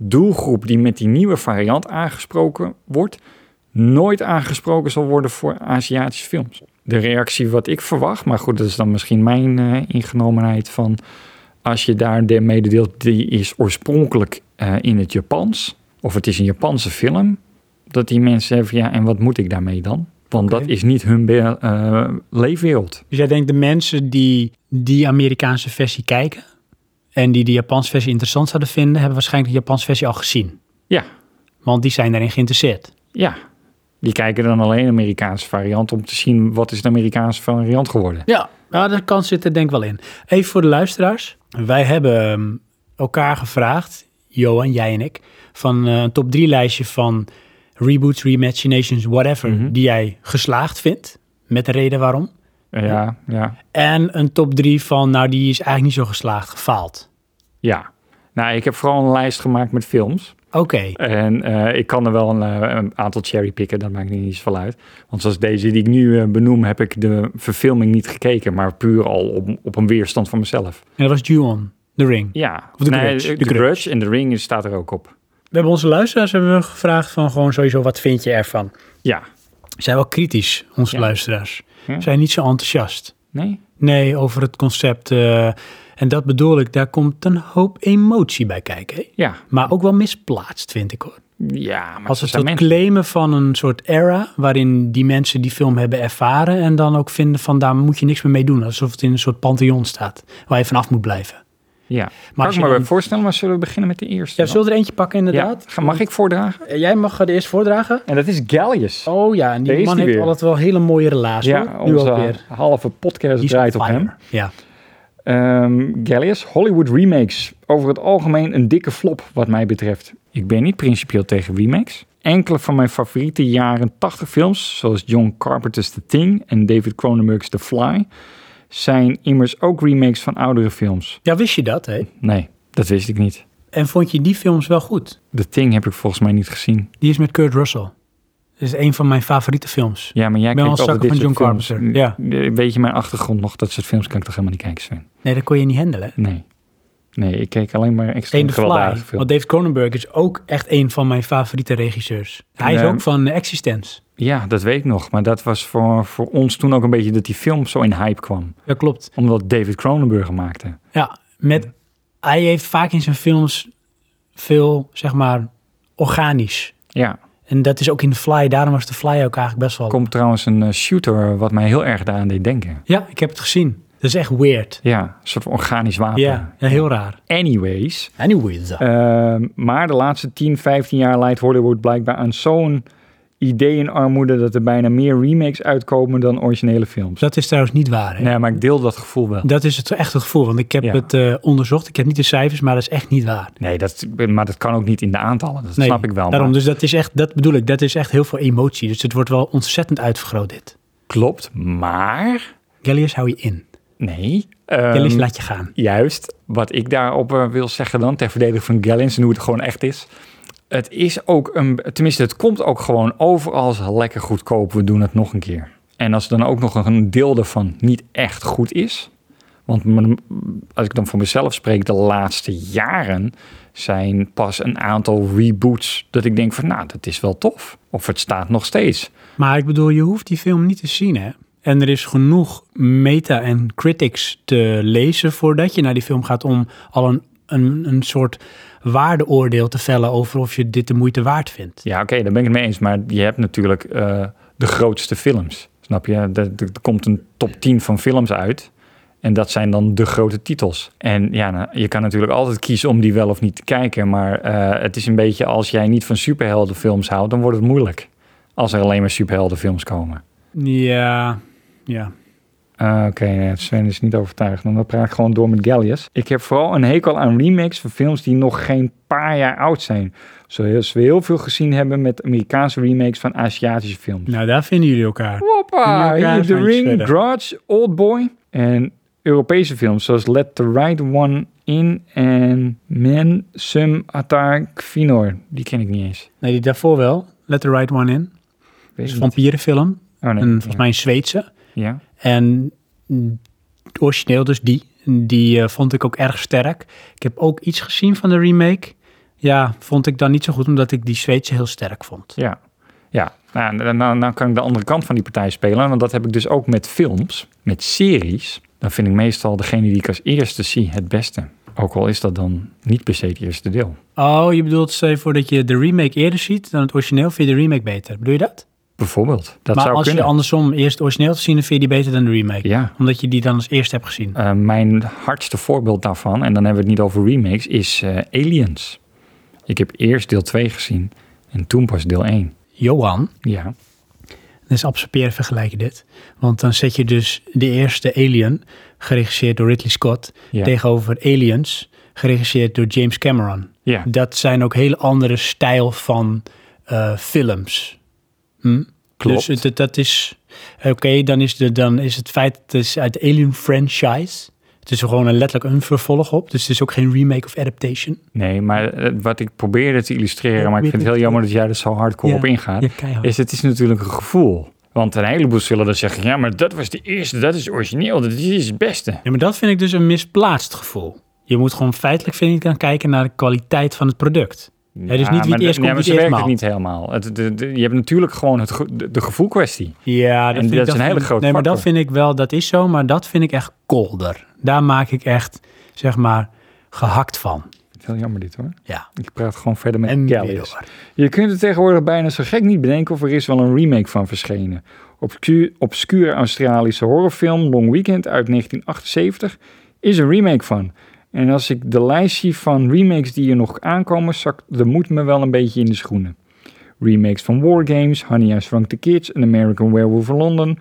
[SPEAKER 2] doelgroep die met die nieuwe variant aangesproken wordt, nooit aangesproken zal worden voor Aziatische films. De reactie wat ik verwacht, maar goed, dat is dan misschien mijn eh, ingenomenheid van als je daar de mededeelt, die is oorspronkelijk eh, in het Japans, of het is een Japanse film, dat die mensen zeggen, van, ja, en wat moet ik daarmee dan? Want
[SPEAKER 1] Oké.
[SPEAKER 2] dat is niet hun be- eh, leefwereld.
[SPEAKER 1] Dus jij denkt de mensen die die Amerikaanse versie kijken... en die de Japanse versie interessant zouden vinden... hebben waarschijnlijk de Japanse versie al gezien.
[SPEAKER 2] Ja.
[SPEAKER 1] Want die zijn daarin geïnteresseerd.
[SPEAKER 2] Ja, die kijken dan alleen de Amerikaanse variant om te zien wat is de Amerikaanse variant geworden.
[SPEAKER 1] Ja, nou, dat kan zitten denk ik wel in. Even voor de luisteraars. Wij hebben ehm, elkaar gevraagd, Johan, jij en ik, van eh, een top 3 lijstje van reboots, reimaginations, whatever,
[SPEAKER 2] Mhm.
[SPEAKER 1] die jij geslaagd vindt, met de reden waarom.
[SPEAKER 2] Eh, Ja, ja,
[SPEAKER 1] En een top 3 van, nou, die is eigenlijk niet zo geslaagd, gefaald.
[SPEAKER 2] ja. Nou, ik heb vooral een lijst gemaakt met films.
[SPEAKER 1] Oké,
[SPEAKER 2] En eh, ik kan er wel een, eh, een aantal cherrypicken, dat maakt niet eens van uit. Want zoals deze die ik nu eh, benoem, heb ik de verfilming niet gekeken, maar puur al op, op een weerstand van mezelf.
[SPEAKER 1] en dat was Juon, The Ring.
[SPEAKER 2] Ja,
[SPEAKER 1] Of The Grudge.
[SPEAKER 2] De
[SPEAKER 1] The
[SPEAKER 2] Grudge en The Ring staat er ook op.
[SPEAKER 1] We hebben onze luisteraars hebben we gevraagd van gewoon sowieso, wat vind je ervan?
[SPEAKER 2] Ja,
[SPEAKER 1] Ze zijn wel kritisch, onze
[SPEAKER 2] Ja. Hm?
[SPEAKER 1] luisteraars.
[SPEAKER 2] Ja.
[SPEAKER 1] Ze zijn niet zo enthousiast.
[SPEAKER 2] nee?
[SPEAKER 1] Nee, over het concept. eh, en dat bedoel ik, daar komt een hoop emotie bij kijken. hè.
[SPEAKER 2] Ja,
[SPEAKER 1] Maar ook wel misplaatst, vind ik hoor.
[SPEAKER 2] ja maar
[SPEAKER 1] Als
[SPEAKER 2] ze
[SPEAKER 1] het
[SPEAKER 2] zijn
[SPEAKER 1] het
[SPEAKER 2] mensen.
[SPEAKER 1] claimen van een soort era... waarin die mensen die film hebben ervaren... en dan ook vinden van daar moet je niks meer mee doen. Alsof het in een soort pantheon staat, waar je vanaf moet blijven.
[SPEAKER 2] Ja,
[SPEAKER 1] Maar
[SPEAKER 2] maar
[SPEAKER 1] als
[SPEAKER 2] kan
[SPEAKER 1] je
[SPEAKER 2] ik me
[SPEAKER 1] dan-
[SPEAKER 2] voorstellen, maar zullen we beginnen met de eerste?
[SPEAKER 1] Ja, zullen we er eentje pakken
[SPEAKER 2] dan?
[SPEAKER 1] inderdaad?
[SPEAKER 2] Ja, mag ik voordragen?
[SPEAKER 1] Jij mag het eerst voordragen.
[SPEAKER 2] En dat is Gallius.
[SPEAKER 1] Oh ja, en die
[SPEAKER 2] Daar is
[SPEAKER 1] man
[SPEAKER 2] die
[SPEAKER 1] heeft
[SPEAKER 2] weer.
[SPEAKER 1] altijd wel hele mooie relaties.
[SPEAKER 2] ja,
[SPEAKER 1] hoor. Nu ook
[SPEAKER 2] onze
[SPEAKER 1] weer.
[SPEAKER 2] halve podcast
[SPEAKER 1] Die is
[SPEAKER 2] draait
[SPEAKER 1] on
[SPEAKER 2] op
[SPEAKER 1] fire.
[SPEAKER 2] hem.
[SPEAKER 1] Ja.
[SPEAKER 2] Ehm Gallius, Hollywood remakes. Over het algemeen een dikke flop wat mij betreft. Ik ben niet principieel tegen remakes. Enkele van mijn favoriete jaren 80 films, zoals John Carpenter's The Thing en David Cronenberg's The Fly, zijn immers ook remakes van oudere films.
[SPEAKER 1] ja, wist je dat? Hè?
[SPEAKER 2] Nee, dat wist ik niet.
[SPEAKER 1] En vond je die films wel goed?
[SPEAKER 2] The Thing heb ik volgens mij niet gezien.
[SPEAKER 1] Die is met Kurt Russell. Dat is een van mijn favoriete films.
[SPEAKER 2] Ja, maar jij
[SPEAKER 1] Ik ben
[SPEAKER 2] kijkt
[SPEAKER 1] wel een
[SPEAKER 2] altijd dit
[SPEAKER 1] zakker
[SPEAKER 2] soort
[SPEAKER 1] van John
[SPEAKER 2] films. Eh,
[SPEAKER 1] Carpenter,
[SPEAKER 2] Weet je mijn achtergrond nog? Dat soort films kan ik toch helemaal niet kijken, Sven?
[SPEAKER 1] Nee, dat kon je niet handelen. hè?
[SPEAKER 2] Nee. Nee, ik keek alleen maar extreem
[SPEAKER 1] Eén de Fly.
[SPEAKER 2] gewelddadige
[SPEAKER 1] Want
[SPEAKER 2] films.
[SPEAKER 1] David Cronenberg is ook echt een van mijn favoriete regisseurs. Hij is
[SPEAKER 2] Nee.
[SPEAKER 1] ook van eh, Existence.
[SPEAKER 2] Ja, dat weet ik nog. Maar dat was voor, voor ons toen ook een beetje dat die film zo in hype kwam.
[SPEAKER 1] Dat klopt.
[SPEAKER 2] Omdat David Cronenberg hem maakte.
[SPEAKER 1] Ja, met, hij heeft vaak in zijn films veel, zeg maar, organisch.
[SPEAKER 2] Ja,
[SPEAKER 1] En dat is ook in The Fly. Daarom was The Fly ook eigenlijk best wel...
[SPEAKER 2] komt trouwens een eh, shooter wat mij heel erg daaraan deed denken.
[SPEAKER 1] Ja, ik heb het gezien. Dat is echt weird.
[SPEAKER 2] Ja, een soort van organisch wapen.
[SPEAKER 1] Ja, ja, heel raar. Eh,
[SPEAKER 2] Anyways,
[SPEAKER 1] Anyways.
[SPEAKER 2] Ehm, maar de laatste 10, 15 jaar leidt Hollywood blijkbaar aan zo'n ideeënarmoede dat er bijna meer remakes uitkomen dan originele films.
[SPEAKER 1] dat is trouwens niet waar, hè?
[SPEAKER 2] Nee, maar ik deel dat gevoel wel.
[SPEAKER 1] Dat is het echte gevoel, want ik heb
[SPEAKER 2] Ja.
[SPEAKER 1] het eh, onderzocht. Ik heb niet de cijfers, maar dat is echt niet waar.
[SPEAKER 2] Nee, dat, maar dat kan ook niet in de aantallen. Dat
[SPEAKER 1] Nee,
[SPEAKER 2] snap ik wel. maar-
[SPEAKER 1] Daarom, dus dat is echt, dat bedoel ik, dat is echt heel veel emotie. Dus het wordt wel ontzettend uitvergroot dit.
[SPEAKER 2] Klopt, maar...
[SPEAKER 1] Gallius, hou je in.
[SPEAKER 2] Nee. ehm,
[SPEAKER 1] Gallius, laat je gaan.
[SPEAKER 2] Juist, wat ik daarop eh, wil zeggen dan, ter verdediging van Gallins en hoe het gewoon echt is. Het is ook een, tenminste, het komt ook gewoon overal als lekker goedkoop. We doen het nog een keer. En als dan ook nog een deel daarvan niet echt goed is. Want m- als ik dan voor mezelf spreek, de laatste jaren zijn pas een aantal reboots. Dat ik denk van, nou, dat is wel tof. Of het staat nog steeds.
[SPEAKER 1] Maar ik bedoel, je hoeft die film niet te zien, hè? En er is genoeg meta en critics te lezen voordat je naar die film gaat om al een, een, een soort waardeoordeel te vellen over of je dit de moeite waard vindt.
[SPEAKER 2] Ja, oké, daar ben ik het mee eens. Maar je hebt natuurlijk eh, de grootste films. Snap je? Er, er- er komt een top 10 van films uit. En dat zijn dan de grote titels. En ja, nou, je kan natuurlijk altijd kiezen om die wel of niet te kijken. Maar eh, het is een beetje als jij niet van superheldenfilms houdt, dan wordt het moeilijk. Als er alleen maar superheldenfilms komen.
[SPEAKER 1] Ja, ja.
[SPEAKER 2] Ah, Oké, nee, Sven is niet overtuigd. Dan praat ik gewoon door met Gallius. Ik heb vooral een hekel aan remakes van films die nog geen paar jaar oud zijn. Zoals we heel veel gezien hebben met Amerikaanse remakes van Aziatische films.
[SPEAKER 1] Nou, daar vinden jullie elkaar.
[SPEAKER 2] Hoppa,
[SPEAKER 1] Elkaar
[SPEAKER 2] hier The
[SPEAKER 1] handjes
[SPEAKER 2] Ring,
[SPEAKER 1] verder.
[SPEAKER 2] Grudge, Oldboy. En Europese films zoals Let the Right One in en men sum atar kvinor. Die ken ik niet eens.
[SPEAKER 1] Nee, die daarvoor wel. Let the Right One In. is
[SPEAKER 2] Weet ik
[SPEAKER 1] een
[SPEAKER 2] niet.
[SPEAKER 1] vampierenfilm.
[SPEAKER 2] Oh, nee.
[SPEAKER 1] Een, volgens mij een Zweedse.
[SPEAKER 2] Ja.
[SPEAKER 1] En mm, origineel dus die. Die eh, vond ik ook erg sterk. Ik heb ook iets gezien van de remake. Ja, vond ik dan niet zo goed, omdat ik die Zweedse heel sterk vond.
[SPEAKER 2] Ja, ja. Nou, nou, nou, nou kan ik de andere kant van die partij spelen. Want dat heb ik dus ook met films, met series. Dan vind ik meestal degene die ik als eerste zie het beste. Ook al is dat dan niet per se het eerste deel.
[SPEAKER 1] Oh, je bedoelt, stel je voor dat je de remake eerder ziet dan het origineel, vind je de remake beter. Bedoel je dat?
[SPEAKER 2] Bijvoorbeeld. Dat
[SPEAKER 1] maar
[SPEAKER 2] zou
[SPEAKER 1] als
[SPEAKER 2] kunnen.
[SPEAKER 1] je andersom eerst het origineel te zien, dan vind je die beter dan de remake.
[SPEAKER 2] Ja.
[SPEAKER 1] Omdat je die dan als eerste hebt gezien.
[SPEAKER 2] Eh, mijn hardste voorbeeld daarvan, en dan hebben we het niet over remakes, is eh, Aliens. Ik heb eerst deel 2 gezien en toen pas deel 1.
[SPEAKER 1] Johan,
[SPEAKER 2] Ja.
[SPEAKER 1] Dus absorberen vergelijk je dit. Want dan zet je dus de eerste Alien, geregisseerd door Ridley Scott,
[SPEAKER 2] Ja.
[SPEAKER 1] tegenover Aliens, geregisseerd door James Cameron.
[SPEAKER 2] ja.
[SPEAKER 1] Dat zijn ook hele andere stijl van eh, films. Hm?
[SPEAKER 2] Klopt.
[SPEAKER 1] Dus het- dat is. Oké, dan, is de- dan is het feit. Het is uit de Alien franchise. Het is er gewoon een, letterlijk een vervolg op. Dus het is ook geen remake of adaptation.
[SPEAKER 2] Nee, maar eh, wat ik probeerde te illustreren,
[SPEAKER 1] Ja,
[SPEAKER 2] maar ik
[SPEAKER 1] weet
[SPEAKER 2] vind het
[SPEAKER 1] ik.
[SPEAKER 2] heel jammer dat jij er zo hardcore
[SPEAKER 1] Ja.
[SPEAKER 2] op ingaat.
[SPEAKER 1] Ja, keihard.
[SPEAKER 2] is het is natuurlijk een gevoel. Want een heleboel zullen dan zeggen, ja, maar dat was de eerste, dat is origineel, dat is het beste.
[SPEAKER 1] Ja, maar dat vind ik dus een misplaatst gevoel. Je moet gewoon feitelijk, vind ik, gaan kijken naar de kwaliteit van het product. Ja, dus niet wie
[SPEAKER 2] maar
[SPEAKER 1] het eerst
[SPEAKER 2] nee,
[SPEAKER 1] komt,
[SPEAKER 2] maar
[SPEAKER 1] wie
[SPEAKER 2] ze
[SPEAKER 1] het eerst
[SPEAKER 2] werkt
[SPEAKER 1] maalt.
[SPEAKER 2] het niet helemaal. Het, de, de- je hebt natuurlijk gewoon het, ge- de, de gevoelkwestie.
[SPEAKER 1] Ja, dat,
[SPEAKER 2] En
[SPEAKER 1] vind
[SPEAKER 2] dat
[SPEAKER 1] ik,
[SPEAKER 2] is een hele
[SPEAKER 1] vind-
[SPEAKER 2] grote
[SPEAKER 1] Nee, maar dat
[SPEAKER 2] factor.
[SPEAKER 1] vind ik wel, dat is zo, maar dat vind ik echt kolder. Daar maak ik echt, zeg maar, gehakt van.
[SPEAKER 2] Heel jammer dit hoor.
[SPEAKER 1] Ja.
[SPEAKER 2] Ik praat gewoon verder met
[SPEAKER 1] En
[SPEAKER 2] Kelly.
[SPEAKER 1] weer door.
[SPEAKER 2] Je kunt het tegenwoordig bijna zo gek niet bedenken of er is wel een remake van verschenen. Obscuur, obscuur Australische horrorfilm Long Weekend uit 1978 is een remake van. En als ik de lijst zie van remakes die er nog aankomen, zakt de moed me wel een beetje in de schoenen. Remakes van Wargames, Honey, I Shrunk the Kids, An American Werewolf in London,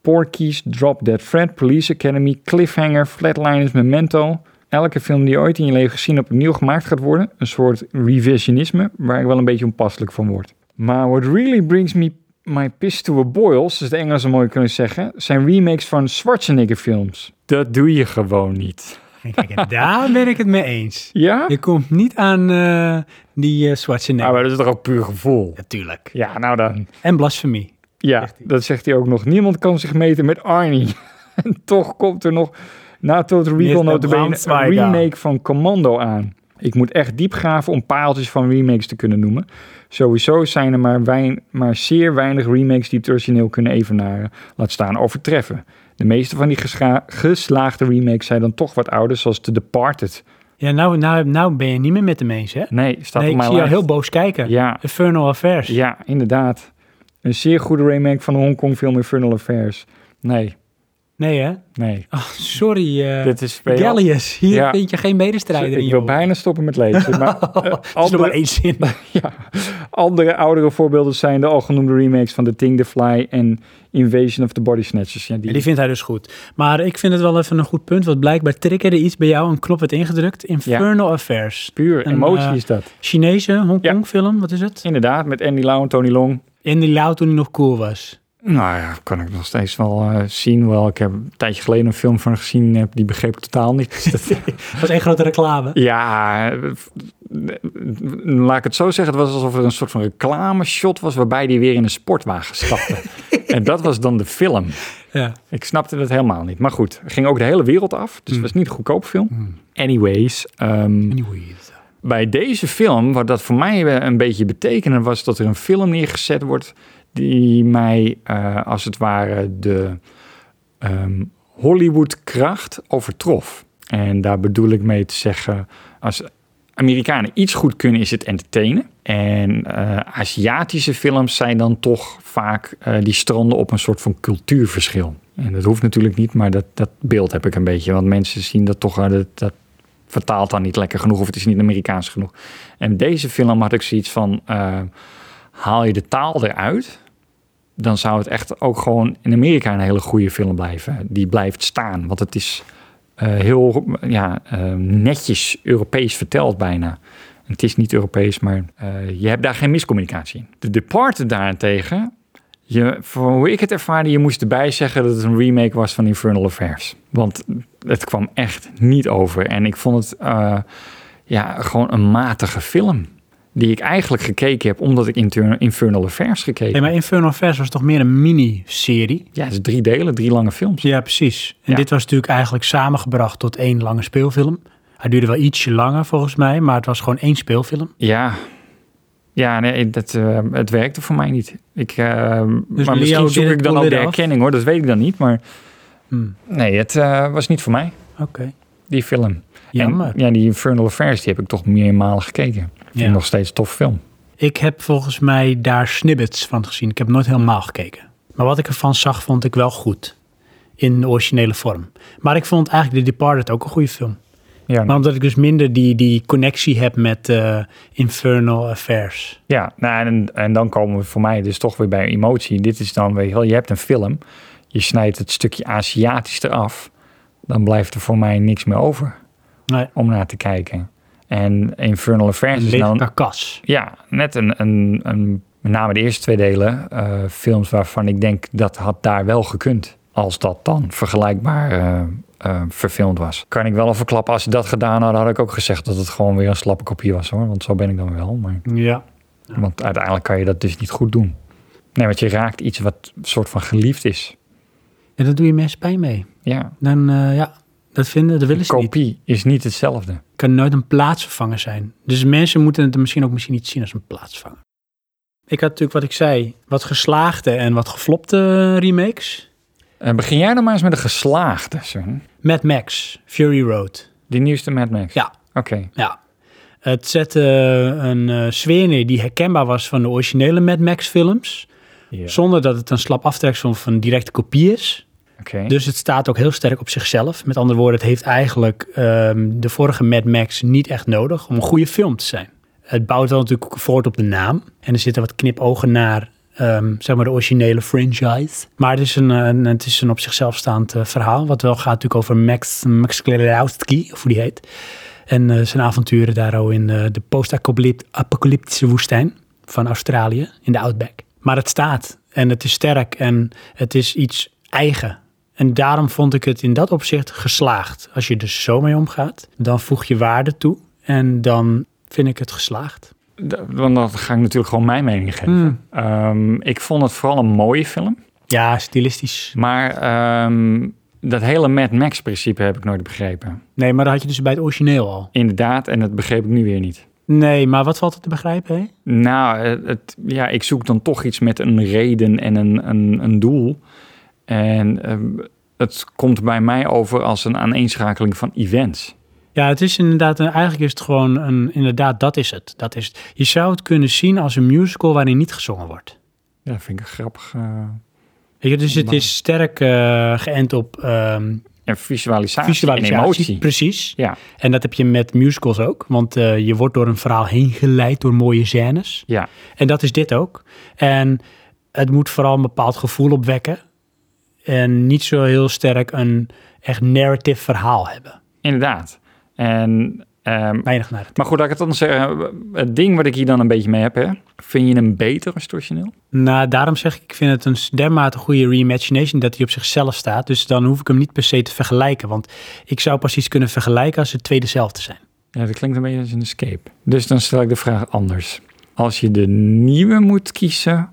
[SPEAKER 2] Porky's, Drop Dead Fred, Police Academy, Cliffhanger, Flatliners, Memento. Elke film die je ooit in je leven gezien hebt opnieuw gemaakt gaat worden. Een soort revisionisme waar ik wel een beetje onpasselijk van word. Maar what really brings me my piss to a boil, zoals de Engelsen mooi kunnen zeggen, zijn remakes van Schwarzenegger films. Dat doe je gewoon niet.
[SPEAKER 1] En Kijk, en daar ben ik het mee eens.
[SPEAKER 2] Ja?
[SPEAKER 1] Je komt niet aan eh, die eh
[SPEAKER 2] Ah,
[SPEAKER 1] Schwarzenegger.
[SPEAKER 2] maar dat is toch ook puur gevoel?
[SPEAKER 1] Natuurlijk.
[SPEAKER 2] Ja, nou dan.
[SPEAKER 1] En blasfemie.
[SPEAKER 2] Ja,
[SPEAKER 1] Zegt hij.
[SPEAKER 2] dat zegt hij ook nog. Niemand kan zich meten met Arnie. en toch komt er nog na Total Recall
[SPEAKER 1] Mr.
[SPEAKER 2] notabene een
[SPEAKER 1] Braunschweiger.
[SPEAKER 2] remake van Commando aan. Ik moet echt diep graven om paaltjes van remakes te kunnen noemen. Sowieso zijn er maar, wein, maar zeer weinig remakes die het origineel kunnen evenaren, laat staan overtreffen. De meeste van die gescha- geslaagde remakes zijn dan toch wat ouder, zoals The Departed.
[SPEAKER 1] Ja, nou, nou, nou ben je niet meer met hem eens, hè?
[SPEAKER 2] Nee, staat
[SPEAKER 1] Nee,
[SPEAKER 2] op
[SPEAKER 1] ik
[SPEAKER 2] mijn
[SPEAKER 1] zie jou
[SPEAKER 2] lijst.
[SPEAKER 1] heel boos kijken.
[SPEAKER 2] Ja,
[SPEAKER 1] Infernal Affairs.
[SPEAKER 2] ja, inderdaad. Een zeer goede remake van de Hongkong-film Infernal Affairs. Nee,
[SPEAKER 1] Nee, hè?
[SPEAKER 2] nee.
[SPEAKER 1] Oh, sorry, eh,
[SPEAKER 2] Dit is veel-
[SPEAKER 1] Gallius. Hier
[SPEAKER 2] Ja.
[SPEAKER 1] vind je geen medestrijder in,
[SPEAKER 2] Ik wil
[SPEAKER 1] joh.
[SPEAKER 2] bijna stoppen met lezen, maar eh,
[SPEAKER 1] Dat is nog maar
[SPEAKER 2] andere,
[SPEAKER 1] één zin.
[SPEAKER 2] ja, andere oudere voorbeelden zijn de al genoemde remakes van The Thing, The Fly en Invasion of the Body Snatchers. Ja, die,
[SPEAKER 1] Ja, die vindt hij dus goed. Maar ik vind het wel even een goed punt, want blijkbaar triggerde iets bij jou, een knop werd ingedrukt. Infernal Affairs.
[SPEAKER 2] puur
[SPEAKER 1] een,
[SPEAKER 2] emotie
[SPEAKER 1] eh,
[SPEAKER 2] is dat.
[SPEAKER 1] Chinese Hongkong film, wat is het?
[SPEAKER 2] Inderdaad, met Andy Lau en Tony Long.
[SPEAKER 1] In die Lau toen hij nog cool was.
[SPEAKER 2] Nou ja, kan ik nog steeds wel eh, zien. Wel, ik heb een tijdje geleden een film van gezien, heb, die begreep ik totaal niet. Dus dat-
[SPEAKER 1] Dat was één grote reclame.
[SPEAKER 2] Ja, eh, laat ik het zo zeggen. Het was alsof er een soort van reclameshot was waarbij die weer in een sportwagen stapte. en dat was dan de film.
[SPEAKER 1] Ja.
[SPEAKER 2] Ik snapte dat helemaal niet. Maar goed, ging ook de hele wereld af. Dus het was niet een goedkoop film. Anyways, ehm,
[SPEAKER 1] Anyways.
[SPEAKER 2] bij deze film, wat dat voor mij eh, een beetje betekende, was dat er een film neergezet wordt die mij eh, als het ware de ehm, Hollywood-kracht overtrof. En daar bedoel ik mee te zeggen, als Amerikanen iets goed kunnen, is het entertainen. En eh, Aziatische films zijn dan toch vaak eh, die stranden op een soort van cultuurverschil. En dat hoeft natuurlijk niet, maar dat, dat beeld heb ik een beetje. Want mensen zien dat toch, eh, dat, dat vertaalt dan niet lekker genoeg of het is niet Amerikaans genoeg. En deze film had ik zoiets van, eh, haal je de taal eruit, dan zou het echt ook gewoon in Amerika een hele goede film blijven. Die blijft staan, want het is eh, heel ja, eh, netjes Europees verteld bijna. En Het is niet Europees, maar eh, je hebt daar geen miscommunicatie in. De Departed daarentegen je, voor hoe ik het ervaarde, je moest erbij zeggen dat het een remake was van Infernal Affairs. Want het kwam echt niet over. En ik vond het eh, ja, gewoon een matige film. Die ik eigenlijk gekeken heb omdat ik Inter- Infernal Affairs gekeken
[SPEAKER 1] Nee,
[SPEAKER 2] heb.
[SPEAKER 1] maar Infernal Affairs was toch meer een miniserie?
[SPEAKER 2] Ja, het is drie delen, drie lange films.
[SPEAKER 1] Ja, precies. En
[SPEAKER 2] Ja.
[SPEAKER 1] dit was natuurlijk eigenlijk samengebracht tot één lange speelfilm. Hij duurde wel ietsje langer volgens mij, maar het was gewoon één speelfilm.
[SPEAKER 2] Ja, ja nee, dat, eh, het werkte voor mij niet. Ik, eh, maar
[SPEAKER 1] Dus Leo
[SPEAKER 2] misschien
[SPEAKER 1] deed
[SPEAKER 2] zoek
[SPEAKER 1] het
[SPEAKER 2] ik dan ook de
[SPEAKER 1] volledig af?
[SPEAKER 2] erkenning hoor, dat weet ik dan niet. Maar
[SPEAKER 1] Hm,
[SPEAKER 2] nee, het eh, was niet voor mij,
[SPEAKER 1] Oké,
[SPEAKER 2] die film.
[SPEAKER 1] jammer.
[SPEAKER 2] En, ja, die Infernal Affairs, die heb ik toch meermalen gekeken. Ik vind
[SPEAKER 1] Ja.
[SPEAKER 2] het nog steeds een tof film.
[SPEAKER 1] Ik heb volgens mij daar snippets van gezien. Ik heb nooit helemaal gekeken. Maar wat ik ervan zag, vond ik wel goed. In de originele vorm. Maar ik vond eigenlijk The Departed ook een goede film.
[SPEAKER 2] Ja,
[SPEAKER 1] Maar omdat ik dus minder die, die connectie heb met eh, Infernal Affairs.
[SPEAKER 2] ja nou, en, en dan komen we voor mij dus toch weer bij emotie. Dit is dan, weet je wel, je hebt een film. Je snijdt het stukje Aziatisch eraf. Dan blijft er voor mij niks meer over
[SPEAKER 1] Nee,
[SPEAKER 2] om naar te kijken. En Infernal Affairs
[SPEAKER 1] een
[SPEAKER 2] is nou
[SPEAKER 1] lege
[SPEAKER 2] dan
[SPEAKER 1] karkas.
[SPEAKER 2] Ja, net een, een, een met name de eerste twee delen, eh, films waarvan ik denk dat had daar wel gekund. Als dat dan vergelijkbaar eh, eh, verfilmd was. Kan ik wel al verklappen, als ze dat gedaan hadden, had ik ook gezegd dat het gewoon weer een slappe kopie was hoor. Want zo ben ik dan wel. Maar,
[SPEAKER 1] Ja.
[SPEAKER 2] want uiteindelijk kan je dat dus niet goed doen. Nee, want je raakt iets wat soort van geliefd is.
[SPEAKER 1] En dat doe je mensen pijn mee.
[SPEAKER 2] Ja,
[SPEAKER 1] Dan, eh, ja, dat vinden, dat willen ze niet.
[SPEAKER 2] kopie is niet hetzelfde.
[SPEAKER 1] kan nooit een plaatsvervanger zijn. Dus mensen moeten het misschien ook misschien niet zien als een plaatsvervanger. Ik had natuurlijk wat ik zei, wat geslaagde en wat geflopte remakes.
[SPEAKER 2] Eh, begin jij dan maar eens met een geslaagde, Sven.
[SPEAKER 1] Mad Max, Fury Road.
[SPEAKER 2] Die nieuwste Mad Max.
[SPEAKER 1] Ja.
[SPEAKER 2] Oké.
[SPEAKER 1] Ja. Het zette een eh, sfeer neer die herkenbaar was van de originele Mad Max films. Zonder dat het een slap aftreksel van directe kopie is.
[SPEAKER 2] Oké.
[SPEAKER 1] Dus het staat ook heel sterk op zichzelf. Met andere woorden, het heeft eigenlijk ehm, de vorige Mad Max niet echt nodig om een goede film te zijn. Het bouwt dan natuurlijk voort op de naam. En er zitten wat knipogen naar ehm, zeg maar de originele franchise. Maar het is een, eh, een- het is een op zichzelf staand eh, verhaal. Wat wel gaat natuurlijk over Max, Max Klerowski, of hoe die heet. En eh, zijn avonturen daar al in eh, de post-apocalyptische woestijn van Australië, in de Outback. Maar het staat en het is sterk en het is iets eigen. En daarom vond ik het in dat opzicht geslaagd. Als je er zo mee omgaat, dan voeg je waarde toe en dan vind ik het geslaagd.
[SPEAKER 2] D- Want dan ga ik natuurlijk gewoon mijn mening geven.
[SPEAKER 1] Mm.
[SPEAKER 2] Ehm, ik vond het vooral een mooie film.
[SPEAKER 1] Ja, stilistisch.
[SPEAKER 2] Maar ehm, dat hele Mad Max-principe heb ik nooit begrepen.
[SPEAKER 1] Nee, maar dat had je dus bij het origineel al.
[SPEAKER 2] Inderdaad, en dat begreep ik nu weer niet.
[SPEAKER 1] Nee, maar wat valt er te begrijpen, hè?
[SPEAKER 2] Nou, eh, het, ja, ik zoek dan toch iets met een reden en een, een, een doel. En ehm, het komt bij mij over als een aaneenschakeling van events.
[SPEAKER 1] Ja, het is inderdaad, een- eigenlijk is het gewoon een, inderdaad, dat is het. Dat is het. Je zou het kunnen zien als een musical waarin niet gezongen wordt.
[SPEAKER 2] Ja, dat vind ik een grappig. eh,
[SPEAKER 1] Weet je, dus het
[SPEAKER 2] Maar-
[SPEAKER 1] is sterk eh, geënt op ehm
[SPEAKER 2] en visualisatie,
[SPEAKER 1] visualisatie.
[SPEAKER 2] en emotie.
[SPEAKER 1] Precies.
[SPEAKER 2] Ja,
[SPEAKER 1] En dat heb je met musicals ook, want eh, je wordt door een verhaal heen geleid door mooie scènes.
[SPEAKER 2] ja.
[SPEAKER 1] En dat is dit ook. En het moet vooral een bepaald gevoel opwekken. En niet zo heel sterk een echt narrative verhaal hebben.
[SPEAKER 2] inderdaad. En ehm,
[SPEAKER 1] Weinig naar het.
[SPEAKER 2] Maar goed, laat ik het dan zeggen. Het ding wat ik hier dan een beetje mee heb, hè. Vind je hem beter als het origineel?
[SPEAKER 1] Nou, daarom zeg ik, ik vind het een s- dermate goede reimagination dat hij op zichzelf staat. Dus dan hoef ik hem niet per se te vergelijken. Want ik zou pas iets kunnen vergelijken als ze twee dezelfde zijn.
[SPEAKER 2] Ja, dat klinkt een beetje als een escape. Dus dan stel ik de vraag anders. Als je de nieuwe moet kiezen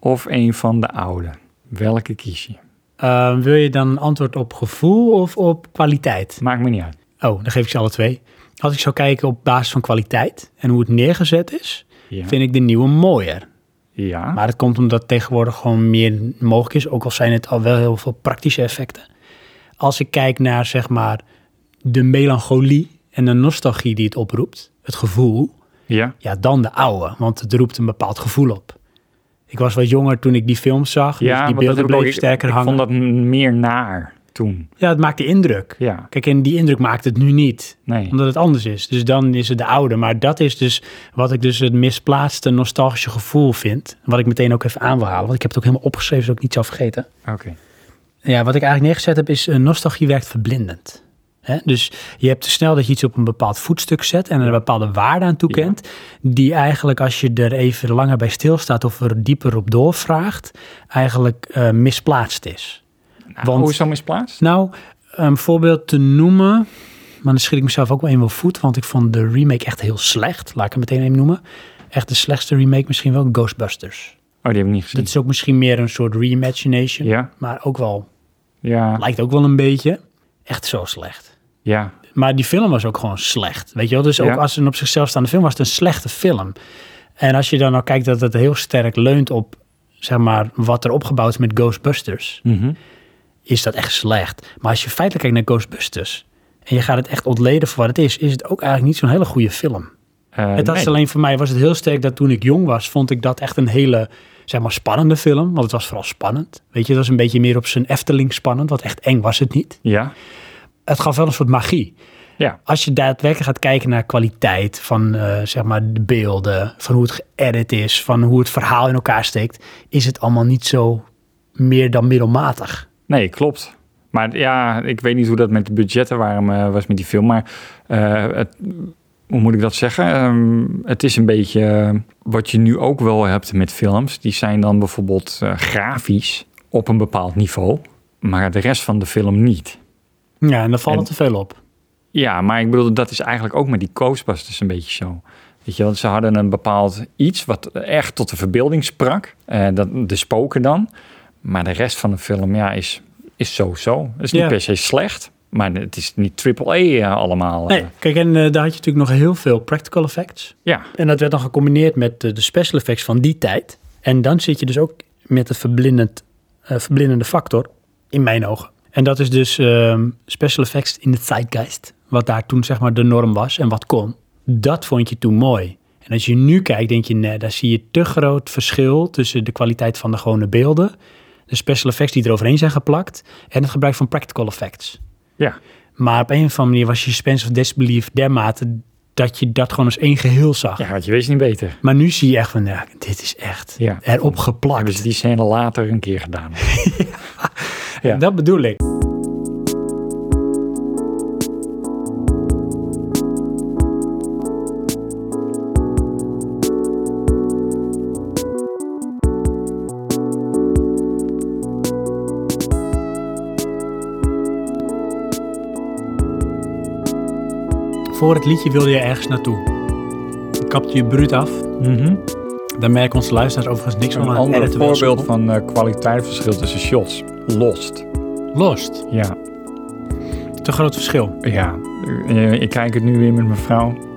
[SPEAKER 2] of een van de oude, welke kies je?
[SPEAKER 1] Eh, wil je dan een antwoord op gevoel of op kwaliteit?
[SPEAKER 2] Maakt me niet uit.
[SPEAKER 1] Oh, dan geef ik ze alle twee. Als ik zou kijken op basis van kwaliteit en hoe het neergezet is,
[SPEAKER 2] Ja.
[SPEAKER 1] vind ik de nieuwe mooier.
[SPEAKER 2] ja.
[SPEAKER 1] Maar dat komt omdat tegenwoordig gewoon meer mogelijk is, ook al zijn het al wel heel veel praktische effecten. Als ik kijk naar zeg maar de melancholie en de nostalgie die het oproept, het gevoel,
[SPEAKER 2] ja.
[SPEAKER 1] ja, dan de oude, want het roept een bepaald gevoel op. Ik was wat jonger toen ik die film zag, dus
[SPEAKER 2] Ja,
[SPEAKER 1] die
[SPEAKER 2] want dat
[SPEAKER 1] beelden
[SPEAKER 2] heb ik ook.
[SPEAKER 1] bleven
[SPEAKER 2] Ik-
[SPEAKER 1] sterker
[SPEAKER 2] ik,
[SPEAKER 1] hangen.
[SPEAKER 2] vond dat m- meer naar toen.
[SPEAKER 1] Ja, het maakte indruk.
[SPEAKER 2] Ja,
[SPEAKER 1] Kijk, en die indruk maakt het nu niet
[SPEAKER 2] nee.
[SPEAKER 1] omdat het anders is. Dus dan is het de oude. Maar dat is dus wat ik dus het misplaatste nostalgische gevoel vind. Wat ik meteen ook even aan wil halen. Want ik heb het ook helemaal opgeschreven, zodat ik het niet zou vergeten.
[SPEAKER 2] Oké.
[SPEAKER 1] Ja, wat ik eigenlijk neergezet heb is... eh, nostalgie werkt verblindend. Hè? Dus je hebt te snel dat je iets op een bepaald voetstuk zet en er een bepaalde waarde aan toekent, die eigenlijk als je er even langer bij stilstaat of er dieper op doorvraagt, eigenlijk eh, misplaatst is.
[SPEAKER 2] Nou,
[SPEAKER 1] Want-
[SPEAKER 2] hoezo misplaatst?
[SPEAKER 1] Nou, een voorbeeld te noemen, maar dan schiet ik mezelf ook wel in wel voet, want ik vond de remake echt heel slecht, laat ik hem meteen even noemen. Echt de slechtste remake misschien wel, Ghostbusters.
[SPEAKER 2] Oh, die heb ik niet gezien.
[SPEAKER 1] Dat is ook misschien meer een soort reimagination,
[SPEAKER 2] Ja,
[SPEAKER 1] maar ook wel,
[SPEAKER 2] ja,
[SPEAKER 1] lijkt ook wel een beetje. Echt zo slecht.
[SPEAKER 2] ja.
[SPEAKER 1] Maar die film was ook gewoon slecht. Weet je wel? Dus ook
[SPEAKER 2] Ja.
[SPEAKER 1] als een op zichzelf staande film was het een slechte film. En als je dan nou kijkt dat het heel sterk leunt op zeg maar, wat er opgebouwd is met Ghostbusters,
[SPEAKER 2] Mhm.
[SPEAKER 1] is dat echt slecht. Maar als je feitelijk kijkt naar Ghostbusters en je gaat het echt ontleden voor wat het is, is het ook eigenlijk niet zo'n hele goede film.
[SPEAKER 2] Eh,
[SPEAKER 1] het was
[SPEAKER 2] nee.
[SPEAKER 1] alleen voor mij was het heel sterk dat toen ik jong was, vond ik dat echt een hele zeg maar, spannende film. Want het was vooral spannend. Weet je, het was een beetje meer op zijn Efteling spannend, want echt eng was het niet
[SPEAKER 2] Ja,
[SPEAKER 1] het gaf wel een soort magie.
[SPEAKER 2] Ja.
[SPEAKER 1] Als je daadwerkelijk gaat kijken naar kwaliteit van eh, zeg maar de beelden, van hoe het geëdit is, van hoe het verhaal in elkaar steekt, is het allemaal niet zo meer dan middelmatig.
[SPEAKER 2] nee, klopt. Maar ja, ik weet niet hoe dat met de budgetten waren, eh, was met die film. Maar eh, het, hoe moet ik dat zeggen? Ehm, het is een beetje eh, wat je nu ook wel hebt met films. Die zijn dan bijvoorbeeld eh, grafisch op een bepaald niveau, maar de rest van de film niet.
[SPEAKER 1] Ja, en daar valt
[SPEAKER 2] En-
[SPEAKER 1] het te veel op.
[SPEAKER 2] Ja, maar ik bedoel, dat is eigenlijk ook met die Ghostbusters een beetje zo. Weet je, wel, ze hadden een bepaald iets wat echt tot de verbeelding sprak. Eh, dat, de spoken dan. Maar de rest van de film, ja, is is zo-zo. Het is niet
[SPEAKER 1] Ja.
[SPEAKER 2] per se slecht, maar het is niet triple A allemaal. eh.
[SPEAKER 1] Nee, kijk, en eh, daar had je natuurlijk nog heel veel practical effects.
[SPEAKER 2] Ja,
[SPEAKER 1] En dat werd dan gecombineerd met eh, de special effects van die tijd. En dan zit je dus ook met de verblindend, eh, verblindende factor, in mijn ogen. En dat is dus ehm, special effects in de zeitgeist. Wat daar toen zeg maar de norm was en wat kon. Dat vond je toen mooi. En als je nu kijkt, denk je, nee, daar zie je te groot verschil tussen de kwaliteit van de gewone beelden, de special effects die eroverheen zijn geplakt, en het gebruik van practical effects.
[SPEAKER 2] ja.
[SPEAKER 1] Maar op een of andere manier was je suspense of disbelief dermate dat je dat gewoon als één geheel zag.
[SPEAKER 2] ja want je weet niet beter.
[SPEAKER 1] Maar nu zie je echt van, ja, dit is echt
[SPEAKER 2] Ja.
[SPEAKER 1] erop
[SPEAKER 2] Hebben ze
[SPEAKER 1] geplakt.
[SPEAKER 2] die scène later een keer gedaan. ja.
[SPEAKER 1] Dat bedoel ik. Voor het liedje wilde je ergens naartoe. Ik kapte je bruut af.
[SPEAKER 2] Mhm.
[SPEAKER 1] Daar merken onze luisteraars overigens niks van.
[SPEAKER 2] Een
[SPEAKER 1] aan.
[SPEAKER 2] ander
[SPEAKER 1] Editen wel
[SPEAKER 2] voorbeeld
[SPEAKER 1] zo.
[SPEAKER 2] van eh kwaliteitsverschil tussen shots. Lost.
[SPEAKER 1] Lost.
[SPEAKER 2] Ja,
[SPEAKER 1] Te groot verschil.
[SPEAKER 2] Ja, eh, ik kijk het nu weer met mijn vrouw.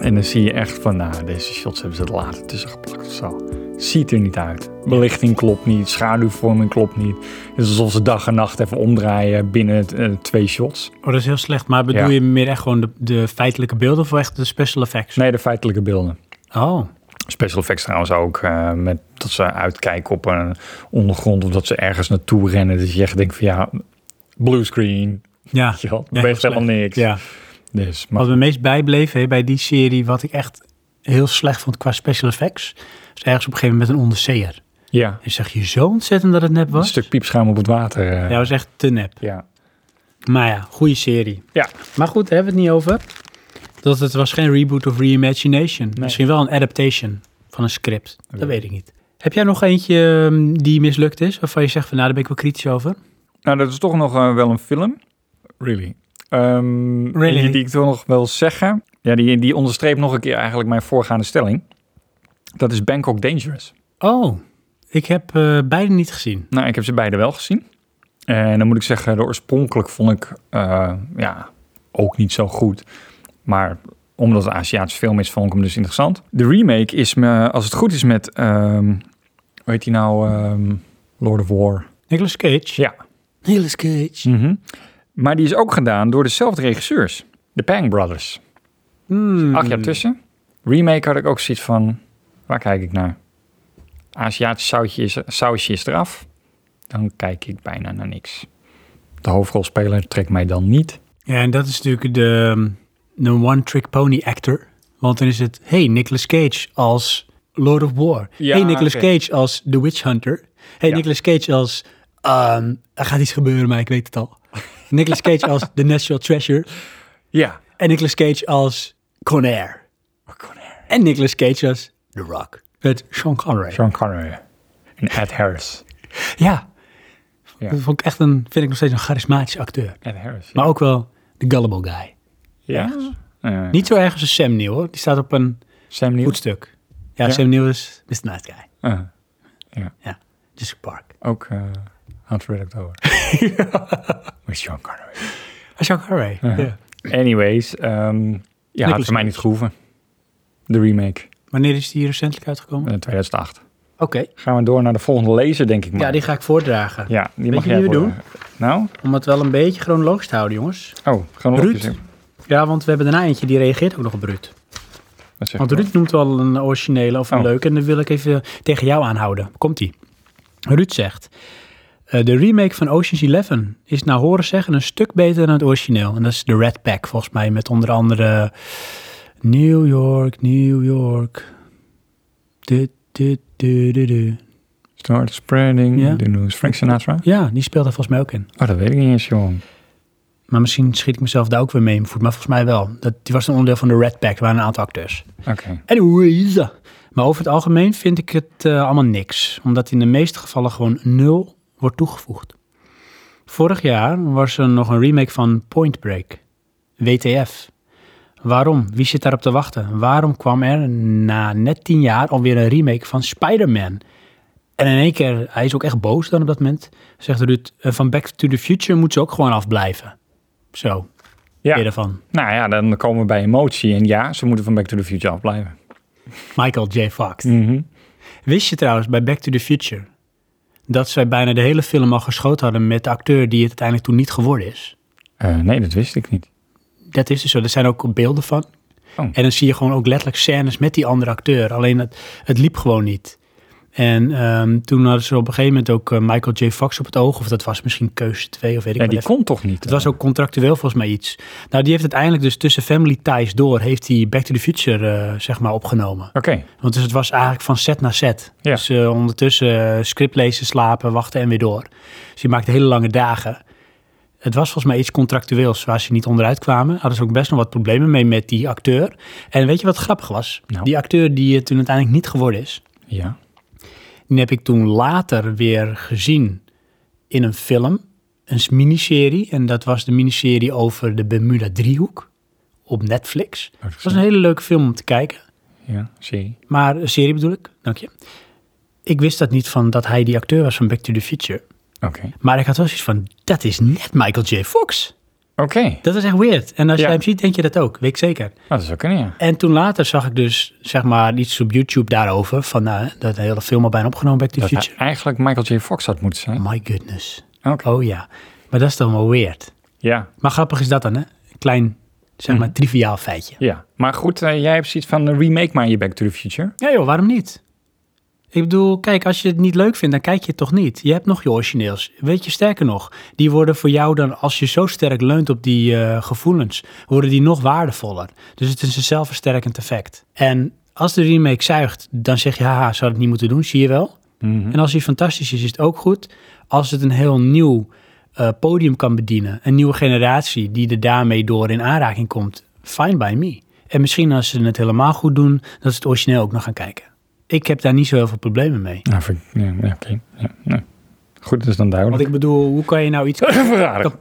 [SPEAKER 2] En dan zie je echt van, nou, deze shots hebben ze er later tussen geplakt of zo. Ziet er niet uit. Belichting klopt niet, schaduwvorming klopt niet. Het is alsof ze dag en nacht even omdraaien binnen eh, twee shots.
[SPEAKER 1] Oh, dat is heel slecht. Maar bedoel
[SPEAKER 2] Ja.
[SPEAKER 1] je meer echt gewoon de, de feitelijke beelden of echt de special effects?
[SPEAKER 2] Nee, de feitelijke beelden.
[SPEAKER 1] Oh,
[SPEAKER 2] Special effects trouwens ook, eh, met dat ze uitkijken op een ondergrond of dat ze ergens naartoe rennen. Dus je echt denkt van, ja, bluescreen,
[SPEAKER 1] ja.
[SPEAKER 2] je had
[SPEAKER 1] heel
[SPEAKER 2] best helemaal niks.
[SPEAKER 1] ja.
[SPEAKER 2] Dus, maar
[SPEAKER 1] Wat me meest bijbleef hè, bij die serie, wat ik echt heel slecht vond qua special effects, is ergens op een gegeven moment een onderzeeër.
[SPEAKER 2] ja,
[SPEAKER 1] En zeg je zo ontzettend dat het nep
[SPEAKER 2] een
[SPEAKER 1] was?
[SPEAKER 2] stuk piepschuim op het water. eh,
[SPEAKER 1] Ja, dat was echt te nep.
[SPEAKER 2] ja.
[SPEAKER 1] Maar ja, goede serie.
[SPEAKER 2] Ja.
[SPEAKER 1] Maar goed, daar hebben we het niet over. Dat het was geen reboot of reimagination. Misschien wel een adaptation van een script. Dat
[SPEAKER 2] Ja.
[SPEAKER 1] weet ik niet. Heb jij nog eentje ehm, die mislukt is, waarvan je zegt van nou, daar ben ik wel kritisch over?
[SPEAKER 2] Nou, dat is toch nog eh, wel een film. Really?
[SPEAKER 1] Really?
[SPEAKER 2] Die, die ik toch nog wil zeggen. Ja, die, die onderstreept nog een keer eigenlijk mijn voorgaande stelling. Dat is Bangkok Dangerous.
[SPEAKER 1] Oh, ik heb eh, beide niet gezien.
[SPEAKER 2] Nou, ik heb ze beide wel gezien. En dan moet ik zeggen, de oorspronkelijk vond ik eh, ja, ook niet zo goed. Maar omdat het een Aziatische film is, vond ik hem dus interessant. De remake is, me, als het goed is, met... ehm hoe heet die nou? ehm, Lord of War.
[SPEAKER 1] Nicolas Cage?
[SPEAKER 2] Ja.
[SPEAKER 1] Nicolas Cage.
[SPEAKER 2] Mhm. Maar die is ook gedaan door dezelfde regisseurs. De Pang Brothers.
[SPEAKER 1] Hmm.
[SPEAKER 2] acht jaar tussen. Remake had ik ook zoiets van, waar kijk ik naar? Aziatisch sausje is, sausje is eraf. Dan kijk ik bijna naar niks. De hoofdrolspeler trekt mij dan niet.
[SPEAKER 1] Ja, en dat is natuurlijk de, um, de one-trick pony actor. Want dan is het, hey, Nicolas Cage als Lord of War.
[SPEAKER 2] Ja,
[SPEAKER 1] hey, Nicolas
[SPEAKER 2] oké.
[SPEAKER 1] Cage als The Witch Hunter. Hey,
[SPEAKER 2] Ja.
[SPEAKER 1] Nicolas Cage als, ehm, er gaat iets gebeuren, maar ik weet het al. Nicolas Cage als The National Treasure.
[SPEAKER 2] Ja.
[SPEAKER 1] En Nicolas Cage als Conair. En Nicolas Cage als The Rock. Met Sean Connery.
[SPEAKER 2] Sean Connery. En Ed Harris.
[SPEAKER 1] Ja.
[SPEAKER 2] Ja.
[SPEAKER 1] Dat vond ik echt een, vind ik nog steeds een charismatische acteur.
[SPEAKER 2] Ed Harris.
[SPEAKER 1] Maar ook wel de gullible guy.
[SPEAKER 2] Ja. Eh,
[SPEAKER 1] Niet zo erg als een Sam Neill hoor. Die staat op een
[SPEAKER 2] Sam Neill.
[SPEAKER 1] voetstuk. Ja,
[SPEAKER 2] Ja.
[SPEAKER 1] Sam Neill is Mr. Nice Guy.
[SPEAKER 2] Eh,
[SPEAKER 1] Ja, Jurassic Park.
[SPEAKER 2] ook eh Hans Reddick over. Met Sean Connery.
[SPEAKER 1] Ah, Sean Connery. Ja.
[SPEAKER 2] Anyways, ehm ja, het
[SPEAKER 1] Nicolas
[SPEAKER 2] is mij niet gehoeven. De remake,
[SPEAKER 1] Wanneer is die hier recentelijk uitgekomen?
[SPEAKER 2] eh, 2008.
[SPEAKER 1] Oké.
[SPEAKER 2] Gaan we door naar de volgende lezer, denk ik maar.
[SPEAKER 1] Ja, die ga ik voordragen.
[SPEAKER 2] ja, die mag
[SPEAKER 1] je
[SPEAKER 2] jij
[SPEAKER 1] wie we
[SPEAKER 2] voor- Nou?
[SPEAKER 1] Om het wel een beetje chronologisch te houden, jongens.
[SPEAKER 2] Oh, gewoon
[SPEAKER 1] Ruud.
[SPEAKER 2] opgezet.
[SPEAKER 1] Ja, want we hebben daarna eentje die reageert ook nog op Ruud.
[SPEAKER 2] Wat zeg
[SPEAKER 1] Want
[SPEAKER 2] ik?
[SPEAKER 1] Ruud noemt wel een originele of een
[SPEAKER 2] Oh.
[SPEAKER 1] leuke. En dan wil ik even tegen jou aanhouden. Komt-ie. Ruud zegt... eh, de remake van Ocean's Eleven is naar horen zeggen een stuk beter dan het origineel. En dat is de Red Pack, volgens mij. Met onder andere New York, New York. Du, du, du, du, du.
[SPEAKER 2] Start spreading
[SPEAKER 1] Ja.
[SPEAKER 2] the news. Frank Sinatra?
[SPEAKER 1] Ja, die speelt er volgens mij ook in.
[SPEAKER 2] Oh, dat weet ik niet eens, joh.
[SPEAKER 1] Maar misschien schiet ik mezelf daar ook weer mee in mijn voet. Maar volgens mij wel. Dat, die was een onderdeel van de Red Pack. Er waren een aantal acteurs.
[SPEAKER 2] Oké.
[SPEAKER 1] Anyways. Maar over het algemeen vind ik het eh, allemaal niks. Omdat in de meeste gevallen gewoon nul wordt toegevoegd. Vorig jaar was er nog een remake van Point Break. WTF. Waarom? Wie zit daarop te wachten? Waarom kwam er na net tien jaar alweer een remake van Spider-Man? En in één keer, hij is ook echt boos dan op dat moment. Zegt Ruud, eh, van Back to the Future moet ze ook gewoon afblijven. Zo,
[SPEAKER 2] Ja.
[SPEAKER 1] weer ervan.
[SPEAKER 2] Nou ja, dan komen we bij emotie. En ja, ze moeten van Back to the Future afblijven.
[SPEAKER 1] Michael J. Fox.
[SPEAKER 2] Mhm.
[SPEAKER 1] Wist je trouwens bij Back to the Future dat zij bijna de hele film al geschoten hadden met de acteur die het uiteindelijk toen niet geworden is?
[SPEAKER 2] Eh, nee, dat wist ik niet.
[SPEAKER 1] Dat is dus zo. Er zijn ook beelden van.
[SPEAKER 2] Oh.
[SPEAKER 1] En dan zie je gewoon ook letterlijk scènes met die andere acteur. Alleen het, het liep gewoon niet. En ehm, toen hadden ze op een gegeven moment ook eh, Michael J. Fox op het oog. Of dat was misschien keuze 2 of weet ik
[SPEAKER 2] Ja,
[SPEAKER 1] wat
[SPEAKER 2] die
[SPEAKER 1] even.
[SPEAKER 2] kon toch niet?
[SPEAKER 1] Het was ook contractueel volgens mij iets. Nou, die heeft uiteindelijk dus tussen Family Ties door... heeft hij Back to the Future eh, zeg maar opgenomen.
[SPEAKER 2] Oké.
[SPEAKER 1] Want dus het was eigenlijk van set naar set.
[SPEAKER 2] Ja.
[SPEAKER 1] Dus eh, ondertussen eh, script lezen, slapen, wachten en weer door. Dus je maakte hele lange dagen. Het was volgens mij iets contractueels waar ze niet onderuit kwamen. Hadden ze ook best nog wat problemen mee met die acteur. En weet je wat grappig was?
[SPEAKER 2] Nou.
[SPEAKER 1] Die acteur die het toen uiteindelijk niet geworden is,
[SPEAKER 2] Ja.
[SPEAKER 1] die heb ik toen later weer gezien in een film, een s- miniserie. En dat was de miniserie over de Bermuda Driehoek op Netflix.
[SPEAKER 2] Oh, Dat
[SPEAKER 1] Het was een hele leuke film om te kijken.
[SPEAKER 2] Ja, zie.
[SPEAKER 1] Maar een serie bedoel ik, dank je. Ik wist dat niet van dat hij die acteur was van Back to the Future.
[SPEAKER 2] Oké.
[SPEAKER 1] Maar ik had wel zoiets van, dat is net Michael J. Fox.
[SPEAKER 2] Oké.
[SPEAKER 1] Dat is echt weird. En als
[SPEAKER 2] Ja.
[SPEAKER 1] jij hem ziet, denk je dat ook, weet ik zeker.
[SPEAKER 2] Nou, dat is ook een ja.
[SPEAKER 1] En toen later zag ik dus, zeg maar, iets op YouTube daarover. Van, nou, dat hele film al bijna opgenomen, Back to the
[SPEAKER 2] Dat hij
[SPEAKER 1] Future.
[SPEAKER 2] eigenlijk Michael J. Fox had moeten zijn.
[SPEAKER 1] My goodness.
[SPEAKER 2] Oké.
[SPEAKER 1] Oh ja. Maar dat is dan wel weird.
[SPEAKER 2] Ja.
[SPEAKER 1] Maar grappig is dat dan, hè? Een Klein,
[SPEAKER 2] Mhm.
[SPEAKER 1] zeg maar, triviaal feitje.
[SPEAKER 2] Ja. Maar goed, eh, jij hebt zoiets van eh, remake maar je Back to the Future.
[SPEAKER 1] Ja joh, waarom niet? Ik bedoel, kijk, als je het niet leuk vindt, dan kijk je het toch niet. Je hebt nog je origineels. Weet je, sterker nog, die worden voor jou dan, als je zo sterk leunt op die eh, gevoelens, worden die nog waardevoller. Dus het is een zelfversterkend effect. En als de remake zuigt, dan zeg je, haha, zou het niet moeten doen, zie je wel. En als die fantastisch is, is het ook goed. Als het een heel nieuw eh, podium kan bedienen, een nieuwe generatie die er daarmee door in aanraking komt, fine by me. En misschien als ze het helemaal goed doen, dat ze het origineel ook nog gaan kijken. Ik heb daar niet zo heel veel problemen mee.
[SPEAKER 2] Nou, vind ik- ja, ja, oké. Ja, nee. Goed, dat is dan
[SPEAKER 1] Want
[SPEAKER 2] duidelijk.
[SPEAKER 1] ik bedoel, hoe kan je nou iets,
[SPEAKER 2] Verrader.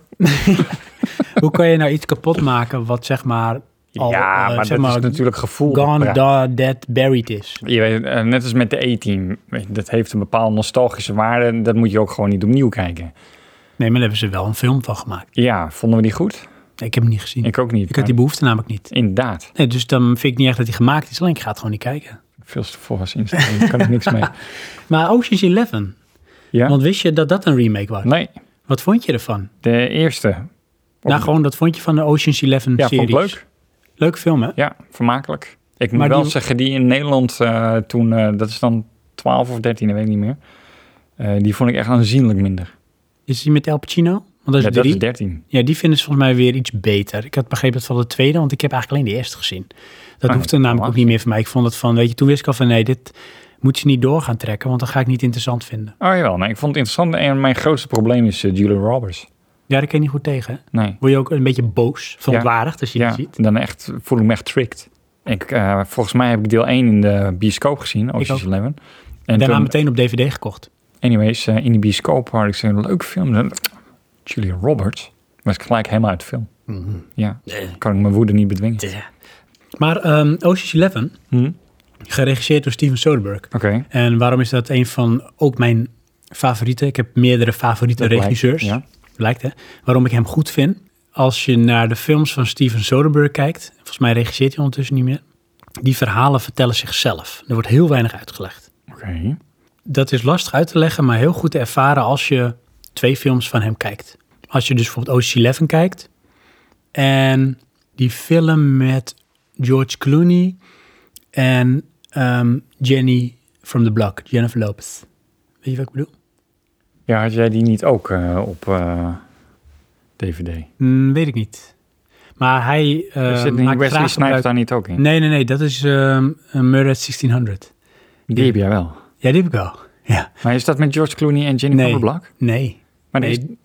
[SPEAKER 1] hoe kan je nou iets kapot maken wat zeg maar al
[SPEAKER 2] ja,
[SPEAKER 1] eh,
[SPEAKER 2] maar
[SPEAKER 1] zeg
[SPEAKER 2] dat is natuurlijk gevoel.
[SPEAKER 1] gone,
[SPEAKER 2] gepraat.
[SPEAKER 1] da- dead, buried is?
[SPEAKER 2] Je weet, eh, net als met de E-team. Weet je, Dat heeft een bepaalde nostalgische waarde. en Dat moet je ook gewoon niet opnieuw kijken.
[SPEAKER 1] Nee, maar daar hebben ze wel een film van gemaakt.
[SPEAKER 2] Ja, vonden we die goed?
[SPEAKER 1] Nee, ik heb hem niet gezien. Ik,
[SPEAKER 2] Ik ook niet.
[SPEAKER 1] had die behoefte namelijk niet.
[SPEAKER 2] maar Inderdaad.
[SPEAKER 1] Nee, dus dan vind ik niet echt dat hij gemaakt is, alleen ik ga het gewoon niet kijken.
[SPEAKER 2] Veel te vol was instelling. Daar kan ik niks mee.
[SPEAKER 1] Maar Ocean's Eleven,
[SPEAKER 2] Ja?
[SPEAKER 1] Want wist je dat dat een remake was?
[SPEAKER 2] Nee,
[SPEAKER 1] Wat vond je ervan?
[SPEAKER 2] de eerste.
[SPEAKER 1] Nou, gewoon dat vond je van de Ocean's Eleven
[SPEAKER 2] Ja,
[SPEAKER 1] series.
[SPEAKER 2] vond ik leuk.
[SPEAKER 1] Leuk film, hè?
[SPEAKER 2] Ja, vermakelijk. Ik moet
[SPEAKER 1] Maar
[SPEAKER 2] wel
[SPEAKER 1] die-
[SPEAKER 2] zeggen, die in Nederland eh, toen... eh, dat is dan 12 of 13, dat weet ik niet meer. Eh, die vond ik echt aanzienlijk minder.
[SPEAKER 1] Is die met El Pacino? Want dat is
[SPEAKER 2] ja, dat
[SPEAKER 1] drie.
[SPEAKER 2] is 13.
[SPEAKER 1] ja, die vinden ze volgens mij weer iets beter. Ik had begrepen dat van de tweede, want ik heb eigenlijk alleen de eerste gezien. Dat
[SPEAKER 2] Ah,
[SPEAKER 1] hoefde namelijk ook
[SPEAKER 2] laat.
[SPEAKER 1] niet meer van mij. Ik vond het van, weet je, toen wist ik al van nee, dit moet je niet door gaan trekken, want dan ga ik niet interessant vinden.
[SPEAKER 2] Oh jawel, nee, ik vond het interessant. En mijn grootste probleem is eh, Julia Roberts.
[SPEAKER 1] Ja, daar kan je niet goed tegen. hè?
[SPEAKER 2] Nee.
[SPEAKER 1] Word je ook een beetje boos, verontwaardigd als je die
[SPEAKER 2] Ja,
[SPEAKER 1] ziet.
[SPEAKER 2] dan echt voel ik me echt tricked. Ik, eh, volgens mij heb ik deel 1 in de bioscoop gezien, Ocean's
[SPEAKER 1] ook.
[SPEAKER 2] Eleven. En
[SPEAKER 1] Daarna
[SPEAKER 2] toen,
[SPEAKER 1] meteen op DVD gekocht.
[SPEAKER 2] anyways, eh, in die bioscoop had ik zo'n leuk film. En- Julia Roberts. Was ik gelijk helemaal uit de film. Ja, kan ik mijn woede niet bedwingen.
[SPEAKER 1] Maar ehm Ocean's Eleven,
[SPEAKER 2] Hm?
[SPEAKER 1] geregisseerd door Steven Soderbergh.
[SPEAKER 2] Oké.
[SPEAKER 1] En waarom is dat een van ook mijn favorieten? Ik heb meerdere favoriete
[SPEAKER 2] Dat lijkt-
[SPEAKER 1] regisseurs.
[SPEAKER 2] ja.
[SPEAKER 1] Lijkt hè? Waarom ik hem goed vind. Als je naar de films van Steven Soderbergh kijkt, volgens mij regisseert hij ondertussen niet meer. Die verhalen vertellen zichzelf. Er wordt heel weinig uitgelegd.
[SPEAKER 2] Oké.
[SPEAKER 1] Dat is lastig uit te leggen, maar heel goed te ervaren als je twee films van hem kijkt. Als je dus bijvoorbeeld Ocean's Eleven kijkt en die film met George Clooney en ehm, Jenny from the Block, Jennifer Lopez. Weet je wat ik bedoel?
[SPEAKER 2] Ja, had jij die niet ook eh, op eh, DVD?
[SPEAKER 1] Hmm, weet ik niet. Maar hij
[SPEAKER 2] Er
[SPEAKER 1] eh,
[SPEAKER 2] Zit niet
[SPEAKER 1] maakt
[SPEAKER 2] Wesley
[SPEAKER 1] graag
[SPEAKER 2] Snipes
[SPEAKER 1] gebruik...
[SPEAKER 2] daar niet ook in?
[SPEAKER 1] Nee, nee, nee, dat is ehm Murder at 1600.
[SPEAKER 2] Die heb jij wel.
[SPEAKER 1] Ja, die heb ik wel. Ja,
[SPEAKER 2] Maar is dat met George Clooney en Jennifer
[SPEAKER 1] Nee.
[SPEAKER 2] Black?
[SPEAKER 1] nee.
[SPEAKER 2] Maar, die
[SPEAKER 1] Nee.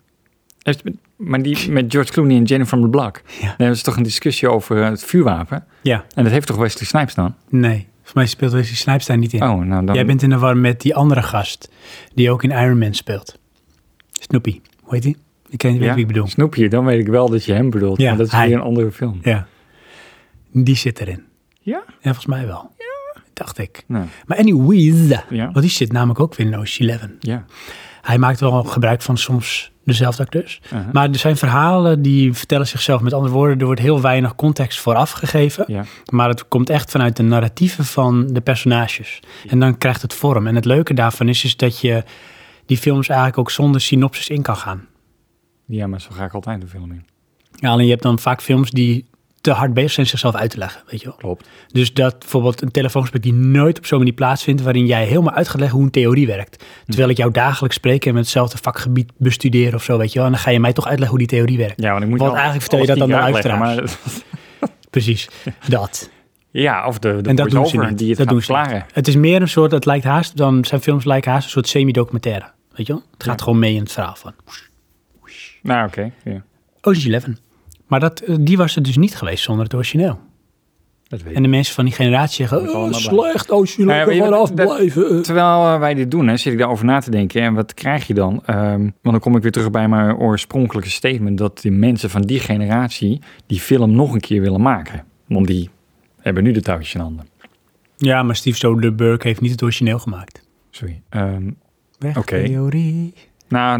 [SPEAKER 2] is- is- maar die met George Clooney en Jennifer Black,
[SPEAKER 1] Ja.
[SPEAKER 2] daar hebben ze toch een discussie over eh, het vuurwapen?
[SPEAKER 1] Ja,
[SPEAKER 2] En dat heeft toch Wesley Snipes dan?
[SPEAKER 1] nee. Volgens mij speelt Wesley Snipes daar niet in.
[SPEAKER 2] Oh, nou dan...
[SPEAKER 1] Jij bent in de war met die andere gast die ook in Iron Man speelt. Snoopy, hoe heet die? Ik ken niet
[SPEAKER 2] ja?
[SPEAKER 1] weet wie ik bedoel.
[SPEAKER 2] Snoepje, dan weet ik wel dat je hem bedoelt.
[SPEAKER 1] Ja,
[SPEAKER 2] maar dat is
[SPEAKER 1] hij.
[SPEAKER 2] weer een andere film.
[SPEAKER 1] Ja, die zit erin.
[SPEAKER 2] Ja?
[SPEAKER 1] Ja, volgens mij wel. Ja. Dacht ik.
[SPEAKER 2] Nou,
[SPEAKER 1] Maar anyways,
[SPEAKER 2] ja.
[SPEAKER 1] want die zit namelijk ook weer in Ocean's Eleven.
[SPEAKER 2] ja.
[SPEAKER 1] Hij maakt wel gebruik van soms dezelfde acteurs.
[SPEAKER 2] Uh-huh.
[SPEAKER 1] Maar er zijn verhalen die vertellen zichzelf. Met andere woorden, er wordt heel weinig context vooraf gegeven.
[SPEAKER 2] ja.
[SPEAKER 1] Maar het komt echt vanuit de narratieven van de personages. En dan krijgt het vorm. En het leuke daarvan is, is dat je die films eigenlijk ook zonder synopsis in kan gaan.
[SPEAKER 2] Ja, maar zo ga ik altijd de film in.
[SPEAKER 1] Ja, alleen je hebt dan vaak films die te hard bezig zijn zichzelf uit te leggen, weet je wel.
[SPEAKER 2] Klopt.
[SPEAKER 1] Dus dat bijvoorbeeld een telefoongesprek die nooit op zo'n manier plaatsvindt... waarin jij helemaal uit gaat leggen hoe een theorie werkt. Terwijl ik jou dagelijks spreek en met hetzelfde vakgebied bestudeer of zo, weet je wel. En dan ga je mij toch uitleggen hoe die theorie werkt.
[SPEAKER 2] Ja, want ik moet
[SPEAKER 1] Want
[SPEAKER 2] wel
[SPEAKER 1] eigenlijk vertel je
[SPEAKER 2] alles
[SPEAKER 1] dat
[SPEAKER 2] tien
[SPEAKER 1] aan de
[SPEAKER 2] keer uitleggen, maar-
[SPEAKER 1] Precies, dat.
[SPEAKER 2] ja, of de, de
[SPEAKER 1] en dat doen ze
[SPEAKER 2] voice-over
[SPEAKER 1] niet.
[SPEAKER 2] die het
[SPEAKER 1] dat
[SPEAKER 2] gaat
[SPEAKER 1] doen ze
[SPEAKER 2] verklaren.
[SPEAKER 1] niet. Het is meer een soort, het lijkt haast, dan zijn films lijken haast een soort semi-documentaire. Weet je wel? Het gaat
[SPEAKER 2] Ja.
[SPEAKER 1] gewoon mee in het verhaal van
[SPEAKER 2] Nou, oké. ja.
[SPEAKER 1] Ocean's Eleven. Maar dat, eh, die was er dus niet geweest zonder het origineel.
[SPEAKER 2] Dat weet ik.
[SPEAKER 1] En de mensen van die generatie zeggen,
[SPEAKER 2] Dat is
[SPEAKER 1] oh,
[SPEAKER 2] allemaal Nou
[SPEAKER 1] slecht Ocean's Eleven,
[SPEAKER 2] weet je wat-
[SPEAKER 1] vanaf
[SPEAKER 2] dat-
[SPEAKER 1] blijven. eh."
[SPEAKER 2] Terwijl eh, wij dit doen, hè, zit ik daarover na te denken. En wat krijg je dan? Ehm, want dan kom ik weer terug bij mijn oorspronkelijke statement... dat die mensen van die generatie die film nog een keer willen maken. Want die hebben nu de touwtjes in handen.
[SPEAKER 1] Ja, maar Steve Soderbergh heeft niet het origineel gemaakt.
[SPEAKER 2] Sorry. Ehm,
[SPEAKER 1] Weg,
[SPEAKER 2] Oké.
[SPEAKER 1] theorie.
[SPEAKER 2] nou,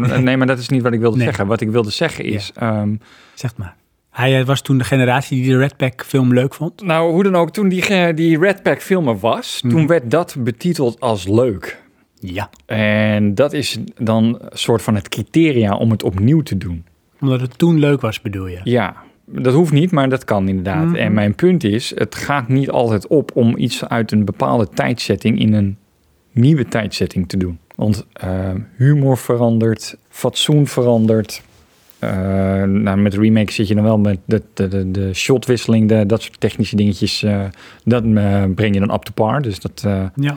[SPEAKER 2] n- nee, maar dat is niet wat ik wilde
[SPEAKER 1] Nee.
[SPEAKER 2] zeggen. Wat ik wilde zeggen is... ehm,
[SPEAKER 1] Zeg maar. Hij eh, was toen de generatie die de Red Pack film leuk vond.
[SPEAKER 2] nou, hoe dan ook, toen die, ge- die Red Pack film er was...
[SPEAKER 1] Mhm.
[SPEAKER 2] toen werd dat betiteld als leuk.
[SPEAKER 1] Ja.
[SPEAKER 2] En dat is dan een soort van het criteria om het opnieuw te doen.
[SPEAKER 1] Omdat het toen leuk was, bedoel je?
[SPEAKER 2] Ja, dat hoeft niet, maar dat kan inderdaad.
[SPEAKER 1] Mhm.
[SPEAKER 2] En mijn punt is, het gaat niet altijd op om iets uit een bepaalde tijdzetting in een nieuwe tijdzetting te doen. Want eh, humor verandert, fatsoen verandert. Eh, nou, met remake zit je dan wel met de, de, de, de shotwisseling, de, dat soort technische dingetjes. eh, dat eh, breng je dan up to par. Dus dat, eh,
[SPEAKER 1] Ja.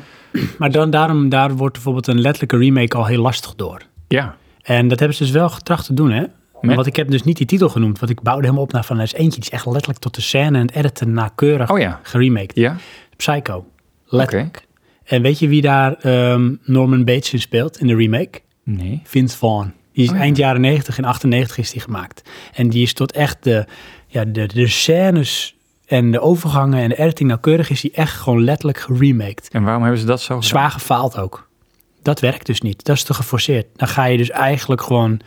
[SPEAKER 1] Maar dan, daarom, daar wordt bijvoorbeeld een letterlijke remake al heel lastig door.
[SPEAKER 2] ja.
[SPEAKER 1] En dat hebben ze dus wel getracht te doen, hè?
[SPEAKER 2] Met?
[SPEAKER 1] Want ik heb dus niet die titel genoemd, want ik bouwde helemaal op naar van er is eentje die is echt letterlijk tot de scène en het editen nakeurig
[SPEAKER 2] Oh ja,
[SPEAKER 1] geremaked.
[SPEAKER 2] ja.
[SPEAKER 1] Psycho, letterlijk. En weet je wie daar ehm, Norman Bates in speelt in de remake?
[SPEAKER 2] Nee.
[SPEAKER 1] Vince Vaughn. Die is
[SPEAKER 2] Oh ja.
[SPEAKER 1] eind jaren 90, in 98 is die gemaakt. En die is tot echt de, ja, de, de scènes en de overgangen en de editing nauwkeurig is die echt gewoon letterlijk geremaked.
[SPEAKER 2] En waarom hebben ze dat zo gedaan?
[SPEAKER 1] Zwaar gefaald ook. Dat werkt dus niet. Dat is te geforceerd. Dan ga je dus eigenlijk gewoon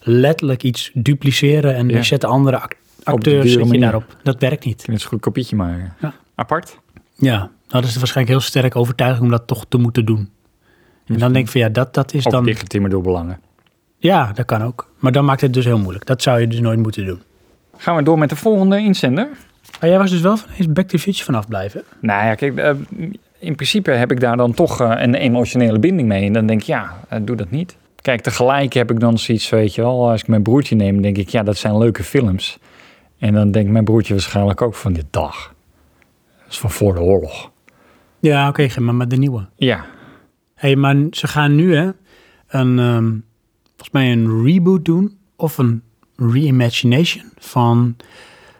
[SPEAKER 1] letterlijk iets dupliceren en
[SPEAKER 2] Ja.
[SPEAKER 1] je zet de andere act-
[SPEAKER 2] dure
[SPEAKER 1] acteurs zet je
[SPEAKER 2] manier.
[SPEAKER 1] daarop. Dat werkt niet.
[SPEAKER 2] Je kunt zo goed een kopietje maken.
[SPEAKER 1] Ja.
[SPEAKER 2] Apart?
[SPEAKER 1] Ja, nou, dat is waarschijnlijk heel sterk overtuiging om dat toch te moeten doen. En dan denk ik van ja, dat, dat is
[SPEAKER 2] Of
[SPEAKER 1] Dus dan...
[SPEAKER 2] dichtgetimmerd door belangen.
[SPEAKER 1] Ja, dat kan ook. Maar dan maakt het dus heel moeilijk. Dat zou je dus nooit moeten doen.
[SPEAKER 2] Gaan we door met de volgende inzender?
[SPEAKER 1] Maar jij was dus wel van eens Back to the Future vanaf blijven.
[SPEAKER 2] Nou ja, kijk, eh, in principe heb ik daar dan toch eh, een emotionele binding mee. En dan denk ik, ja, eh, doe dat niet. Kijk, tegelijk heb ik dan zoiets, weet je wel, als ik mijn broertje neem, denk ik, ja, dat zijn leuke films. En dan denkt mijn broertje waarschijnlijk ook van dit dag. Dat is van voor de oorlog.
[SPEAKER 1] Ja, oké, Gim, maar met de nieuwe.
[SPEAKER 2] Ja,
[SPEAKER 1] Hé, hey, maar ze gaan nu hè, een, ehm, volgens mij een reboot doen of een reimagination van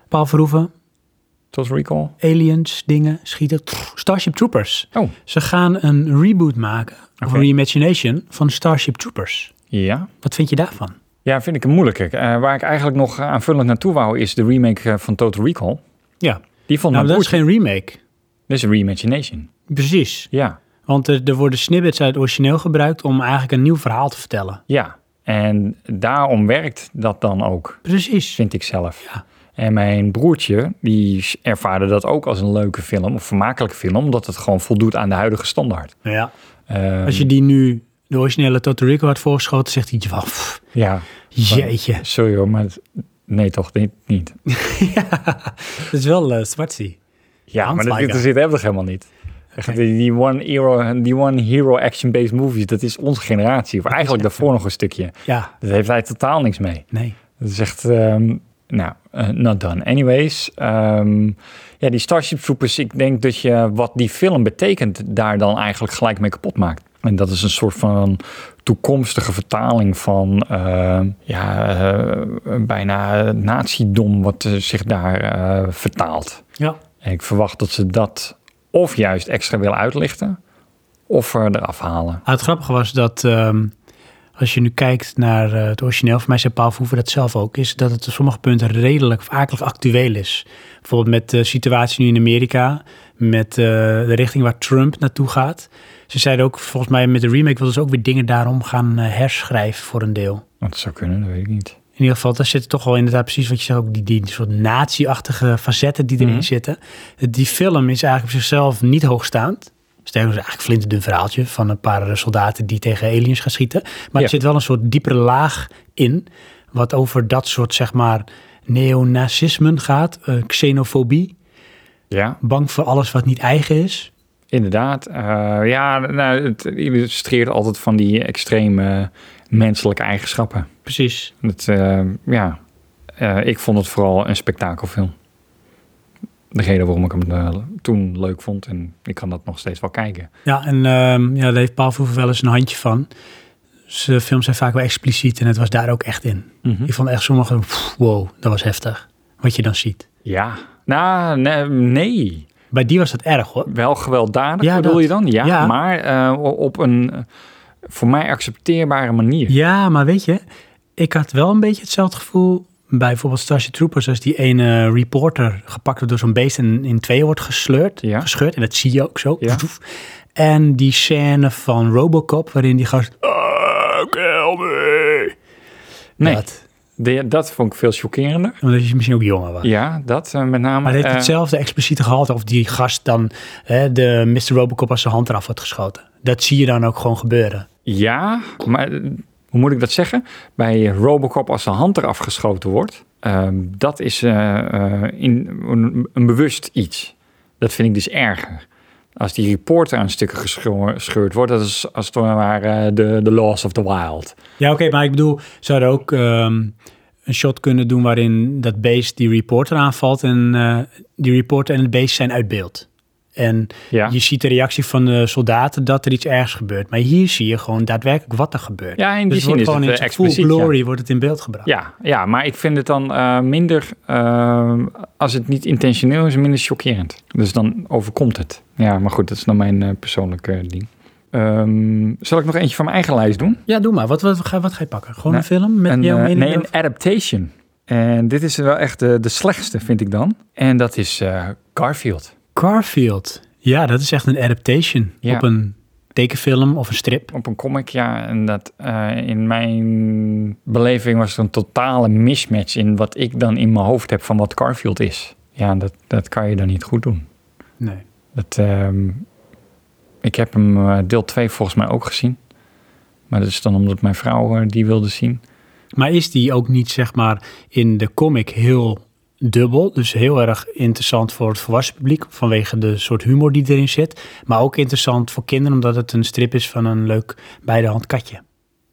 [SPEAKER 1] Paul Verhoeven,
[SPEAKER 2] Tot recall.
[SPEAKER 1] aliens, dingen, schieten, Pff, Starship Troopers.
[SPEAKER 2] Oh,
[SPEAKER 1] Ze gaan een reboot maken, of
[SPEAKER 2] Oké.
[SPEAKER 1] een reimagination, van Starship Troopers.
[SPEAKER 2] ja.
[SPEAKER 1] Wat vind je daarvan?
[SPEAKER 2] Ja, vind ik een moeilijke. Eh, waar ik eigenlijk nog aanvullend naartoe wou, is de remake eh, van Total Recall.
[SPEAKER 1] Ja,
[SPEAKER 2] Die vond ik
[SPEAKER 1] nou dat is
[SPEAKER 2] goed.
[SPEAKER 1] geen remake.
[SPEAKER 2] Dit is een reimagination.
[SPEAKER 1] Precies.
[SPEAKER 2] Ja,
[SPEAKER 1] Want er, er worden snippets uit het origineel gebruikt om eigenlijk een nieuw verhaal te vertellen.
[SPEAKER 2] ja. En daarom werkt dat dan ook,
[SPEAKER 1] Precies.
[SPEAKER 2] vind ik zelf.
[SPEAKER 1] Ja.
[SPEAKER 2] En mijn broertje, die ervaarde dat ook als een leuke film, of vermakelijke film, omdat het gewoon voldoet aan de huidige standaard.
[SPEAKER 1] Ja.
[SPEAKER 2] Eh,
[SPEAKER 1] Als je die nu de originele Total Recall had voorgeschoten, zegt hij van, "Pff,
[SPEAKER 2] Ja,
[SPEAKER 1] jeetje.
[SPEAKER 2] sorry hoor, maar het- nee toch, dit niet.
[SPEAKER 1] Dat is wel eh, Zwartzie.
[SPEAKER 2] Ja, maar dat,
[SPEAKER 1] Handleiding.
[SPEAKER 2] dat zit er toch helemaal niet. Echt, Die, die one hero, die one hero action-based movies, dat is onze generatie. Of eigenlijk daarvoor nog een stukje.
[SPEAKER 1] Ja,
[SPEAKER 2] Dat heeft hij totaal niks mee.
[SPEAKER 1] nee.
[SPEAKER 2] Dat is echt, ehm, nou, eh, not done. Anyways, ehm, ja, die Starship Troopers, ik denk dat je wat die film betekent, daar dan eigenlijk gelijk mee kapot maakt. En dat is een soort van toekomstige vertaling van eh, ja, eh, bijna nazidom wat eh, zich daar eh, vertaalt.
[SPEAKER 1] Ja.
[SPEAKER 2] En ik verwacht dat ze dat of juist extra willen uitlichten, of er eraf halen.
[SPEAKER 1] Ah, het grappige was dat ehm, als je nu kijkt naar eh, het origineel, voor mij zei Paul Verhoeven dat zelf ook, is dat het op sommige punten redelijk of akelig actueel is. Bijvoorbeeld met de situatie nu in Amerika, met eh, de richting waar Trump naartoe gaat. Ze zeiden ook, volgens mij met de remake wilden ze ook weer dingen daarom gaan eh, herschrijven voor een deel.
[SPEAKER 2] Want het zou kunnen, dat weet ik niet.
[SPEAKER 1] In ieder geval, daar zitten toch wel inderdaad precies wat je zegt, ook die, die soort nazi-achtige facetten die erin
[SPEAKER 2] Mhm.
[SPEAKER 1] zitten. Die film is eigenlijk op zichzelf niet hoogstaand. Sterker nog, het is eigenlijk een flinterdun verhaaltje van een paar eh, soldaten die tegen aliens gaan schieten. Maar
[SPEAKER 2] Ja.
[SPEAKER 1] er zit wel een soort diepere laag in, wat over dat soort, zeg maar, neonazismen gaat. eh, xenofobie,
[SPEAKER 2] Ja,
[SPEAKER 1] bang voor alles wat niet eigen is.
[SPEAKER 2] Inderdaad. eh, ja, nou, het illustreert altijd van die extreme menselijke eigenschappen.
[SPEAKER 1] Precies.
[SPEAKER 2] Het, eh, ja, eh, ik vond het vooral een spektakelfilm. De reden waarom ik hem eh, toen leuk vond. En ik kan dat nog steeds wel kijken.
[SPEAKER 1] Ja, en ehm, ja, daar heeft Paul Verhoeven wel eens een handje van. Zijn films zijn vaak wel expliciet en het was daar ook echt in.
[SPEAKER 2] Hm?
[SPEAKER 1] Ik vond echt sommige, pff, wow, dat was heftig. Wat je dan ziet.
[SPEAKER 2] Ja. Nou, nee, nee.
[SPEAKER 1] Bij die was dat erg hoor.
[SPEAKER 2] Wel gewelddadig
[SPEAKER 1] Ja,
[SPEAKER 2] bedoel
[SPEAKER 1] dat.
[SPEAKER 2] je dan? Ja,
[SPEAKER 1] Ja.
[SPEAKER 2] maar eh, op een eh, voor mij accepteerbare manier.
[SPEAKER 1] Ja, maar weet je, ik had wel een beetje hetzelfde gevoel bij bijvoorbeeld Starship Troopers als die ene reporter gepakt wordt door zo'n beest en in tweeën wordt gesleurd,
[SPEAKER 2] Ja.
[SPEAKER 1] gescheurd. En dat zie je ook zo.
[SPEAKER 2] Ja.
[SPEAKER 1] En die scène van Robocop waarin die gast... "Ah, help me."
[SPEAKER 2] Nee, dat.
[SPEAKER 1] Dat,
[SPEAKER 2] dat vond ik veel chockerender.
[SPEAKER 1] omdat je misschien ook jonger was.
[SPEAKER 2] Ja, dat eh, met name.
[SPEAKER 1] Maar het heeft
[SPEAKER 2] eh,
[SPEAKER 1] hetzelfde expliciete gehalte of die gast dan hè, de Mr. Robocop als zijn hand eraf wordt geschoten. Dat zie je dan ook gewoon gebeuren.
[SPEAKER 2] Ja, maar eh, hoe moet ik dat zeggen? Bij Robocop als de hand eraf geschoten wordt, ehm, dat is eh, eh, in, een, een bewust iets. Dat vind ik dus erger. Als die reporter aan stukken gescho- gescheurd wordt, dat is als het ware eh, de, de Laws of the Wild.
[SPEAKER 1] Ja, oké, maar ik bedoel, ze hadden ook ehm, een shot kunnen doen waarin dat beest die reporter aanvalt en eh, die reporter en het beest zijn uit beeld. En
[SPEAKER 2] Ja.
[SPEAKER 1] je ziet de reactie van de soldaten dat er iets ergs gebeurt. Maar hier zie je gewoon daadwerkelijk wat er gebeurt.
[SPEAKER 2] Ja, in die
[SPEAKER 1] dus het
[SPEAKER 2] zin
[SPEAKER 1] wordt
[SPEAKER 2] is
[SPEAKER 1] gewoon
[SPEAKER 2] het,
[SPEAKER 1] in
[SPEAKER 2] eh,
[SPEAKER 1] zijn full
[SPEAKER 2] expliciet, ja.
[SPEAKER 1] glory wordt het in beeld gebracht.
[SPEAKER 2] Ja, ja, maar ik vind het dan eh, minder, eh, als het niet intentioneel is, minder chockerend. Dus dan overkomt het. Ja, maar goed, dat is dan mijn eh, persoonlijke ding. Ehm, zal ik nog eentje van mijn eigen lijst doen?
[SPEAKER 1] Ja, doe maar. Wat, wat, ga, wat ga je pakken? Gewoon
[SPEAKER 2] Nou,
[SPEAKER 1] een film met
[SPEAKER 2] een,
[SPEAKER 1] jouw
[SPEAKER 2] eh,
[SPEAKER 1] mening?
[SPEAKER 2] nee,
[SPEAKER 1] erover?
[SPEAKER 2] een adaptation. En dit is wel echt de, de slechtste, vind ik dan. En dat is eh, Garfield.
[SPEAKER 1] Garfield. Ja, dat is echt een adaptation
[SPEAKER 2] Ja.
[SPEAKER 1] op een tekenfilm of een strip.
[SPEAKER 2] Op een comic, ja. En dat eh, in mijn beleving was er een totale mismatch in wat ik dan in mijn hoofd heb van wat Garfield is. Ja, dat, dat kan je dan niet goed doen.
[SPEAKER 1] Nee.
[SPEAKER 2] Dat, ehm, ik heb hem eh, deel 2 volgens mij ook gezien. Maar dat is dan omdat mijn vrouw eh, die wilde zien.
[SPEAKER 1] Maar is die ook niet, zeg maar, in de comic heel dubbel? Dus heel erg interessant voor het volwassen publiek vanwege de soort humor die erin zit. Maar ook interessant voor kinderen omdat het een strip is van een leuk bij de hand katje.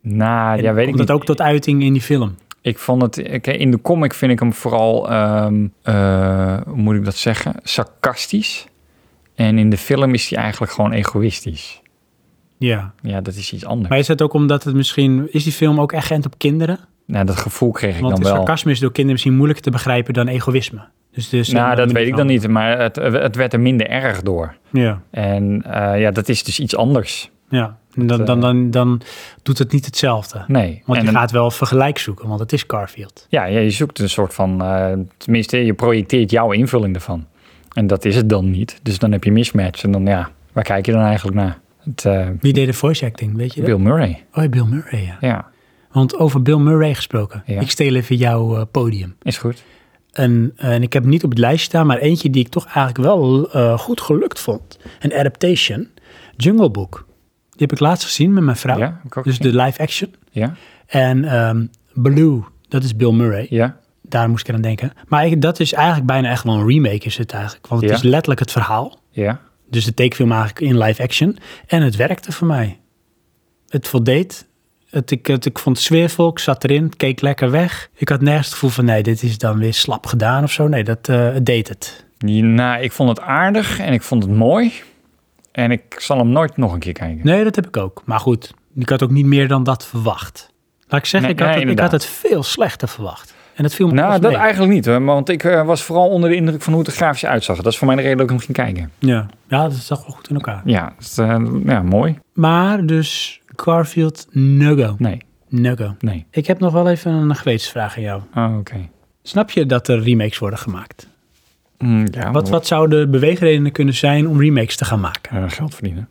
[SPEAKER 2] Nou,
[SPEAKER 1] En
[SPEAKER 2] ja, weet ik
[SPEAKER 1] komt
[SPEAKER 2] niet.
[SPEAKER 1] dat ook tot uiting in die film?
[SPEAKER 2] Ik vond het, ik- in de comic vind ik hem vooral, ehm, eh, hoe moet ik dat zeggen, sarcastisch. En in de film is hij eigenlijk gewoon egoïstisch.
[SPEAKER 1] Ja.
[SPEAKER 2] Ja, dat is iets anders.
[SPEAKER 1] Maar is dat ook omdat het misschien... Is die film ook echt geënt op kinderen?
[SPEAKER 2] Nou, dat gevoel kreeg ik
[SPEAKER 1] Want
[SPEAKER 2] dan wel.
[SPEAKER 1] sarcasme is door kinderen misschien moeilijker te begrijpen dan egoïsme. Dus, dus
[SPEAKER 2] Nou,
[SPEAKER 1] eh,
[SPEAKER 2] dat
[SPEAKER 1] moet
[SPEAKER 2] weet
[SPEAKER 1] je
[SPEAKER 2] ik dan
[SPEAKER 1] wel-
[SPEAKER 2] niet, maar het, het werd er minder erg door.
[SPEAKER 1] Ja,
[SPEAKER 2] En eh, ja, dat is dus iets anders.
[SPEAKER 1] ja. En Dan,
[SPEAKER 2] Dat,
[SPEAKER 1] dan,
[SPEAKER 2] eh,
[SPEAKER 1] dan, dan doet het niet hetzelfde.
[SPEAKER 2] Nee.
[SPEAKER 1] Want
[SPEAKER 2] en
[SPEAKER 1] je
[SPEAKER 2] dan-
[SPEAKER 1] gaat wel vergelijk zoeken, want het is Garfield.
[SPEAKER 2] ja, ja, je zoekt een soort van, eh, tenminste, je projecteert jouw invulling ervan. En dat is het dan niet. Dus dan heb je mismatch. En dan, ja, waar kijk je dan eigenlijk naar? Het, eh,
[SPEAKER 1] Wie deed de voice acting, weet je dat?
[SPEAKER 2] Bill Murray.
[SPEAKER 1] Oh, ja, Bill Murray, ja.
[SPEAKER 2] Ja,
[SPEAKER 1] Want over Bill Murray gesproken.
[SPEAKER 2] Ja.
[SPEAKER 1] Ik steel even jouw eh, podium.
[SPEAKER 2] is goed.
[SPEAKER 1] En, eh, en ik heb hem niet op het lijstje staan, maar eentje die ik toch eigenlijk wel eh, goed gelukt vond. Een adaptation. Jungle Book. Die heb ik laatst gezien met mijn vrouw.
[SPEAKER 2] Ja, heb ik ook
[SPEAKER 1] dus
[SPEAKER 2] gezien.
[SPEAKER 1] de live action.
[SPEAKER 2] Ja,
[SPEAKER 1] En ehm, Blue, dat is Bill Murray.
[SPEAKER 2] ja,
[SPEAKER 1] Daar moest ik aan denken. Maar ik- dat is eigenlijk bijna echt wel een remake is het eigenlijk. Want het
[SPEAKER 2] Ja.
[SPEAKER 1] is letterlijk het verhaal.
[SPEAKER 2] ja.
[SPEAKER 1] Dus de tekenfilm eigenlijk in live action. En het werkte voor mij. Het voldeed. Het, ik, het, ik vond het sfeervol, ik zat erin, het keek lekker weg. Ik had nergens het gevoel van nee, dit is dan weer slap gedaan of zo. Nee, dat eh, het deed het.
[SPEAKER 2] Die- Nou, ik vond het aardig en ik vond het mooi. En ik zal hem nooit nog een keer kijken.
[SPEAKER 1] Nee, dat heb ik ook. Maar goed, ik had ook niet meer dan dat verwacht. Laat ik zeggen,
[SPEAKER 2] Nee,
[SPEAKER 1] ik, had
[SPEAKER 2] nee,
[SPEAKER 1] het, ik had
[SPEAKER 2] inderdaad.
[SPEAKER 1] het veel slechter verwacht. En dat viel me
[SPEAKER 2] Nou,
[SPEAKER 1] pas
[SPEAKER 2] dat
[SPEAKER 1] mee.
[SPEAKER 2] eigenlijk niet, hoor. want ik eh, was vooral onder de indruk van hoe het er grafisch uitzag. Dat is voor mij de reden dat ik hem ging kijken.
[SPEAKER 1] Ja. ja, dat zag wel goed in elkaar.
[SPEAKER 2] Ja, dus, eh, ja mooi.
[SPEAKER 1] Maar dus Garfield, no go.
[SPEAKER 2] Nee,
[SPEAKER 1] No go.
[SPEAKER 2] nee.
[SPEAKER 1] Ik heb nog wel even een gewetensvraag aan jou.
[SPEAKER 2] Oh, oké.
[SPEAKER 1] Snap je dat er remakes worden gemaakt?
[SPEAKER 2] Mm, ja,
[SPEAKER 1] Wat, wat zouden beweegredenen kunnen zijn om remakes te gaan maken?
[SPEAKER 2] eh, geld verdienen.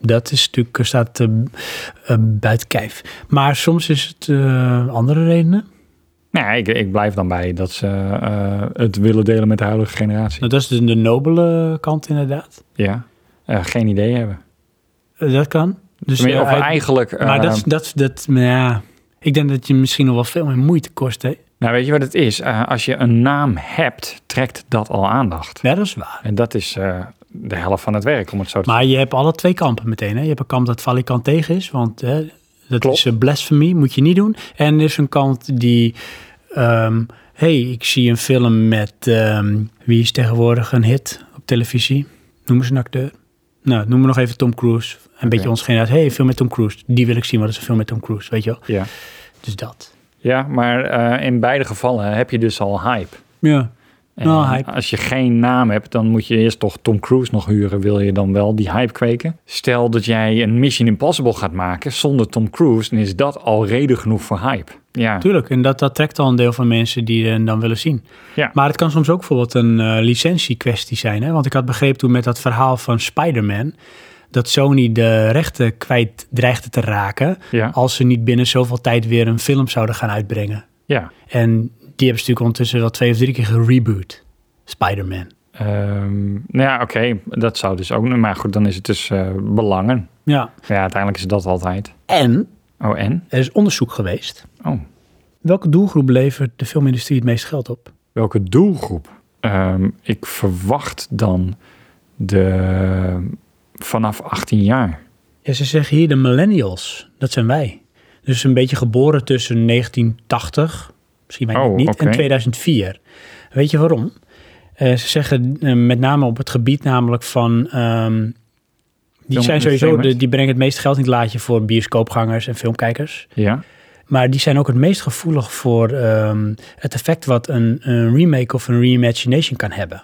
[SPEAKER 1] Dat is natuurlijk, staat eh, eh, buiten kijf. Maar soms is het eh, andere redenen.
[SPEAKER 2] Nou, ik, ik blijf dan bij dat ze eh, het willen delen met de huidige generatie.
[SPEAKER 1] Nou, dat is de, de nobele kant inderdaad.
[SPEAKER 2] Ja. Eh, geen idee hebben.
[SPEAKER 1] Eh, dat kan. Dus,
[SPEAKER 2] Tenminste,
[SPEAKER 1] eh,
[SPEAKER 2] of
[SPEAKER 1] uit-
[SPEAKER 2] eigenlijk... eh,
[SPEAKER 1] maar dat, dat, dat, maar ja, ik denk dat je misschien nog wel veel meer moeite kost. Hè?
[SPEAKER 2] Nou, weet je wat het is? Eh, als je een naam hebt, trekt dat al aandacht.
[SPEAKER 1] Ja, dat is waar.
[SPEAKER 2] En dat is eh, de helft van het werk, om het zo te
[SPEAKER 1] Maar je hebt alle twee kampen meteen. Hè? Je hebt een kamp dat Valikant tegen is, want hè, dat
[SPEAKER 2] Klopt.
[SPEAKER 1] is eh, blasphemy, moet je niet doen. En er is een kant die, ehm, hey, ik zie een film met, ehm, wie is tegenwoordig een hit op televisie? Noem eens een acteur. Nou, noem me nog even Tom Cruise. Een beetje ons generatie. hey, een film met Tom Cruise. Die wil ik zien, wat is een film met Tom Cruise, weet je wel?
[SPEAKER 2] Ja,
[SPEAKER 1] Dus dat.
[SPEAKER 2] ja maar eh, in beide gevallen heb je dus al hype.
[SPEAKER 1] Ja,
[SPEAKER 2] En
[SPEAKER 1] Nou, hype.
[SPEAKER 2] Als je geen naam hebt, dan moet je eerst toch Tom Cruise nog huren. Wil je dan wel die hype kweken? Stel dat jij een Mission Impossible gaat maken zonder Tom Cruise, dan is dat al reden genoeg voor hype. Ja,
[SPEAKER 1] tuurlijk. En dat, dat trekt al een deel van mensen die eh, dan willen zien.
[SPEAKER 2] ja.
[SPEAKER 1] Maar het kan soms ook bijvoorbeeld een eh, licentiekwestie zijn. Hè? Want ik had begrepen toen met dat verhaal van Spider-Man... dat Sony de rechten kwijt dreigde te raken...
[SPEAKER 2] ja,
[SPEAKER 1] als ze niet binnen zoveel tijd weer een film zouden gaan uitbrengen.
[SPEAKER 2] ja.
[SPEAKER 1] En die hebben ze natuurlijk ondertussen wel twee of drie keer gereboot. Spider-Man.
[SPEAKER 2] Ehm, nou ja, oké, dat zou dus ook. Maar goed, dan is het dus eh, belangen.
[SPEAKER 1] Ja.
[SPEAKER 2] Ja, uiteindelijk is dat altijd.
[SPEAKER 1] En
[SPEAKER 2] Oh, en?
[SPEAKER 1] er is onderzoek geweest.
[SPEAKER 2] Oh,
[SPEAKER 1] Welke doelgroep levert de filmindustrie het meest geld op?
[SPEAKER 2] welke doelgroep? Ehm, ik verwacht dan de vanaf 18 jaar.
[SPEAKER 1] Ja, ze zeggen hier de millennials. Dat zijn wij. Dus een beetje geboren tussen 1980, misschien wij
[SPEAKER 2] Oh,
[SPEAKER 1] niet, en
[SPEAKER 2] oké.
[SPEAKER 1] 2004. Weet je waarom? Eh, ze zeggen eh, met name op het gebied namelijk van... ehm, die, zijn sowieso de,
[SPEAKER 2] Filmentertainment.
[SPEAKER 1] die brengen het meest geld in het laadje voor bioscoopgangers en filmkijkers.
[SPEAKER 2] Ja,
[SPEAKER 1] Maar die zijn ook het meest gevoelig voor ehm, het effect wat een, een remake of een reimagination kan hebben.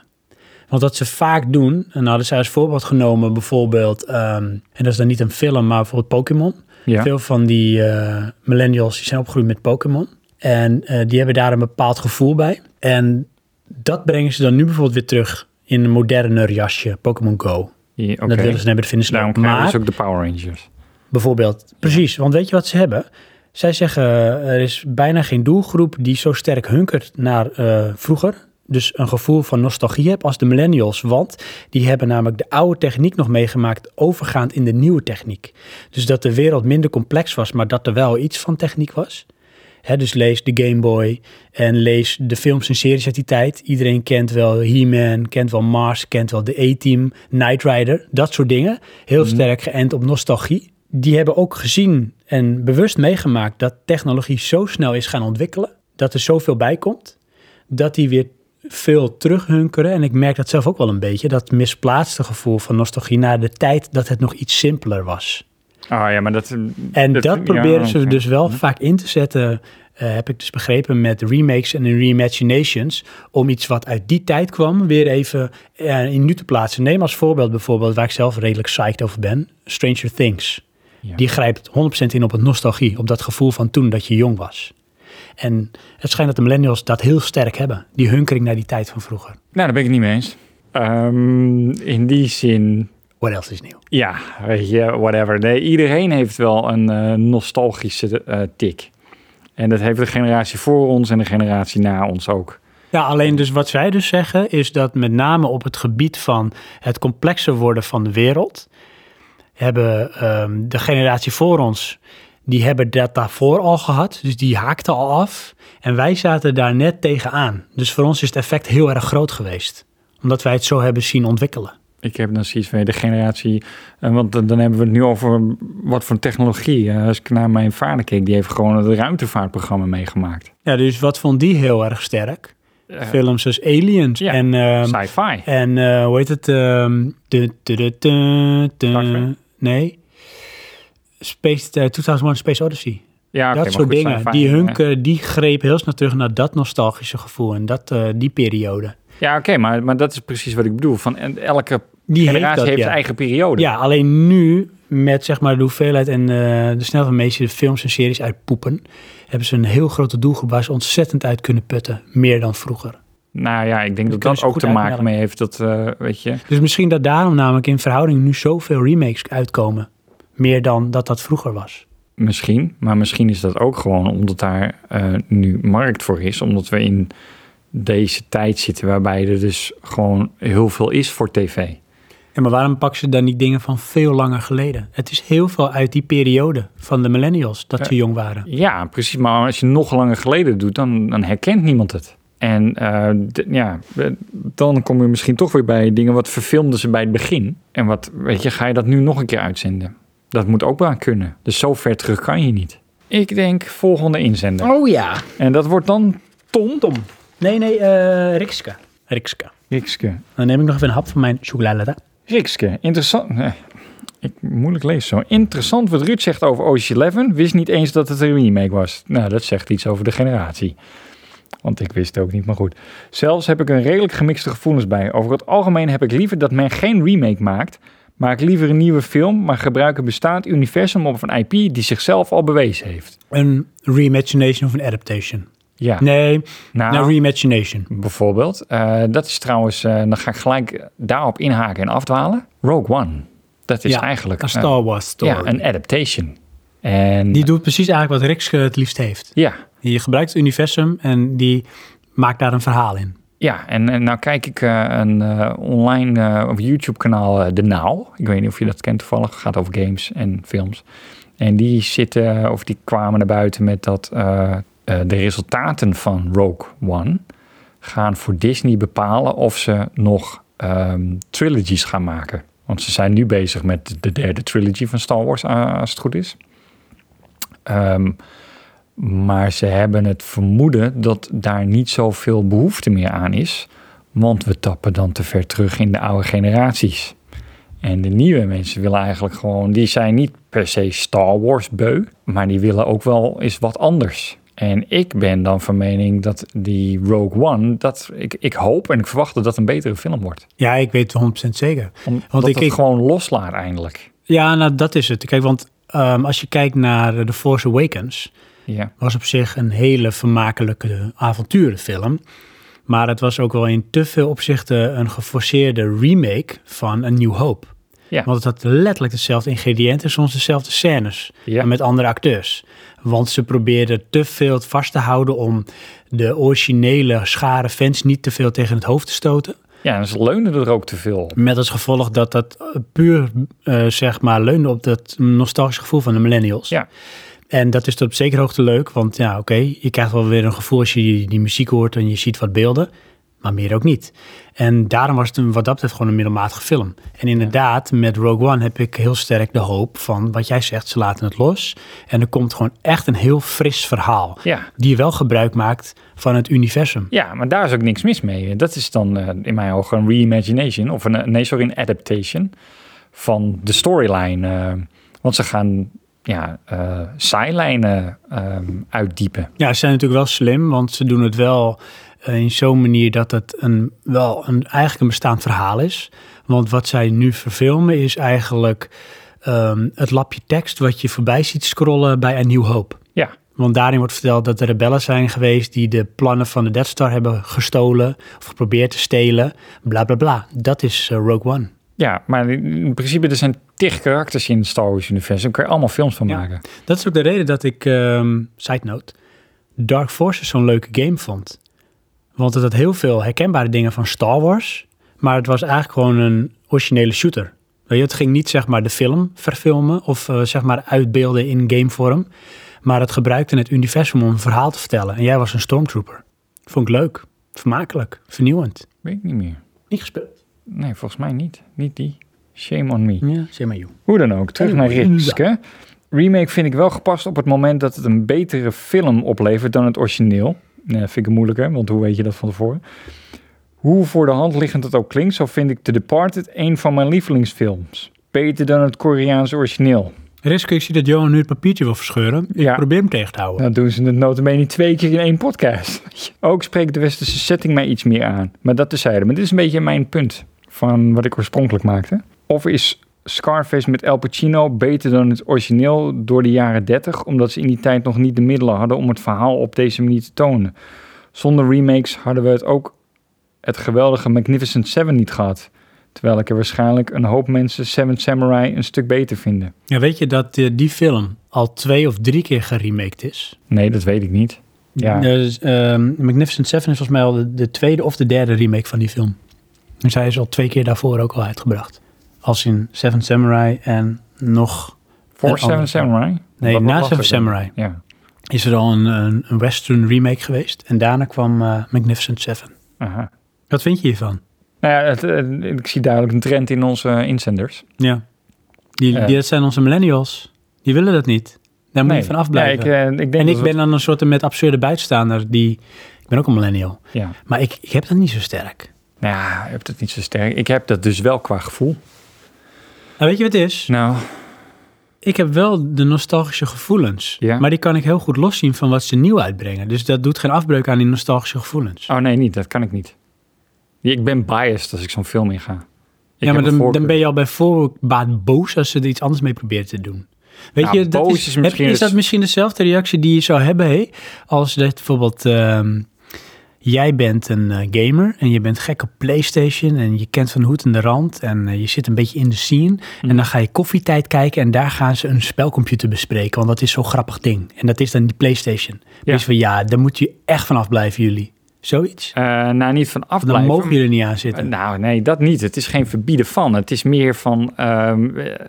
[SPEAKER 1] Want wat ze vaak doen, en nou, hadden zij als voorbeeld genomen bijvoorbeeld, ehm, en dat is dan niet een film, maar bijvoorbeeld Pokémon.
[SPEAKER 2] ja.
[SPEAKER 1] Veel van die eh, millennials die zijn opgegroeid met Pokémon. En eh, die hebben daar een bepaald gevoel bij. En dat brengen ze dan nu bijvoorbeeld weer terug in een moderner jasje, Pokémon Go.
[SPEAKER 2] Ja,
[SPEAKER 1] En Dat
[SPEAKER 2] oké.
[SPEAKER 1] willen ze hebben, dat vinden ze
[SPEAKER 2] Daarom
[SPEAKER 1] leuk.
[SPEAKER 2] krijgen we
[SPEAKER 1] Maar
[SPEAKER 2] dus ook de Power Rangers.
[SPEAKER 1] Bijvoorbeeld. Precies, want weet je wat ze hebben? Zij zeggen eh, er is bijna geen doelgroep die zo sterk hunkert naar eh, vroeger. Dus een gevoel van nostalgie hebt als de millennials. Want die hebben namelijk de oude techniek nog meegemaakt, overgaand in de nieuwe techniek. Dus dat de wereld minder complex was, maar dat er wel iets van techniek was. Hè, dus lees de Game Boy en lees de films en series uit die tijd. Iedereen kent wel He-Man, kent wel Mars, kent wel de A-Team, Knight Rider, dat soort dingen. Heel sterk geënt op nostalgie. Die hebben ook gezien en bewust meegemaakt dat technologie zo snel is gaan ontwikkelen, dat er zoveel bij komt, dat die weer veel terughunkeren. En ik merk dat zelf ook wel een beetje, dat misplaatste gevoel van nostalgie naar de tijd dat het nog iets simpeler was.
[SPEAKER 2] Ah ja, maar dat...
[SPEAKER 1] En dat,
[SPEAKER 2] ja,
[SPEAKER 1] proberen ze
[SPEAKER 2] oké.
[SPEAKER 1] dus wel vaak in te zetten. eh, eh, heb ik dus begrepen, met remakes en reimaginations. Om iets wat uit die tijd kwam weer even eh, in nu te plaatsen. Neem als voorbeeld bijvoorbeeld, waar ik zelf redelijk psyched over ben, Stranger Things.
[SPEAKER 2] Ja.
[SPEAKER 1] Die grijpt 100% in op het nostalgie, op dat gevoel van toen dat je jong was. En het schijnt dat de millennials dat heel sterk hebben. Die hunkering naar die tijd van vroeger.
[SPEAKER 2] Nou, daar ben ik het niet mee eens. Ehm, in die zin,
[SPEAKER 1] What else is nieuw?
[SPEAKER 2] ja, weet je, whatever. Nee, iedereen heeft wel een eh, nostalgische eh, tik. En dat heeft de generatie voor ons en de generatie na ons ook.
[SPEAKER 1] Ja, alleen dus wat zij dus zeggen is dat met name op het gebied van het complexer worden van de wereld, hebben ehm, de generatie voor ons, die hebben dat daarvoor al gehad, dus die haakte al af. En wij zaten daar net tegenaan. Dus voor ons is het effect heel erg groot geweest, omdat wij het zo hebben zien ontwikkelen.
[SPEAKER 2] Ik heb dan zoiets van de generatie, eh, want dan dan hebben we het nu over wat voor technologie. Eh, als ik naar mijn vader keek, die heeft gewoon het ruimtevaartprogramma meegemaakt.
[SPEAKER 1] Ja, dus wat vond die heel erg sterk?
[SPEAKER 2] Eh,
[SPEAKER 1] Films als Aliens
[SPEAKER 2] ja,
[SPEAKER 1] en ehm,
[SPEAKER 2] Sci-fi.
[SPEAKER 1] En eh, hoe heet het? ehm, du- du- du- du- du-
[SPEAKER 2] Dark Fate?
[SPEAKER 1] nee. Space, eh, 2001 Space Odyssey.
[SPEAKER 2] Ja, Ah, oké, maar
[SPEAKER 1] dat soort
[SPEAKER 2] goed,
[SPEAKER 1] dingen.
[SPEAKER 2] sci-fi,
[SPEAKER 1] Die
[SPEAKER 2] eh.
[SPEAKER 1] hunker, die greep heel snel terug naar dat nostalgische gevoel en dat, eh, die periode.
[SPEAKER 2] Ja, oké, maar, maar dat is precies wat ik bedoel. Van en elke
[SPEAKER 1] Die
[SPEAKER 2] generatie heeft,
[SPEAKER 1] dat, ja.
[SPEAKER 2] zijn eigen periode.
[SPEAKER 1] Ja, alleen nu met zeg maar de hoeveelheid en eh, de snelheid waarmee ze de films en series uitpoepen, hebben ze een heel grote doelgroep waar ze ontzettend uit kunnen putten. Meer dan vroeger.
[SPEAKER 2] Nou ja, ik denk
[SPEAKER 1] Dat kunnen
[SPEAKER 2] dat dat
[SPEAKER 1] ze
[SPEAKER 2] ook
[SPEAKER 1] goed
[SPEAKER 2] te maken
[SPEAKER 1] uitmelken.
[SPEAKER 2] mee heeft dat, eh, weet je.
[SPEAKER 1] Dus misschien dat daarom namelijk in verhouding nu zoveel remakes uitkomen. Meer dan dat dat vroeger was.
[SPEAKER 2] Misschien, maar misschien is dat ook gewoon omdat daar eh, nu markt voor is. Omdat we in deze tijd zitten waarbij er dus gewoon heel veel is voor tv.
[SPEAKER 1] Ja, maar waarom pakken ze dan niet dingen van veel langer geleden? Het is heel veel uit die periode van de millennials dat
[SPEAKER 2] Ja.
[SPEAKER 1] ze jong waren.
[SPEAKER 2] Ja, precies. Maar als je nog langer geleden doet, dan, dan herkent niemand het. En eh, d- ja, eh, dan kom je misschien toch weer bij dingen wat verfilmden ze bij het begin. En wat, weet je, ga je dat nu nog een keer uitzenden? Dat moet ook wel kunnen. Dus zo ver terug kan je niet. Ik denk volgende inzender.
[SPEAKER 1] Oh ja.
[SPEAKER 2] En dat wordt dan Tom. Tom.
[SPEAKER 1] Nee, nee, eh Rikske. Rikske.
[SPEAKER 2] Rikske.
[SPEAKER 1] Dan neem ik nog even een hap van mijn chocolade.
[SPEAKER 2] Rikske, interessant. eh, Ik moeilijk lees zo. Interessant wat Ruud zegt over Ocean's Eleven. Wist niet eens dat het een remake was. Nou, dat zegt iets over de generatie. Want ik wist het ook niet, maar goed. Zelfs heb ik een redelijk gemixte gevoelens bij. Over het algemeen heb ik liever dat men geen remake maakt. Maak liever een nieuwe film, maar gebruik een bestaand universum of een IP die zichzelf al bewezen heeft.
[SPEAKER 1] Een reimagination of een adaptation.
[SPEAKER 2] Ja,
[SPEAKER 1] Nee,
[SPEAKER 2] nou,
[SPEAKER 1] een reimagination.
[SPEAKER 2] bijvoorbeeld. eh, dat is trouwens, eh, dan ga ik gelijk daarop inhaken en afdwalen. Rogue One. Dat is
[SPEAKER 1] Ja,
[SPEAKER 2] eigenlijk
[SPEAKER 1] Een
[SPEAKER 2] een-
[SPEAKER 1] Star Wars story.
[SPEAKER 2] Ja, een adaptation. En
[SPEAKER 1] Die doet precies eigenlijk wat Rikske het liefst heeft.
[SPEAKER 2] ja,
[SPEAKER 1] Je gebruikt het universum en die maakt daar een verhaal in.
[SPEAKER 2] ja. En, en nou kijk ik eh, een eh, online eh, op YouTube kanaal eh, De Now. Ik weet niet of je dat kent toevallig. gaat over games en films. En die zitten eh, of die kwamen naar buiten met dat eh, eh, de resultaten van Rogue One gaan voor Disney bepalen of ze nog ehm, trilogies gaan maken. Want ze zijn nu bezig met de derde trilogy van Star Wars, eh, als het goed is. Ehm, maar ze hebben het vermoeden dat daar niet zoveel behoefte meer aan is. Want we tappen dan te ver terug in de oude generaties. En de nieuwe mensen willen eigenlijk gewoon, die zijn niet per se Star Wars beu, maar die willen ook wel eens wat anders. En ik ben dan van mening dat die Rogue One, dat ik, ik hoop en ik verwacht dat dat een betere film wordt.
[SPEAKER 1] Ja, ik weet het 100% zeker.
[SPEAKER 2] Omdat
[SPEAKER 1] Want ik-
[SPEAKER 2] het
[SPEAKER 1] ik-
[SPEAKER 2] gewoon loslaat eindelijk.
[SPEAKER 1] Ja, nou dat is het. Kijk, want ehm, als je kijkt naar eh, The Force Awakens,
[SPEAKER 2] Ja,
[SPEAKER 1] was op zich een hele vermakelijke avonturenfilm. Maar het was ook wel in te veel opzichten een geforceerde remake van A New Hope.
[SPEAKER 2] Ja.
[SPEAKER 1] Want het had letterlijk dezelfde ingrediënten, soms dezelfde scènes.
[SPEAKER 2] Ja.
[SPEAKER 1] En met andere acteurs. Want ze probeerden te veel het vast te houden om de originele schare fans niet te veel tegen het hoofd te stoten.
[SPEAKER 2] ja en ze leunen er ook te veel op.
[SPEAKER 1] Met als gevolg dat dat eh, puur, eh, zeg maar, leunde op dat nostalgische gevoel van de millennials.
[SPEAKER 2] Ja.
[SPEAKER 1] En dat is tot op zekere hoogte leuk, want ja, oké, je krijgt wel weer een gevoel als je die, die muziek hoort en je ziet wat beelden, maar meer ook niet. En daarom was het een, wat dat betreft gewoon een middelmatige film. En inderdaad, met Rogue One heb ik heel sterk de hoop van wat jij zegt, ze laten het los. En er komt gewoon echt een heel fris verhaal,
[SPEAKER 2] Ja,
[SPEAKER 1] die wel gebruik maakt van het universum.
[SPEAKER 2] Ja, maar daar is ook niks mis mee. Dat is dan eh, in mijn ogen een reimagination of een, nee, sorry, een adaptation van de storyline. eh, want ze gaan, ja, eh, zijlijnen ehm, uitdiepen.
[SPEAKER 1] Ja, ze zijn natuurlijk wel slim, want ze doen het wel eh, in zo'n manier dat het een, wel een, eigenlijk een bestaand verhaal is. Want wat zij nu verfilmen is eigenlijk ehm, het lapje tekst wat je voorbij ziet scrollen bij A New Hope.
[SPEAKER 2] Ja.
[SPEAKER 1] Want daarin wordt verteld dat er rebellen zijn geweest die de plannen van de Death Star hebben gestolen of geprobeerd te stelen. Bla bla bla. Dat is eh, Rogue One.
[SPEAKER 2] Ja, maar in principe er zijn tig karakters in het Star Wars universum. Daar kan je allemaal films van
[SPEAKER 1] Ja.
[SPEAKER 2] maken.
[SPEAKER 1] Dat is ook de reden dat ik, ehm side note, Dark Forces zo'n leuke game vond. Want het had heel veel herkenbare dingen van Star Wars, maar het was eigenlijk gewoon een originele shooter. Weet je, het ging niet zeg maar de film verfilmen of eh, zeg maar uitbeelden in gamevorm, maar het gebruikte het universum om een verhaal te vertellen. En jij was een stormtrooper. Vond ik leuk, vermakelijk, vernieuwend.
[SPEAKER 2] Weet ik niet meer.
[SPEAKER 1] Niet gespeeld.
[SPEAKER 2] Nee, volgens mij niet. Niet die. Shame on me.
[SPEAKER 1] Ja, zeg maar joh.
[SPEAKER 2] Hoe dan ook, terug naar Ritske. Remake vind ik wel gepast op het moment dat het een betere film oplevert dan het origineel. Nee, vind ik het moeilijker, want hoe weet je dat van tevoren? Hoe voor de hand liggend het ook klinkt, zo vind ik The Departed een van mijn lievelingsfilms. Beter dan het Koreaanse origineel.
[SPEAKER 1] Riske, ik zie dat Johan nu het papiertje wil verscheuren. Ik
[SPEAKER 2] Ja.
[SPEAKER 1] probeer hem tegen te houden.
[SPEAKER 2] Nou doen ze het notabene twee keer in één podcast. Ook spreekt de westerse setting mij iets meer aan. Maar dat tezijde. Maar dit is een beetje mijn punt van wat ik oorspronkelijk maakte. Of is Scarface met Al Pacino beter dan het origineel door de jaren 30... omdat ze in die tijd nog niet de middelen hadden om het verhaal op deze manier te tonen. Zonder remakes hadden we het ook het geweldige Magnificent Seven niet gehad. Terwijl ik er waarschijnlijk een hoop mensen Seven Samurai een stuk beter vinden.
[SPEAKER 1] Ja, weet je dat eh, die film al twee of drie keer geremaked is?
[SPEAKER 2] Nee, dat weet ik niet. Ja.
[SPEAKER 1] Dus, ehm, Magnificent Seven is volgens mij al de, de tweede of de derde remake van die film. Dus hij is al twee keer daarvoor ook al uitgebracht. Als in Seven Samurai en nog...
[SPEAKER 2] Voor
[SPEAKER 1] Een
[SPEAKER 2] Seven
[SPEAKER 1] ander-
[SPEAKER 2] Samurai?
[SPEAKER 1] Eh, oh, Nee,
[SPEAKER 2] Wat- wat
[SPEAKER 1] na
[SPEAKER 2] was
[SPEAKER 1] Seven
[SPEAKER 2] het dan?
[SPEAKER 1] Samurai
[SPEAKER 2] Ja.
[SPEAKER 1] is er al een, een, een western remake geweest. En daarna kwam eh, Magnificent Seven.
[SPEAKER 2] Aha.
[SPEAKER 1] Wat vind je hiervan?
[SPEAKER 2] Nou ja, het, het- ik zie duidelijk een trend in onze eh, inzenders.
[SPEAKER 1] Ja. Die,
[SPEAKER 2] Ja.
[SPEAKER 1] die, dat zijn onze millennials. Die willen dat niet. Daar moet
[SPEAKER 2] Nee.
[SPEAKER 1] je van afblijven.
[SPEAKER 2] Ja, ik, eh, ik denk
[SPEAKER 1] en
[SPEAKER 2] dat
[SPEAKER 1] ik
[SPEAKER 2] het-
[SPEAKER 1] ben dan een soort met absurde buitenstaander die... Ik ben ook een millennial.
[SPEAKER 2] Ja.
[SPEAKER 1] Maar ik, ik heb dat niet zo sterk.
[SPEAKER 2] Nou ja, ik heb dat niet zo sterk. Ik heb dat dus wel qua gevoel.
[SPEAKER 1] Nou, weet je wat het is?
[SPEAKER 2] Nou,
[SPEAKER 1] Ik heb wel de nostalgische gevoelens.
[SPEAKER 2] Ja.
[SPEAKER 1] Maar die kan ik heel goed loszien van wat ze nieuw uitbrengen. Dus dat doet geen afbreuk aan die nostalgische gevoelens.
[SPEAKER 2] oh nee, niet. Dat kan ik niet. Ja, Ik ben biased als ik zo'n film inga. Ik
[SPEAKER 1] ja, maar dan, dan ben je al bij voorbaat boos als ze er iets anders mee proberen te doen. Weet
[SPEAKER 2] Ja,
[SPEAKER 1] je, dat
[SPEAKER 2] boos
[SPEAKER 1] is,
[SPEAKER 2] is
[SPEAKER 1] heb-
[SPEAKER 2] misschien
[SPEAKER 1] is dat
[SPEAKER 2] het-
[SPEAKER 1] misschien dezelfde reactie die je zou hebben hé? als dat bijvoorbeeld ehm, jij bent een eh, gamer en je bent gek op PlayStation en je kent van de hoed en de rand en eh, je zit een beetje in de scene
[SPEAKER 2] Mhm.
[SPEAKER 1] en dan ga je koffietijd kijken en daar gaan ze een spelcomputer bespreken, want dat is zo'n grappig ding. En dat is dan die PlayStation.
[SPEAKER 2] Ja.
[SPEAKER 1] Dus van ja, daar moet je echt vanaf blijven jullie. Zoiets.
[SPEAKER 2] Eh, nou, niet van
[SPEAKER 1] Dan
[SPEAKER 2] afblijven.
[SPEAKER 1] mogen jullie niet aan zitten.
[SPEAKER 2] Nou, nee, dat niet. Het is geen verbieden van. Het is meer van... ehm, eh,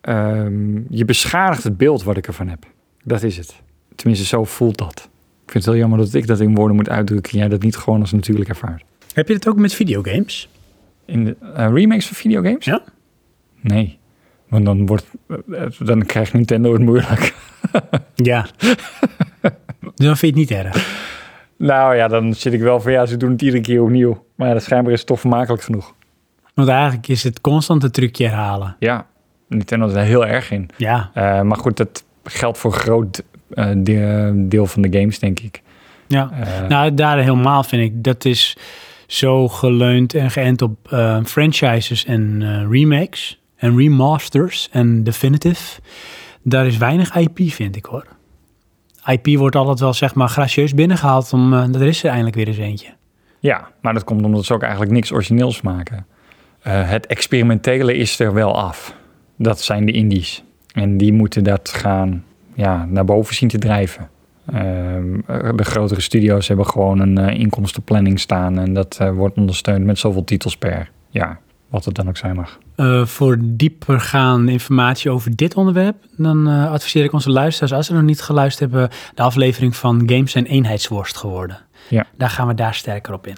[SPEAKER 2] ehm, je beschadigt het beeld wat ik ervan heb. Dat is het. Tenminste, zo voelt dat. Ik vind het heel jammer dat ik dat in woorden moet uitdrukken... en jij dat niet gewoon als natuurlijk ervaart.
[SPEAKER 1] Heb je dat ook met videogames?
[SPEAKER 2] In de eh, remakes van videogames?
[SPEAKER 1] Ja.
[SPEAKER 2] Nee. Want dan, wordt, eh, eh, dan krijgt Nintendo het moeilijk.
[SPEAKER 1] Ja. dus dan vind je het niet erg.
[SPEAKER 2] Nou ja, dan zit ik wel van ja, ze doen het iedere keer opnieuw. Maar ja, schijnbaar is het toch vermakelijk genoeg.
[SPEAKER 1] Want eigenlijk is het constant het trucje herhalen.
[SPEAKER 2] Ja, Nintendo is daar heel erg in.
[SPEAKER 1] Ja.
[SPEAKER 2] Eh, maar goed, dat geldt voor een groot eh, de- deel van de games, denk ik.
[SPEAKER 1] ja.
[SPEAKER 2] Eh,
[SPEAKER 1] Nou, daar helemaal vind ik. Dat is zo geleund en geënt op eh, franchises en eh, remakes en remasters en definitive. Daar is weinig IP, vind ik hoor. IP wordt altijd wel, zeg maar, gracieus binnengehaald. Om, eh, er is er eindelijk weer eens eentje.
[SPEAKER 2] Ja, maar dat komt omdat ze ook eigenlijk niks origineels maken. Eh, het experimentele is er wel af. Dat zijn de indies. En die moeten dat gaan ja, naar boven zien te drijven. Ehm, eh, de grotere studio's hebben gewoon een eh, inkomstenplanning staan. En dat eh, wordt ondersteund met zoveel titels per jaar. Wat het dan ook zijn mag.
[SPEAKER 1] Eh, voor diepergaande informatie over dit onderwerp, dan eh, adviseer ik onze luisteraars, als ze nog niet geluisterd hebben, de aflevering van Games zijn eenheidsworst geworden.
[SPEAKER 2] Ja.
[SPEAKER 1] Daar gaan we daar sterker op in.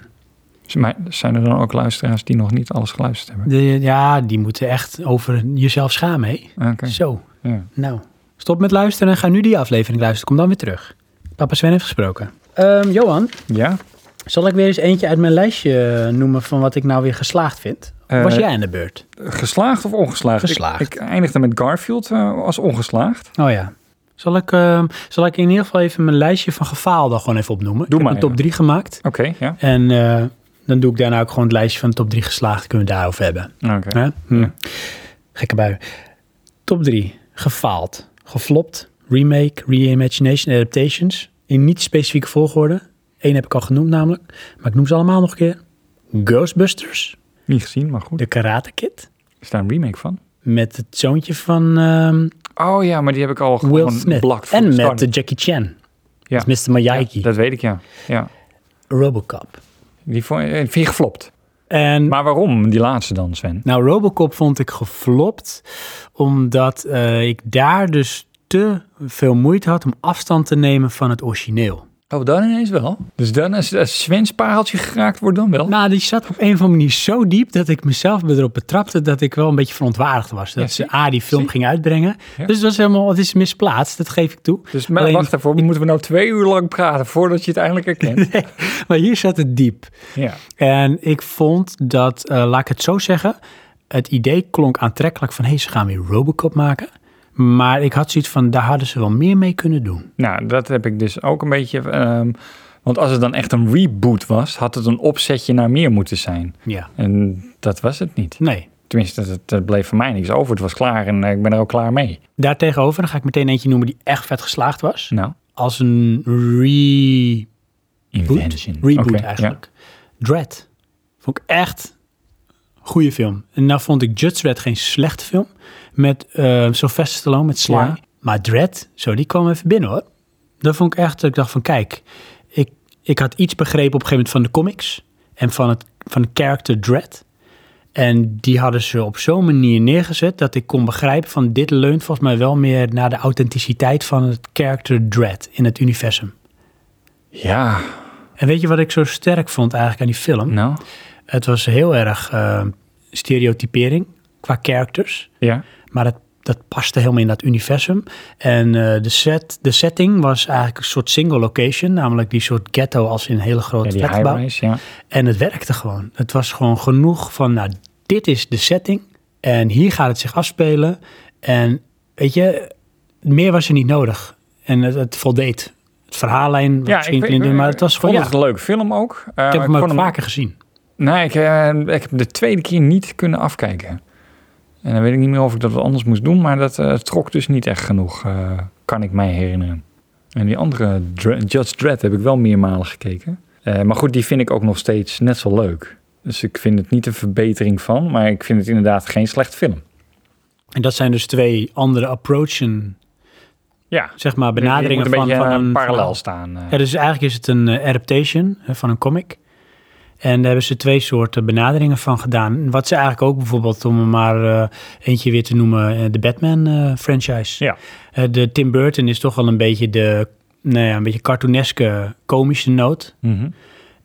[SPEAKER 2] Z- Maar zijn er dan ook luisteraars die nog niet alles geluisterd hebben?
[SPEAKER 1] De, ja, die moeten echt over jezelf schamen, hè?
[SPEAKER 2] Oké.
[SPEAKER 1] Zo,
[SPEAKER 2] Ja.
[SPEAKER 1] nou. Stop met luisteren en ga nu die aflevering luisteren. Kom dan weer terug. Papa Sven heeft gesproken. Ehm, Johan,
[SPEAKER 2] ja?
[SPEAKER 1] Zal ik weer eens eentje uit mijn lijstje eh, noemen van wat ik nou weer geslaagd vind? Of was
[SPEAKER 2] Eh,
[SPEAKER 1] jij aan de beurt?
[SPEAKER 2] Geslaagd of ongeslaagd? Ik-
[SPEAKER 1] Geslaagd.
[SPEAKER 2] Ik, eindigde met Garfield eh, als ongeslaagd.
[SPEAKER 1] Oh ja. Zal ik, ehm, zal ik in ieder geval even mijn lijstje van gefaalden gewoon even opnoemen?
[SPEAKER 2] Doe
[SPEAKER 1] ik heb
[SPEAKER 2] maar,
[SPEAKER 1] een top
[SPEAKER 2] ja.
[SPEAKER 1] 3 gemaakt.
[SPEAKER 2] Oké, ja.
[SPEAKER 1] En eh, dan doe ik daarna ook gewoon het lijstje van top 3 geslaagd. Kunnen we het daarover hebben.
[SPEAKER 2] Oké.
[SPEAKER 1] Hè? Hm.
[SPEAKER 2] Ja.
[SPEAKER 1] Gekke bui. Top 3. Gefaald. Geflopt. Remake, reimagination, adaptations. In niet specifieke volgorde. Eén heb ik al genoemd namelijk. Maar ik noem ze allemaal nog een keer. Ghostbusters.
[SPEAKER 2] Niet gezien, maar goed.
[SPEAKER 1] De Karate Kid.
[SPEAKER 2] Is daar een remake van?
[SPEAKER 1] Met het zoontje van ehm,
[SPEAKER 2] Oh ja, maar die heb ik al
[SPEAKER 1] Will
[SPEAKER 2] gewoon
[SPEAKER 1] Smith.
[SPEAKER 2] blakt voor
[SPEAKER 1] en
[SPEAKER 2] de
[SPEAKER 1] met
[SPEAKER 2] start.
[SPEAKER 1] eh, Jackie Chan.
[SPEAKER 2] Ja.
[SPEAKER 1] Met Mr. Miyagi.
[SPEAKER 2] Ja, dat weet ik, ja. ja.
[SPEAKER 1] Robocop.
[SPEAKER 2] Die vond, eh, vind je geflopt.
[SPEAKER 1] En
[SPEAKER 2] Maar waarom die laatste dan, Sven?
[SPEAKER 1] Nou, Robocop vond ik geflopt, omdat eh, ik daar dus te veel moeite had om afstand te nemen van het origineel.
[SPEAKER 2] Oh, dan ineens wel. Dus dan als, als Sven's pareltje geraakt wordt, dan wel.
[SPEAKER 1] Nou, die zat op een of andere manier zo diep dat ik mezelf erop betrapte dat ik wel een beetje verontwaardigd was. Dat
[SPEAKER 2] Ja,
[SPEAKER 1] ze
[SPEAKER 2] zie.
[SPEAKER 1] A, die film
[SPEAKER 2] Zie.
[SPEAKER 1] ging uitbrengen.
[SPEAKER 2] Ja.
[SPEAKER 1] Dus het was helemaal, het is misplaatst, dat geef ik toe.
[SPEAKER 2] dus maar
[SPEAKER 1] alleen-
[SPEAKER 2] wacht daarvoor, moeten we nou twee uur lang praten voordat je het eindelijk herkent?
[SPEAKER 1] Maar hier zat het diep.
[SPEAKER 2] ja.
[SPEAKER 1] En ik vond dat, eh, laat ik het zo zeggen, het idee klonk aantrekkelijk van, hé, hey, ze gaan weer Robocop maken. Maar ik had zoiets van, daar hadden ze wel meer mee kunnen doen.
[SPEAKER 2] Nou, dat heb ik dus ook een beetje. ehm, want als het dan echt een reboot was, had het een opzetje naar meer moeten zijn.
[SPEAKER 1] Ja,
[SPEAKER 2] En dat was het niet.
[SPEAKER 1] nee.
[SPEAKER 2] Tenminste, dat, dat bleef voor mij niks over. Het was klaar en eh, ik ben er ook klaar mee.
[SPEAKER 1] Daartegenover, dan ga ik meteen eentje noemen die echt vet geslaagd was.
[SPEAKER 2] Nou,
[SPEAKER 1] Als een reboot.
[SPEAKER 2] Invention.
[SPEAKER 1] Reboot
[SPEAKER 2] Oké,
[SPEAKER 1] eigenlijk. Dread. Vond ik echt goede film. En nou vond ik Judge Dredd geen slechte film. Met eh Sylvester Stallone, met Sly.
[SPEAKER 2] Ja.
[SPEAKER 1] Maar Dread, zo, die kwam even binnen hoor. Dat vond ik echt, dat ik dacht van kijk, ik, ik had iets begrepen op een gegeven moment van de comics. En van het van de character Dread. En die hadden ze op zo'n manier neergezet dat ik kon begrijpen van dit leunt volgens mij wel meer naar de authenticiteit van het character Dread in het universum.
[SPEAKER 2] Ja,
[SPEAKER 1] En weet je wat ik zo sterk vond eigenlijk aan die film?
[SPEAKER 2] nou.
[SPEAKER 1] Het was heel erg eh, stereotypering qua characters.
[SPEAKER 2] Ja.
[SPEAKER 1] Maar dat, dat paste helemaal in dat universum. En eh, de, set, de setting was eigenlijk een soort single location. Namelijk die soort ghetto als in een hele
[SPEAKER 2] ja,
[SPEAKER 1] grote
[SPEAKER 2] die
[SPEAKER 1] flatgebouw.
[SPEAKER 2] high-rise, ja.
[SPEAKER 1] En het werkte gewoon. Het was gewoon genoeg van, nou, dit is de setting. En hier gaat het zich afspelen. En weet je, meer was er niet nodig. En het, het voldeed. Het verhaallijn,
[SPEAKER 2] Ja,
[SPEAKER 1] misschien
[SPEAKER 2] ik,
[SPEAKER 1] klinkt
[SPEAKER 2] ik-
[SPEAKER 1] het, maar het was
[SPEAKER 2] ik
[SPEAKER 1] gewoon,
[SPEAKER 2] vond
[SPEAKER 1] ja,
[SPEAKER 2] het een leuke film ook. Eh,
[SPEAKER 1] ik heb hem ook
[SPEAKER 2] vond
[SPEAKER 1] vaker gezien.
[SPEAKER 2] Nee, ik, eh, ik heb de tweede keer niet kunnen afkijken. En dan weet ik niet meer of ik dat wat anders moest doen, maar dat eh, trok dus niet echt genoeg, eh, kan ik mij herinneren. En die andere, Dre- Judge Dredd, heb ik wel meermalen gekeken. Eh, maar goed, die vind ik ook nog steeds net zo leuk. Dus ik vind het niet een verbetering van, maar ik vind het inderdaad geen slecht film.
[SPEAKER 1] En dat zijn dus twee andere approachen,
[SPEAKER 2] Ja,
[SPEAKER 1] zeg maar,
[SPEAKER 2] Je moet
[SPEAKER 1] benaderingen
[SPEAKER 2] een
[SPEAKER 1] van,
[SPEAKER 2] beetje
[SPEAKER 1] van
[SPEAKER 2] eh,
[SPEAKER 1] een
[SPEAKER 2] parallel
[SPEAKER 1] verhaal.
[SPEAKER 2] staan. eh.
[SPEAKER 1] Ja, dus eigenlijk is het een eh, adaptation hè, van een comic. En daar hebben ze twee soorten benaderingen van gedaan. Wat ze eigenlijk ook bijvoorbeeld, om er maar eh, eentje weer te noemen, eh, de Batman-franchise.
[SPEAKER 2] Ja.
[SPEAKER 1] de Tim Burton is toch wel een beetje de, nou ja, een beetje cartooneske, komische noot.
[SPEAKER 2] Mhm.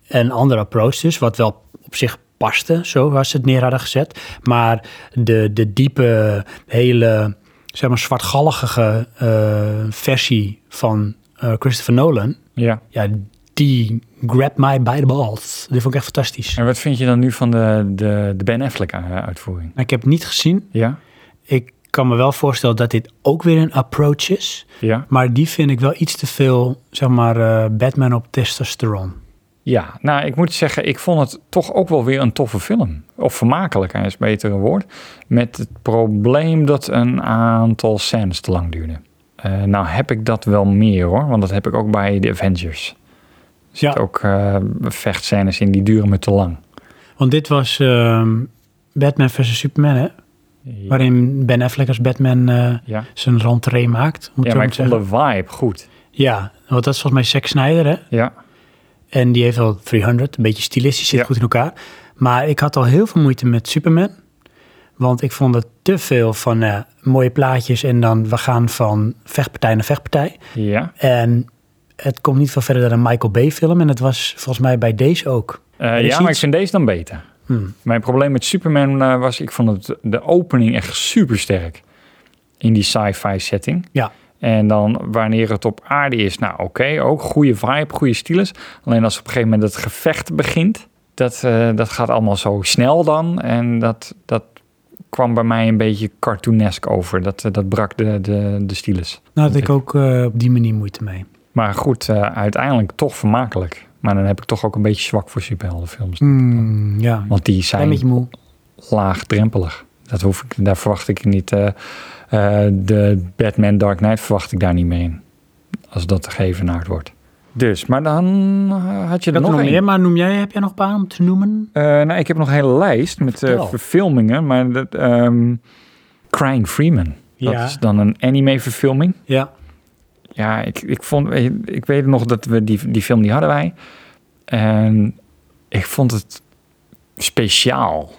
[SPEAKER 1] Een andere approach dus, wat wel op zich paste, zo waar ze het neer hadden gezet. Maar de, de diepe, hele, zeg maar, zwartgallige eh, versie van eh, Christopher Nolan,
[SPEAKER 2] ja.
[SPEAKER 1] ja, die grab my by the balls. Die vond ik echt fantastisch.
[SPEAKER 2] En wat vind je dan nu van de, de, de Ben eh, Affleck-uitvoering?
[SPEAKER 1] Ik heb het niet gezien.
[SPEAKER 2] Ja,
[SPEAKER 1] Ik kan me wel voorstellen dat dit ook weer een approach is.
[SPEAKER 2] ja.
[SPEAKER 1] Maar die vind ik wel iets te veel, zeg maar, eh, Batman op testosteron.
[SPEAKER 2] Ja, nou, ik moet zeggen, ik vond het toch ook wel weer een toffe film. Of vermakelijk, hij is een betere woord. Met het probleem dat een aantal scènes te lang duurden. Eh, nou heb ik dat wel meer hoor, want dat heb ik ook bij The Avengers. Er zitten
[SPEAKER 1] Ja.
[SPEAKER 2] ook eh vechtscènes in, die duren me te lang.
[SPEAKER 1] Want dit was ehm, Batman versus Superman, hè? Waarin Ben Affleck als Batman eh,
[SPEAKER 2] Ja,
[SPEAKER 1] zijn rentree maakt. Moet
[SPEAKER 2] ja
[SPEAKER 1] zo
[SPEAKER 2] maar
[SPEAKER 1] maar
[SPEAKER 2] ik vond
[SPEAKER 1] zeggen.
[SPEAKER 2] de vibe goed.
[SPEAKER 1] Ja, want dat is volgens mij Zack Snyder, hè?
[SPEAKER 2] Ja,
[SPEAKER 1] En die heeft wel 300, een beetje stilistisch, zit
[SPEAKER 2] Ja.
[SPEAKER 1] goed in elkaar. Maar ik had al heel veel moeite met Superman. Want ik vond het te veel van eh, mooie plaatjes en dan we gaan van vechtpartij naar vechtpartij.
[SPEAKER 2] ja.
[SPEAKER 1] En het komt niet veel verder dan een Michael Bay film. En dat was volgens mij bij deze ook.
[SPEAKER 2] Eh,
[SPEAKER 1] Er is
[SPEAKER 2] ja maar ik
[SPEAKER 1] iets-
[SPEAKER 2] vind deze dan beter.
[SPEAKER 1] Hmm.
[SPEAKER 2] Mijn probleem met Superman eh, was, ik vond het, de opening echt super sterk. In die sci-fi setting.
[SPEAKER 1] Ja.
[SPEAKER 2] En dan wanneer het op aarde is, nou oké, ook goede vibe, goede stylus. Alleen als op een gegeven moment het gevecht begint, dat, eh, dat gaat allemaal zo snel dan. En dat, dat kwam bij mij een beetje cartoonesk over. Dat, eh, dat brak de, de, de stylus.
[SPEAKER 1] Nou had ik ook eh, op die manier moeite mee.
[SPEAKER 2] Maar goed, eh, uiteindelijk toch vermakelijk. Maar dan heb ik toch ook een beetje zwak voor superheldenfilms.
[SPEAKER 1] Mm, ja,
[SPEAKER 2] Want die
[SPEAKER 1] een
[SPEAKER 2] zijn
[SPEAKER 1] beetje moe.
[SPEAKER 2] laagdrempelig. Dat hoef ik, daar verwacht ik niet. eh, eh, de Batman Dark Knight verwacht ik daar niet meer in. Als dat geëvenaard wordt. Dus, maar dan eh, had je
[SPEAKER 1] Ik had er
[SPEAKER 2] er nog
[SPEAKER 1] nog
[SPEAKER 2] één.
[SPEAKER 1] meer, maar noem jij, heb jij nog een paar om te noemen?
[SPEAKER 2] Eh, nou, ik heb nog een hele lijst met eh,
[SPEAKER 1] Vertel.
[SPEAKER 2] verfilmingen. Maar dat, ehm, Crying Freeman. Dat
[SPEAKER 1] ja.
[SPEAKER 2] is dan een anime-verfilming.
[SPEAKER 1] ja.
[SPEAKER 2] Ja, ik, ik, vond, eh, ik weet nog dat we die, die film die hadden wij. En ik vond het speciaal.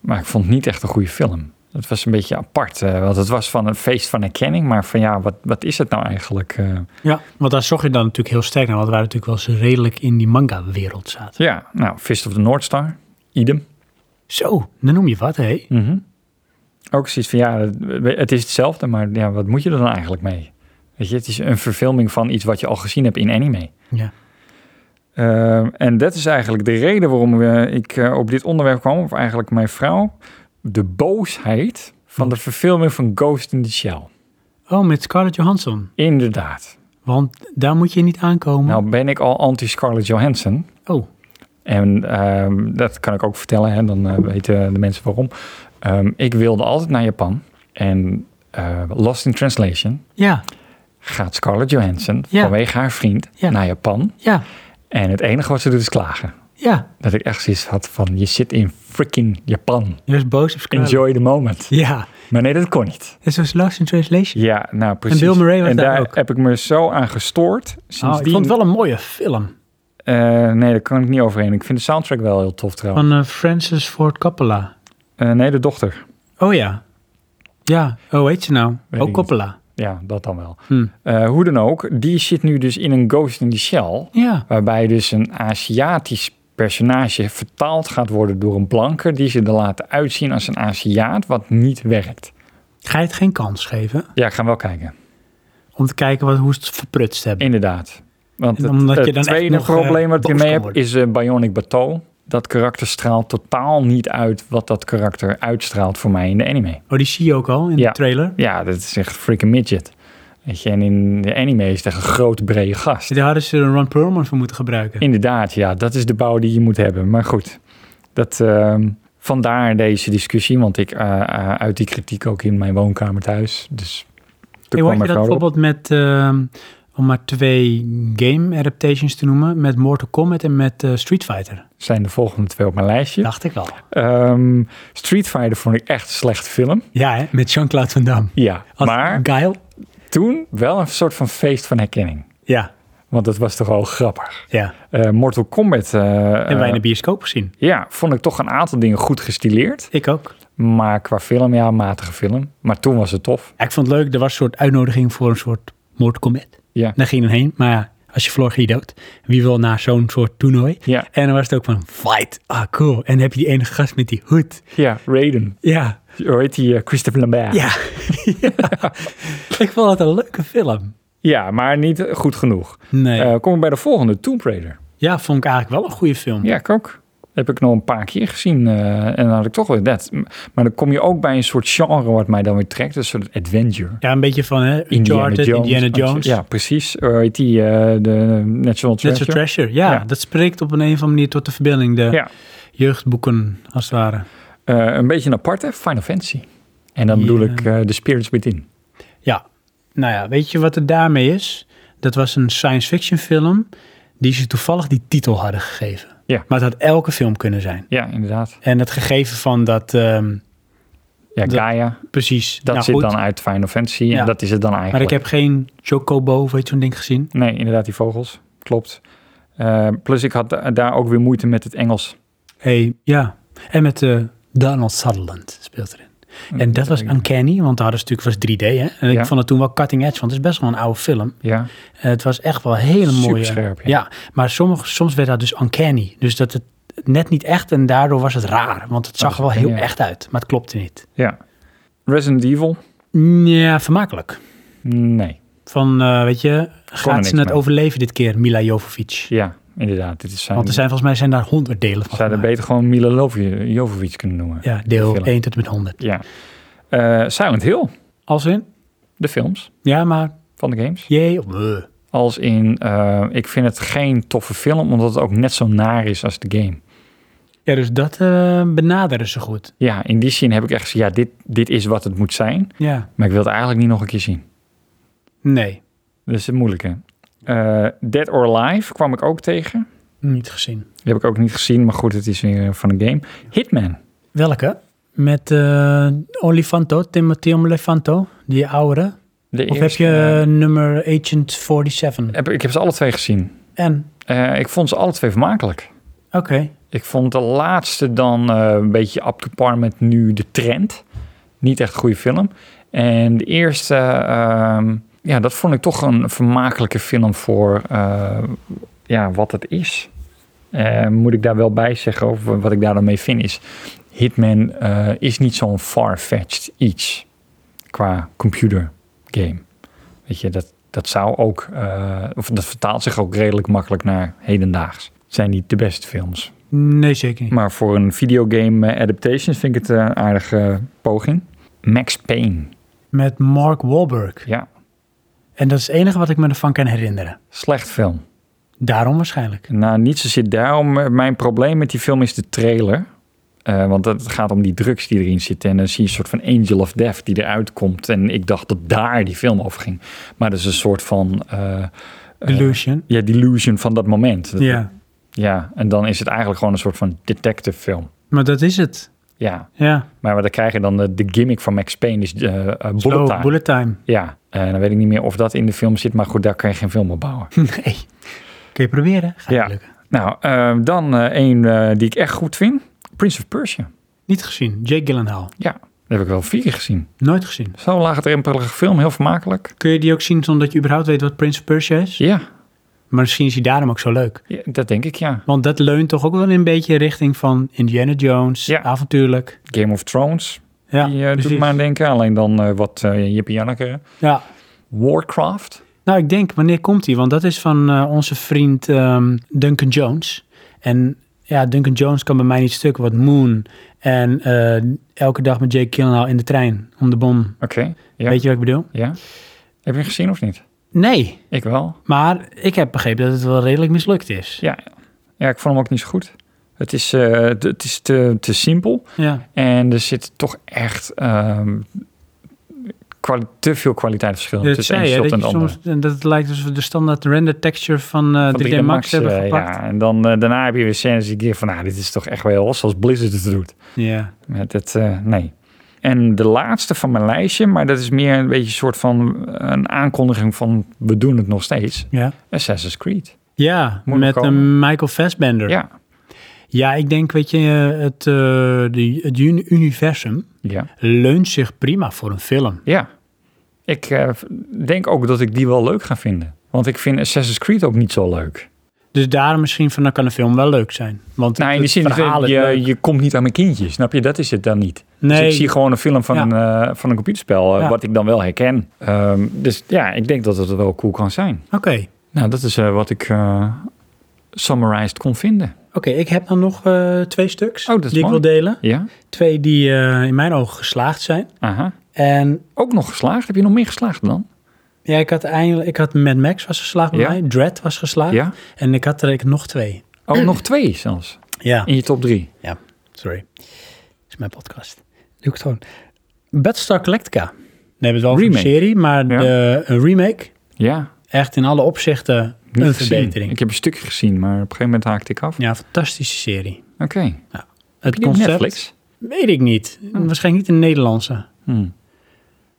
[SPEAKER 2] Maar ik vond het niet echt een goede film. Het was een beetje apart. eh, want het was van een feest van erkenning. Maar van ja, wat, wat is het nou eigenlijk? eh?
[SPEAKER 1] Ja, want daar zocht je dan natuurlijk heel sterk naar, want wij natuurlijk wel eens redelijk in die manga-wereld zaten.
[SPEAKER 2] ja, nou, Fist of the North Star. Idem.
[SPEAKER 1] Zo, dan noem je wat, hé.
[SPEAKER 2] Mhm. Ook zoiets van ja, het- het is hetzelfde. Maar ja, wat moet je er dan eigenlijk mee? Weet je, het is een verfilming van iets wat je al gezien hebt in anime.
[SPEAKER 1] Ja.
[SPEAKER 2] Ehm, en dat is eigenlijk de reden waarom eh, ik eh, op dit onderwerp kwam, of eigenlijk mijn vrouw. De boosheid van de verfilming van Ghost in the Shell.
[SPEAKER 1] Oh, met Scarlett Johansson.
[SPEAKER 2] Inderdaad.
[SPEAKER 1] Want daar moet je niet aankomen.
[SPEAKER 2] Nou ben ik al anti-Scarlett Johansson.
[SPEAKER 1] oh,
[SPEAKER 2] En ehm, dat kan ik ook vertellen, hè, dan eh, weten de mensen waarom. Ehm, ik wilde altijd naar Japan. En eh, Lost in Translation
[SPEAKER 1] ja,
[SPEAKER 2] gaat Scarlett Johansson
[SPEAKER 1] Ja.
[SPEAKER 2] vanwege haar vriend
[SPEAKER 1] Ja.
[SPEAKER 2] naar Japan.
[SPEAKER 1] ja,
[SPEAKER 2] En het enige wat ze doet is klagen.
[SPEAKER 1] ja.
[SPEAKER 2] Dat ik echt zoiets had van, je zit in freaking Japan.
[SPEAKER 1] Je was boos op Scarlett.
[SPEAKER 2] Enjoy the moment.
[SPEAKER 1] Ja,
[SPEAKER 2] Maar nee, dat kon niet.
[SPEAKER 1] het was Lost in Translation.
[SPEAKER 2] Ja, nou precies.
[SPEAKER 1] Bill Murray was
[SPEAKER 2] En
[SPEAKER 1] daar
[SPEAKER 2] daar
[SPEAKER 1] ook.
[SPEAKER 2] heb ik me zo aan gestoord.
[SPEAKER 1] Oh, ik
[SPEAKER 2] Sindsdien,
[SPEAKER 1] vond het wel een mooie film.
[SPEAKER 2] Eh, nee, daar kan ik niet overheen. Ik vind de soundtrack wel heel tof trouwens.
[SPEAKER 1] Van eh, Francis Ford Coppola.
[SPEAKER 2] Eh, nee, de dochter.
[SPEAKER 1] Oh ja. Ja, oh heet ze nou?
[SPEAKER 2] Weet ik
[SPEAKER 1] oh,
[SPEAKER 2] niet.
[SPEAKER 1] Coppola.
[SPEAKER 2] Ja, dat dan wel.
[SPEAKER 1] Hm.
[SPEAKER 2] Eh, hoe dan ook, die zit nu dus in een Ghost in the Shell.
[SPEAKER 1] Ja.
[SPEAKER 2] Waarbij dus een Aziatisch personage vertaald gaat worden door een blanker. Die ze er laten uitzien als een Aziat, wat niet werkt.
[SPEAKER 1] Ga je het geen kans geven
[SPEAKER 2] Ja, gaan we wel kijken.
[SPEAKER 1] om te kijken wat, hoe ze het verprutst hebben?
[SPEAKER 2] Inderdaad. Want
[SPEAKER 1] En
[SPEAKER 2] het,
[SPEAKER 1] omdat je
[SPEAKER 2] het
[SPEAKER 1] dan echt
[SPEAKER 2] tweede
[SPEAKER 1] nog, eh,
[SPEAKER 2] probleem wat je
[SPEAKER 1] boos
[SPEAKER 2] mee
[SPEAKER 1] kan
[SPEAKER 2] hebt is eh, Bionic Bateau. Dat karakter straalt totaal niet uit wat dat karakter uitstraalt voor mij in de anime.
[SPEAKER 1] Oh, die zie je ook al in
[SPEAKER 2] Ja.
[SPEAKER 1] de trailer.
[SPEAKER 2] Ja, dat is echt freaking midget. Weet je, en in de anime is het echt een groot brede gast.
[SPEAKER 1] Daar hadden ze een Ron Perlman voor moeten gebruiken.
[SPEAKER 2] Inderdaad, ja, dat is de bouw die je moet hebben. Maar goed, dat, ehm, vandaar deze discussie. Want ik eh, eh, uit die kritiek ook in mijn woonkamer thuis. Dus toen
[SPEAKER 1] Hey,
[SPEAKER 2] kwam
[SPEAKER 1] hoorde je
[SPEAKER 2] mijn
[SPEAKER 1] dat
[SPEAKER 2] vrouw erop.
[SPEAKER 1] bijvoorbeeld met, ehm, om maar twee game adaptations te noemen, met Mortal Kombat en met eh, Street Fighter?
[SPEAKER 2] Zijn de volgende twee op mijn lijstje.
[SPEAKER 1] Dacht ik wel.
[SPEAKER 2] Ehm, Street Fighter vond ik echt een slecht film.
[SPEAKER 1] Ja, hè? met Jean-Claude Van Damme.
[SPEAKER 2] Ja,
[SPEAKER 1] Als
[SPEAKER 2] maar
[SPEAKER 1] Guile?
[SPEAKER 2] toen wel een soort van feest van herkenning.
[SPEAKER 1] Ja,
[SPEAKER 2] Want dat was toch wel grappig.
[SPEAKER 1] ja.
[SPEAKER 2] Eh, Mortal Kombat. eh,
[SPEAKER 1] En wij in
[SPEAKER 2] eh,
[SPEAKER 1] de bioscoop gezien.
[SPEAKER 2] ja, vond ik toch een aantal dingen goed gestileerd.
[SPEAKER 1] Ik ook.
[SPEAKER 2] Maar qua film, ja, een matige film. Maar toen was het tof.
[SPEAKER 1] Ja, ik vond het leuk, er was een soort uitnodiging voor een soort Mortal Kombat.
[SPEAKER 2] Ja.
[SPEAKER 1] Daar ging je dan heen, maar ja, als je verloor, ging je dood. Wie wil naar zo'n soort toernooi?
[SPEAKER 2] Ja,
[SPEAKER 1] En dan was het ook van, fight, ah cool. En dan heb je die ene gast met die hoed.
[SPEAKER 2] ja Raiden.
[SPEAKER 1] Ja,
[SPEAKER 2] Hoe heet die? eh, Christopher Lambert.
[SPEAKER 1] ja. Ja. Ik vond het een leuke film.
[SPEAKER 2] Ja, maar niet goed genoeg.
[SPEAKER 1] Nee.
[SPEAKER 2] Eh, kom ik bij de volgende, Tomb Raider.
[SPEAKER 1] ja, vond ik eigenlijk wel een goede film.
[SPEAKER 2] Ja, ik ook. Heb ik nog een paar keer gezien eh, en dan had ik toch weer dat. M- Maar dan kom je ook bij een soort genre wat mij dan weer trekt. Een soort adventure.
[SPEAKER 1] Ja, een beetje van hè, Uncharted, Indiana Jones.
[SPEAKER 2] Ja, precies. Hoe heet die? eh, de National
[SPEAKER 1] Net zo'n
[SPEAKER 2] Treasure.
[SPEAKER 1] Treasure, ja,
[SPEAKER 2] Ja.
[SPEAKER 1] Dat spreekt op een, een of andere manier tot de verbeelding. De
[SPEAKER 2] Ja.
[SPEAKER 1] jeugdboeken, als het ware.
[SPEAKER 2] Eh, een beetje een aparte, Final Fantasy. En dan
[SPEAKER 1] Ja.
[SPEAKER 2] bedoel ik eh The Spirits Within.
[SPEAKER 1] Ja, nou ja, weet je wat er daarmee is? Dat was een science fiction film die ze toevallig die titel hadden gegeven.
[SPEAKER 2] Ja.
[SPEAKER 1] Maar het had elke film kunnen zijn.
[SPEAKER 2] Ja, inderdaad.
[SPEAKER 1] En het gegeven van dat, ehm,
[SPEAKER 2] Ja,
[SPEAKER 1] Dat-
[SPEAKER 2] Gaia.
[SPEAKER 1] precies.
[SPEAKER 2] Dat
[SPEAKER 1] nou,
[SPEAKER 2] zit
[SPEAKER 1] goed,
[SPEAKER 2] dan uit Final Fantasy
[SPEAKER 1] Ja.
[SPEAKER 2] en dat is het dan eigenlijk.
[SPEAKER 1] Maar ik heb geen Chocobo, of weet je zo'n ding gezien?
[SPEAKER 2] Nee, inderdaad, die vogels. Klopt. Eh, plus ik had da- daar ook weer moeite met het Engels.
[SPEAKER 1] hey, ja. En met eh, Donald Sutherland speelt erin. En dat was uncanny, want daar hadden ze natuurlijk was 3D. Hè? En
[SPEAKER 2] Ja.
[SPEAKER 1] ik vond het toen wel cutting edge, want het is best wel een oude film.
[SPEAKER 2] Ja,
[SPEAKER 1] En het was echt wel een hele mooie.
[SPEAKER 2] Superscherp, ja.
[SPEAKER 1] Ja, maar sommige, soms werd dat dus uncanny. Dus dat het net niet echt en daardoor was het raar. Want het zag
[SPEAKER 2] is
[SPEAKER 1] er wel heel
[SPEAKER 2] uncanny, ja.
[SPEAKER 1] echt uit, maar het klopte niet.
[SPEAKER 2] ja. Resident Evil?
[SPEAKER 1] Ja, vermakelijk.
[SPEAKER 2] Nee.
[SPEAKER 1] van, eh, weet je, gaat
[SPEAKER 2] niks
[SPEAKER 1] ze het
[SPEAKER 2] mee.
[SPEAKER 1] overleven dit keer, Mila Jovovic?
[SPEAKER 2] Ja, inderdaad. Dit is zijn,
[SPEAKER 1] Want er zijn volgens mij zijn daar honderddelen delen van.
[SPEAKER 2] zouden
[SPEAKER 1] gemaakt.
[SPEAKER 2] beter gewoon Mila Lovie- Jovovich kunnen noemen.
[SPEAKER 1] Ja, deel
[SPEAKER 2] film.
[SPEAKER 1] 1 tot en met 100.
[SPEAKER 2] Ja. Eh, Silent Hill,
[SPEAKER 1] Als in?
[SPEAKER 2] de films
[SPEAKER 1] Ja, maar
[SPEAKER 2] van de games.
[SPEAKER 1] jee of eh.
[SPEAKER 2] Als in, eh, ik vind het geen toffe film, omdat het ook net zo naar is als de game.
[SPEAKER 1] Ja, dus dat eh, benaderen ze goed.
[SPEAKER 2] Ja, in die zin heb ik echt gezegd, ja, dit, dit is wat het moet zijn.
[SPEAKER 1] Ja,
[SPEAKER 2] Maar ik wil het eigenlijk niet nog een keer zien.
[SPEAKER 1] nee,
[SPEAKER 2] Dat is het moeilijke. Eh, Dead or Alive kwam ik ook tegen.
[SPEAKER 1] niet gezien.
[SPEAKER 2] Die heb ik ook niet gezien, maar goed, het is weer van een game. Hitman.
[SPEAKER 1] Welke? Met eh Olifanto, Timothy Olifanto, die oude.
[SPEAKER 2] De
[SPEAKER 1] Of heb
[SPEAKER 2] eerste,
[SPEAKER 1] je
[SPEAKER 2] eh,
[SPEAKER 1] eh, nummer Agent 47?
[SPEAKER 2] heb, ik heb ze alle twee gezien.
[SPEAKER 1] En,
[SPEAKER 2] Eh, ik vond ze alle twee vermakelijk.
[SPEAKER 1] oké,
[SPEAKER 2] Ik vond de laatste dan eh, een beetje up to par met nu de trend. Niet echt een goede film. En de eerste, ehm, ja, dat vond ik toch een vermakelijke film voor eh, ja, wat het is. Eh, moet ik daar wel bij zeggen over wat ik daar dan mee vind is... Hitman eh, is niet zo'n far-fetched iets qua computergame. Weet je, dat, dat zou ook... eh, of dat vertaalt zich ook redelijk makkelijk naar hedendaags. Het zijn niet de beste films.
[SPEAKER 1] nee zeker niet.
[SPEAKER 2] Maar voor een videogame eh, adaptation vind ik het eh, een aardige poging. Max Payne.
[SPEAKER 1] Met Mark Wahlberg.
[SPEAKER 2] Ja,
[SPEAKER 1] En dat is het enige wat ik me ervan kan herinneren.
[SPEAKER 2] slecht film.
[SPEAKER 1] Daarom waarschijnlijk.
[SPEAKER 2] Nou, niet zozeer daarom. eh, Mijn probleem met die film is de trailer. Eh, want het gaat om die drugs die erin zitten. En dan zie je een soort van Angel of Death die eruit komt. En ik dacht dat daar die film over ging. Maar dat is een soort van... eh, eh,
[SPEAKER 1] Delusion.
[SPEAKER 2] ja, delusion van dat moment. Dat-
[SPEAKER 1] ja,
[SPEAKER 2] ja. En dan is het eigenlijk gewoon een soort van detective film.
[SPEAKER 1] maar dat is het.
[SPEAKER 2] Ja.
[SPEAKER 1] Ja,
[SPEAKER 2] Maar dan krijg je dan eh, de, de gimmick van Max Payne is eh eh, bullet
[SPEAKER 1] Slow
[SPEAKER 2] time.
[SPEAKER 1] Oh, bullet time.
[SPEAKER 2] Ja, en dan weet ik niet meer of dat in de film zit, maar goed, daar kan je geen film op bouwen.
[SPEAKER 1] Nee. Kun je proberen? Gaat
[SPEAKER 2] Ja.
[SPEAKER 1] niet lukken.
[SPEAKER 2] nou, eh, dan eh een eh, die ik echt goed vind: Prince of Persia.
[SPEAKER 1] Niet gezien. Jake Gyllenhaal.
[SPEAKER 2] Ja, dat heb ik wel vier keer gezien.
[SPEAKER 1] Nooit gezien.
[SPEAKER 2] Zo'n laagdrempelige film, heel vermakelijk.
[SPEAKER 1] Kun je die ook zien zonder dat je überhaupt weet wat Prince of Persia is?
[SPEAKER 2] Ja,
[SPEAKER 1] Maar misschien is hij daarom ook zo leuk.
[SPEAKER 2] ja, dat denk ik ja.
[SPEAKER 1] Want dat leunt toch ook wel een beetje richting van Indiana Jones,
[SPEAKER 2] Ja.
[SPEAKER 1] avontuurlijk.
[SPEAKER 2] Game of Thrones,
[SPEAKER 1] Ja,
[SPEAKER 2] die eh, doet
[SPEAKER 1] precies.
[SPEAKER 2] me aan denken. Alleen dan eh, wat eh Jippie Janneke.
[SPEAKER 1] ja.
[SPEAKER 2] Warcraft.
[SPEAKER 1] Nou, ik denk, wanneer komt die? Want dat is van eh, onze vriend ehm, Duncan Jones. En ja, Duncan Jones kan bij mij niet stuk, wat Moon. En eh, elke dag met Jake Gyllenhaal in de trein om de bom.
[SPEAKER 2] Oké, ja.
[SPEAKER 1] Weet je wat ik bedoel?
[SPEAKER 2] ja. Heb je hem gezien of niet?
[SPEAKER 1] Nee,
[SPEAKER 2] Ik wel.
[SPEAKER 1] maar ik heb begrepen dat het wel redelijk mislukt is.
[SPEAKER 2] Ja, ja ik vond hem ook niet zo goed. Het is, eh, t- het is te, te simpel.
[SPEAKER 1] Ja,
[SPEAKER 2] En er zit toch echt ehm, kwali- te veel kwaliteitsverschil
[SPEAKER 1] dat
[SPEAKER 2] tussen
[SPEAKER 1] zei
[SPEAKER 2] een
[SPEAKER 1] je,
[SPEAKER 2] shot
[SPEAKER 1] dat,
[SPEAKER 2] en het
[SPEAKER 1] je
[SPEAKER 2] andere.
[SPEAKER 1] soms, en dat het lijkt alsof we de standaard render texture van, eh
[SPEAKER 2] Van
[SPEAKER 1] 3D, Max hebben
[SPEAKER 2] eh,
[SPEAKER 1] gepakt.
[SPEAKER 2] ja, en dan, eh, daarna heb je weer scènes die ik denk van, nou, dit is toch echt wel los als Blizzard het doet.
[SPEAKER 1] Ja.
[SPEAKER 2] Met het, eh, nee. En de laatste van mijn lijstje, maar dat is meer een beetje een soort van eh, een aankondiging van we doen het nog steeds.
[SPEAKER 1] Ja,
[SPEAKER 2] Assassin's Creed.
[SPEAKER 1] ja
[SPEAKER 2] Moet nog
[SPEAKER 1] met
[SPEAKER 2] komen.
[SPEAKER 1] een Michael Fassbender.
[SPEAKER 2] Ja,
[SPEAKER 1] Ja, ik denk, weet je, eh, het, eh, die, het uni- universum
[SPEAKER 2] ja,
[SPEAKER 1] leunt zich prima voor een film.
[SPEAKER 2] ja. Ik eh, denk ook dat ik die wel leuk ga vinden. Want ik vind Assassin's Creed ook niet zo leuk.
[SPEAKER 1] Dus daarom misschien van, dan kan een film wel leuk zijn. Want
[SPEAKER 2] Nou, in de
[SPEAKER 1] het
[SPEAKER 2] zin
[SPEAKER 1] verhaal
[SPEAKER 2] dat
[SPEAKER 1] is
[SPEAKER 2] je,
[SPEAKER 1] leuk.
[SPEAKER 2] je komt niet aan mijn kindje, snap je? Dat is het dan niet. Dus
[SPEAKER 1] Nee,
[SPEAKER 2] ik zie gewoon een film van,
[SPEAKER 1] Ja.
[SPEAKER 2] een, eh, van een computerspel, eh,
[SPEAKER 1] Ja.
[SPEAKER 2] wat ik dan wel herken. Ehm, dus ja, ik denk dat het wel cool kan zijn.
[SPEAKER 1] oké.
[SPEAKER 2] Nou, dat is eh, wat ik eh, summarized kon vinden.
[SPEAKER 1] Oké, ik heb dan nog eh, twee stuks
[SPEAKER 2] Oh, dat is
[SPEAKER 1] die ik
[SPEAKER 2] mooi.
[SPEAKER 1] wil delen.
[SPEAKER 2] Ja,
[SPEAKER 1] Twee die eh, in mijn ogen geslaagd zijn.
[SPEAKER 2] aha.
[SPEAKER 1] En
[SPEAKER 2] Ook nog geslaagd? Heb je nog meer geslaagd dan?
[SPEAKER 1] ja, ik had eindelijk, ik had Mad Max was geslaagd bij
[SPEAKER 2] Ja.
[SPEAKER 1] mij, Dread was geslaagd.
[SPEAKER 2] Ja.
[SPEAKER 1] En ik had er ik, nog twee.
[SPEAKER 2] Oh, nog twee zelfs.
[SPEAKER 1] Ja,
[SPEAKER 2] In je top drie.
[SPEAKER 1] sorry. Dat is mijn podcast. Doe ik het gewoon. Battlestar Galactica. Nee, we hebben het wel over
[SPEAKER 2] Remake.
[SPEAKER 1] een serie, maar
[SPEAKER 2] Ja.
[SPEAKER 1] de, een remake.
[SPEAKER 2] Ja,
[SPEAKER 1] Echt in alle opzichten
[SPEAKER 2] niet
[SPEAKER 1] een
[SPEAKER 2] gezien.
[SPEAKER 1] verbetering.
[SPEAKER 2] Ik heb een stukje gezien, maar op een gegeven moment haakte ik af.
[SPEAKER 1] Ja, fantastische serie.
[SPEAKER 2] Oké.
[SPEAKER 1] Het
[SPEAKER 2] Heb je die op
[SPEAKER 1] concept
[SPEAKER 2] Netflix?
[SPEAKER 1] weet ik niet. Waarschijnlijk niet de Nederlandse.
[SPEAKER 2] Hmm.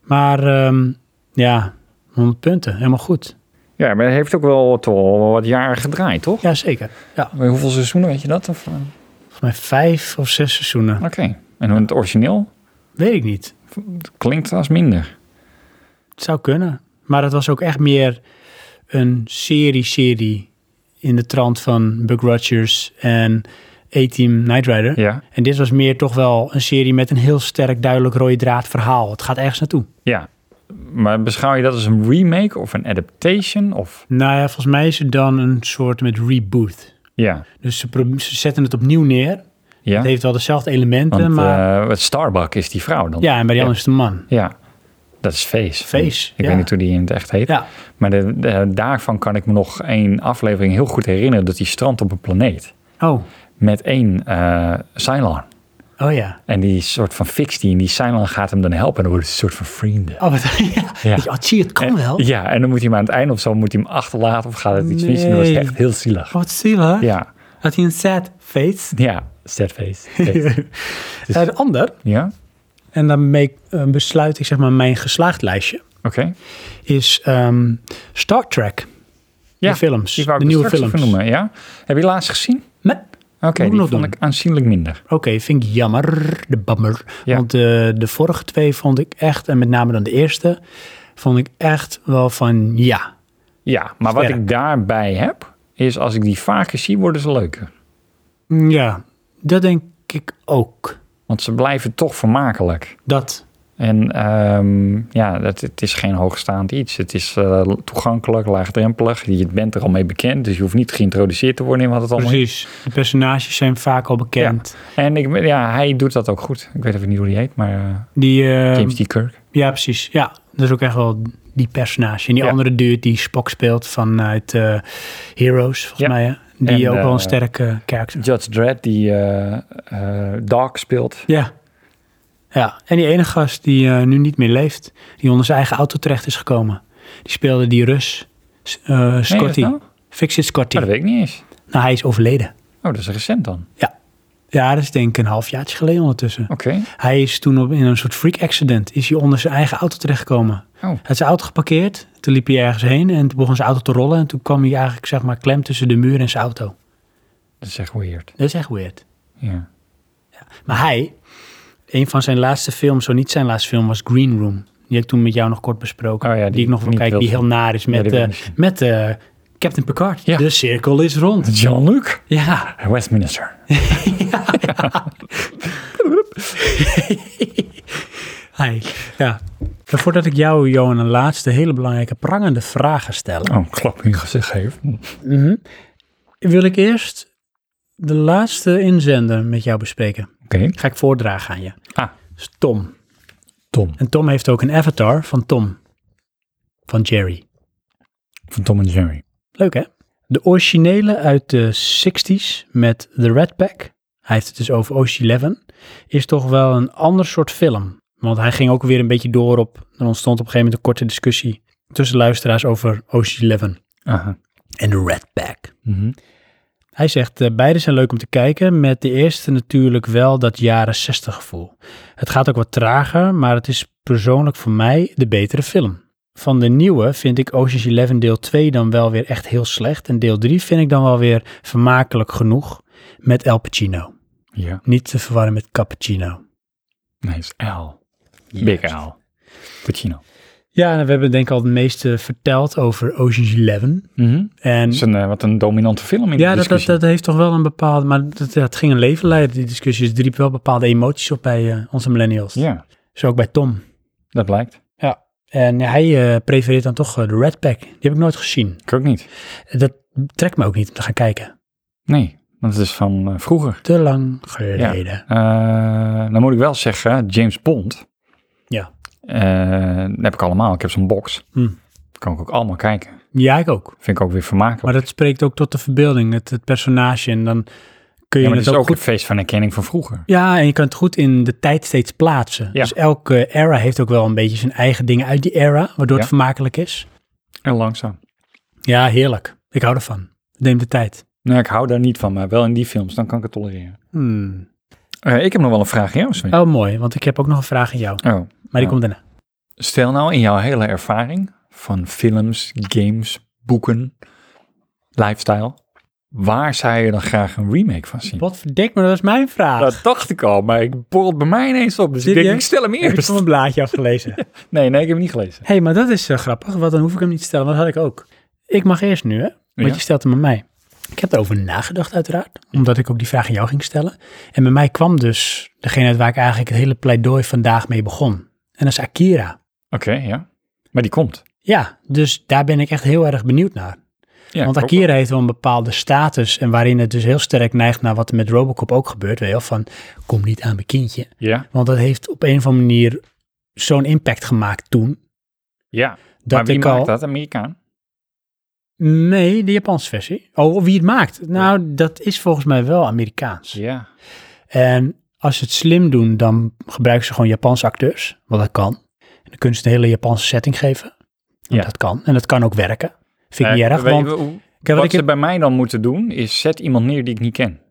[SPEAKER 1] Maar ehm, ja, 100 punten. Helemaal goed.
[SPEAKER 2] Ja, maar hij heeft ook wel toch wel wat jaren gedraaid, toch?
[SPEAKER 1] Jazeker. Ja,
[SPEAKER 2] Bij Hoeveel seizoenen, weet je dat? Of, eh?
[SPEAKER 1] volgens mij vijf of zes seizoenen.
[SPEAKER 2] Oké. En dan het origineel
[SPEAKER 1] Weet ik niet.
[SPEAKER 2] klinkt als minder.
[SPEAKER 1] Het zou kunnen. Maar het was ook echt meer een serie-serie in de trant van Buck Rogers en A-Team Knight Rider.
[SPEAKER 2] Ja.
[SPEAKER 1] En dit was meer toch wel een serie met een heel sterk, duidelijk rode draad verhaal. Het gaat ergens naartoe.
[SPEAKER 2] Ja. Maar beschouw je dat als een remake of een adaptation? Of?
[SPEAKER 1] Nou ja, volgens mij is het dan een soort met reboot.
[SPEAKER 2] Ja,
[SPEAKER 1] Dus ze, pro- ze zetten het opnieuw neer.
[SPEAKER 2] ja.
[SPEAKER 1] Het heeft wel dezelfde elementen,
[SPEAKER 2] want
[SPEAKER 1] maar...
[SPEAKER 2] eh, Starbuck is die vrouw dan.
[SPEAKER 1] ja, en bij die
[SPEAKER 2] ja.
[SPEAKER 1] andere is het een man.
[SPEAKER 2] Ja, dat is Face.
[SPEAKER 1] Face,
[SPEAKER 2] Ik
[SPEAKER 1] ja.
[SPEAKER 2] weet niet hoe die in het echt heet.
[SPEAKER 1] Ja,
[SPEAKER 2] Maar de, de- daarvan kan ik me nog één aflevering heel goed herinneren... dat die strandt op een planeet
[SPEAKER 1] oh,
[SPEAKER 2] met één eh Cylon.
[SPEAKER 1] oh ja.
[SPEAKER 2] En die soort van fix die en die Cylon gaat hem dan helpen... en dan worden ze een soort van vrienden.
[SPEAKER 1] Oh, wat, ja.
[SPEAKER 2] Ja. Eh,
[SPEAKER 1] Ja, zie, het kan wel.
[SPEAKER 2] Ja, en dan moet hij hem aan het einde of zo moet hij hem achterlaten... of gaat het iets mis en dat is
[SPEAKER 1] Nee. Oh.
[SPEAKER 2] echt heel zielig.
[SPEAKER 1] Wat zielig.
[SPEAKER 2] Ja,
[SPEAKER 1] Had hij een sad face?
[SPEAKER 2] ja, sad face. Sad. Dus-
[SPEAKER 1] Hij had een Eh, ander.
[SPEAKER 2] ja,
[SPEAKER 1] En daarmee eh, besluit ik zeg maar mijn geslaagd lijstje.
[SPEAKER 2] oké.
[SPEAKER 1] Is ehm, Star Trek.
[SPEAKER 2] Ja,
[SPEAKER 1] de films.
[SPEAKER 2] Die wou ik dus
[SPEAKER 1] de nieuwe
[SPEAKER 2] straks
[SPEAKER 1] films.
[SPEAKER 2] even noemen, ja. Heb je laatst gezien?
[SPEAKER 1] Nee.
[SPEAKER 2] Oké,
[SPEAKER 1] Moet
[SPEAKER 2] die
[SPEAKER 1] nog
[SPEAKER 2] vond
[SPEAKER 1] doen.
[SPEAKER 2] ik aanzienlijk minder.
[SPEAKER 1] Oké, vind ik jammer. De bammer.
[SPEAKER 2] Ja.
[SPEAKER 1] Want de, de vorige twee vond ik echt, en met name dan de eerste, vond ik echt wel van ja.
[SPEAKER 2] Ja, maar wat
[SPEAKER 1] Sterk.
[SPEAKER 2] ik daarbij heb, is als ik die vaker zie, worden ze leuker.
[SPEAKER 1] Ja, dat denk ik ook.
[SPEAKER 2] Want ze blijven toch vermakelijk.
[SPEAKER 1] Dat.
[SPEAKER 2] En ehm, ja, het, het is geen hoogstaand iets. Het is eh, toegankelijk, laagdrempelig. Je bent er al mee bekend, dus je hoeft niet geïntroduceerd te worden in wat het allemaal is.
[SPEAKER 1] Precies. De personages zijn vaak al bekend.
[SPEAKER 2] En ik, ja, hij doet dat ook goed. Ik weet even niet hoe die heet, maar eh,
[SPEAKER 1] Die, eh,
[SPEAKER 2] James D. Kirk.
[SPEAKER 1] Ja, precies. Ja, dat is ook echt wel die personage. En die
[SPEAKER 2] Ja.
[SPEAKER 1] andere dude die Spock speelt vanuit eh, Heroes, volgens
[SPEAKER 2] Ja.
[SPEAKER 1] mij. Hè? Die
[SPEAKER 2] En,
[SPEAKER 1] ook wel een
[SPEAKER 2] eh,
[SPEAKER 1] sterke karakter.
[SPEAKER 2] Judge Dredd, die eh Dark speelt.
[SPEAKER 1] Ja. ja. En die ene gast die eh, nu niet meer leeft, die onder zijn eigen auto terecht is gekomen. Die speelde die Rus, S- eh,
[SPEAKER 2] Nee,
[SPEAKER 1] Scotty.
[SPEAKER 2] is dat nou? Oh,
[SPEAKER 1] Fix it Scotty.
[SPEAKER 2] dat weet ik niet eens.
[SPEAKER 1] Nou, hij is overleden.
[SPEAKER 2] Oh, dat is recent dan.
[SPEAKER 1] Ja, dat is denk ik een halfjaartje geleden ondertussen.
[SPEAKER 2] Oké.
[SPEAKER 1] Hij is toen op, in een soort freak accident, is hij onder zijn eigen auto terechtgekomen.
[SPEAKER 2] Oh.
[SPEAKER 1] Hij had zijn auto geparkeerd, toen liep hij ergens heen en toen begon zijn auto te rollen. En toen kwam hij eigenlijk zeg maar klem tussen de muur en zijn auto.
[SPEAKER 2] Dat is echt weird.
[SPEAKER 1] Dat is echt weird.
[SPEAKER 2] Ja.
[SPEAKER 1] Maar hij, een van zijn laatste films, zo niet zijn laatste film, was Green Room. Die heb ik toen met jou nog kort besproken.
[SPEAKER 2] Oh ja,
[SPEAKER 1] die,
[SPEAKER 2] die
[SPEAKER 1] ik nog wil
[SPEAKER 2] niet
[SPEAKER 1] kijken,
[SPEAKER 2] wil
[SPEAKER 1] die heel naar is
[SPEAKER 2] Ja,
[SPEAKER 1] met,
[SPEAKER 2] die wil
[SPEAKER 1] eh,
[SPEAKER 2] ik niet zien.
[SPEAKER 1] met eh, Captain Picard.
[SPEAKER 2] Ja.
[SPEAKER 1] De cirkel is rond.
[SPEAKER 2] Jean-Luc
[SPEAKER 1] Ja,
[SPEAKER 2] Westminster.
[SPEAKER 1] hij. Ja. En voordat ik jou, Johan, een laatste hele belangrijke prangende vraag ga stellen,
[SPEAKER 2] Oh, een klap in je gezicht geven.
[SPEAKER 1] mhm, wil ik eerst de laatste inzender met jou bespreken.
[SPEAKER 2] Oké,
[SPEAKER 1] Ga ik voordragen aan je.
[SPEAKER 2] Ah.
[SPEAKER 1] Dat is Tom.
[SPEAKER 2] Tom.
[SPEAKER 1] En Tom heeft ook een avatar van Tom. Van Jerry.
[SPEAKER 2] Van Tom en Jerry.
[SPEAKER 1] Leuk hè? De originele uit de 60s met The Red Pack, hij heeft het dus over Ocean Eleven, is toch wel een ander soort film. Want hij ging ook weer een beetje door op, er ontstond op een gegeven moment een korte discussie tussen luisteraars over Ocean Eleven
[SPEAKER 2] Aha.
[SPEAKER 1] en The Red Pack.
[SPEAKER 2] Mhm.
[SPEAKER 1] Hij zegt, eh, beide zijn leuk om te kijken, met de eerste natuurlijk wel dat jaren 60 gevoel. Het gaat ook wat trager, maar het is persoonlijk voor mij de betere film. Van de nieuwe vind ik Ocean's Eleven deel 2 dan wel weer echt heel slecht en deel 3 vind ik dan wel weer vermakelijk genoeg met El Pacino.
[SPEAKER 2] Ja.
[SPEAKER 1] Niet te verwarren met Cappuccino.
[SPEAKER 2] Nee, is L. Big L. Pacino.
[SPEAKER 1] Ja, en we hebben denk ik al het meeste verteld over Ocean's Eleven. En
[SPEAKER 2] Dat is een, eh, wat een dominante film
[SPEAKER 1] Ja,
[SPEAKER 2] in de
[SPEAKER 1] dat, dat,
[SPEAKER 2] discussie.
[SPEAKER 1] dat heeft toch wel een bepaalde... Maar dat, dat ging een leven leiden, die discussie. Dus het riep wel bepaalde emoties op bij eh, onze millennials.
[SPEAKER 2] Ja,
[SPEAKER 1] Zo ook bij Tom.
[SPEAKER 2] dat blijkt.
[SPEAKER 1] En hij eh, prefereert dan toch eh, de Red Pack. Die heb ik nooit gezien.
[SPEAKER 2] Ik ook niet.
[SPEAKER 1] Dat trekt me ook niet om te gaan kijken.
[SPEAKER 2] Nee, want het is van eh, vroeger.
[SPEAKER 1] Te lang geleden.
[SPEAKER 2] Eh, dan moet ik wel zeggen, James Bond.
[SPEAKER 1] Ja.
[SPEAKER 2] Eh, dat heb ik allemaal. Ik heb zo'n box.
[SPEAKER 1] Hm.
[SPEAKER 2] Kan ik ook allemaal kijken.
[SPEAKER 1] Ja, ik ook.
[SPEAKER 2] Vind ik ook weer vermakelijk.
[SPEAKER 1] Maar dat spreekt ook tot de verbeelding, het, het personage. En dan kun je
[SPEAKER 2] ja, maar
[SPEAKER 1] het
[SPEAKER 2] het is
[SPEAKER 1] ook,
[SPEAKER 2] ook
[SPEAKER 1] goed...
[SPEAKER 2] het feest van herkenning van vroeger.
[SPEAKER 1] Ja, en je kan het goed in de tijd steeds plaatsen.
[SPEAKER 2] Ja.
[SPEAKER 1] Dus elke era heeft ook wel een beetje zijn eigen dingen uit die era, waardoor
[SPEAKER 2] Ja.
[SPEAKER 1] het vermakelijk is.
[SPEAKER 2] En langzaam.
[SPEAKER 1] Ja, heerlijk. Ik hou ervan. Neem de tijd.
[SPEAKER 2] Nee, Nou, ik hou daar niet van, maar wel in die films. Dan kan ik het tolereren.
[SPEAKER 1] Hmm.
[SPEAKER 2] Eh, ik heb nog wel een vraag aan jou, Sven.
[SPEAKER 1] Oh, mooi, want ik heb ook nog een vraag aan jou.
[SPEAKER 2] Oh.
[SPEAKER 1] Maar die
[SPEAKER 2] Ja.
[SPEAKER 1] komt daarna.
[SPEAKER 2] Stel nou in jouw hele ervaring van films, games, boeken, lifestyle. Waar zou je dan graag een remake van zien?
[SPEAKER 1] Wat verdik me, dat was mijn vraag.
[SPEAKER 2] Dat dacht ik al, maar ik borrelt bij mij ineens op. Dus ik denk,
[SPEAKER 1] Serieus?
[SPEAKER 2] ik stel hem
[SPEAKER 1] heb ik
[SPEAKER 2] eerst.
[SPEAKER 1] van mijn blaadje afgelezen. Hé,
[SPEAKER 2] Nee, nee, ik heb hem niet gelezen.
[SPEAKER 1] hey, maar dat is eh, grappig, want dan hoef ik hem niet te stellen, want dat had ik ook. Ik mag eerst nu, hè? Want
[SPEAKER 2] Ja.
[SPEAKER 1] je stelt hem aan mij. Ik heb erover nagedacht, uiteraard, omdat ik ook die vraag aan jou ging stellen. En bij mij kwam dus degene uit waar ik eigenlijk het hele pleidooi vandaag mee begon. En dat is Akira.
[SPEAKER 2] Oké, ja. Maar die komt.
[SPEAKER 1] Ja, dus daar ben ik echt heel erg benieuwd naar.
[SPEAKER 2] Ja,
[SPEAKER 1] Want
[SPEAKER 2] ik ook
[SPEAKER 1] Akira heeft wel een bepaalde status en waarin het dus heel sterk neigt naar wat er met Robocop ook gebeurt. Weet je wel, van kom niet aan mijn kindje.
[SPEAKER 2] wel. Ja,
[SPEAKER 1] Want dat heeft op een of andere manier zo'n impact gemaakt toen.
[SPEAKER 2] ja.
[SPEAKER 1] Dat
[SPEAKER 2] maar wie
[SPEAKER 1] ik
[SPEAKER 2] maakt
[SPEAKER 1] al.
[SPEAKER 2] dat? Amerikaan?
[SPEAKER 1] Nee, de Japanse versie. Oh, wie het maakt? Nou, dat is volgens mij wel Amerikaans.
[SPEAKER 2] Ja.
[SPEAKER 1] En als ze het slim doen, dan gebruiken ze gewoon Japanse acteurs. Want dat kan. En dan kunnen ze een hele Japanse setting geven. Want
[SPEAKER 2] Ja.
[SPEAKER 1] Dat kan. En dat kan ook werken. Vind ik
[SPEAKER 2] Eh,
[SPEAKER 1] niet erg,
[SPEAKER 2] weet je
[SPEAKER 1] want
[SPEAKER 2] hoe-
[SPEAKER 1] wat
[SPEAKER 2] wat
[SPEAKER 1] ik
[SPEAKER 2] ze
[SPEAKER 1] heb-
[SPEAKER 2] bij mij dan moeten doen, is zet iemand neer die ik niet ken.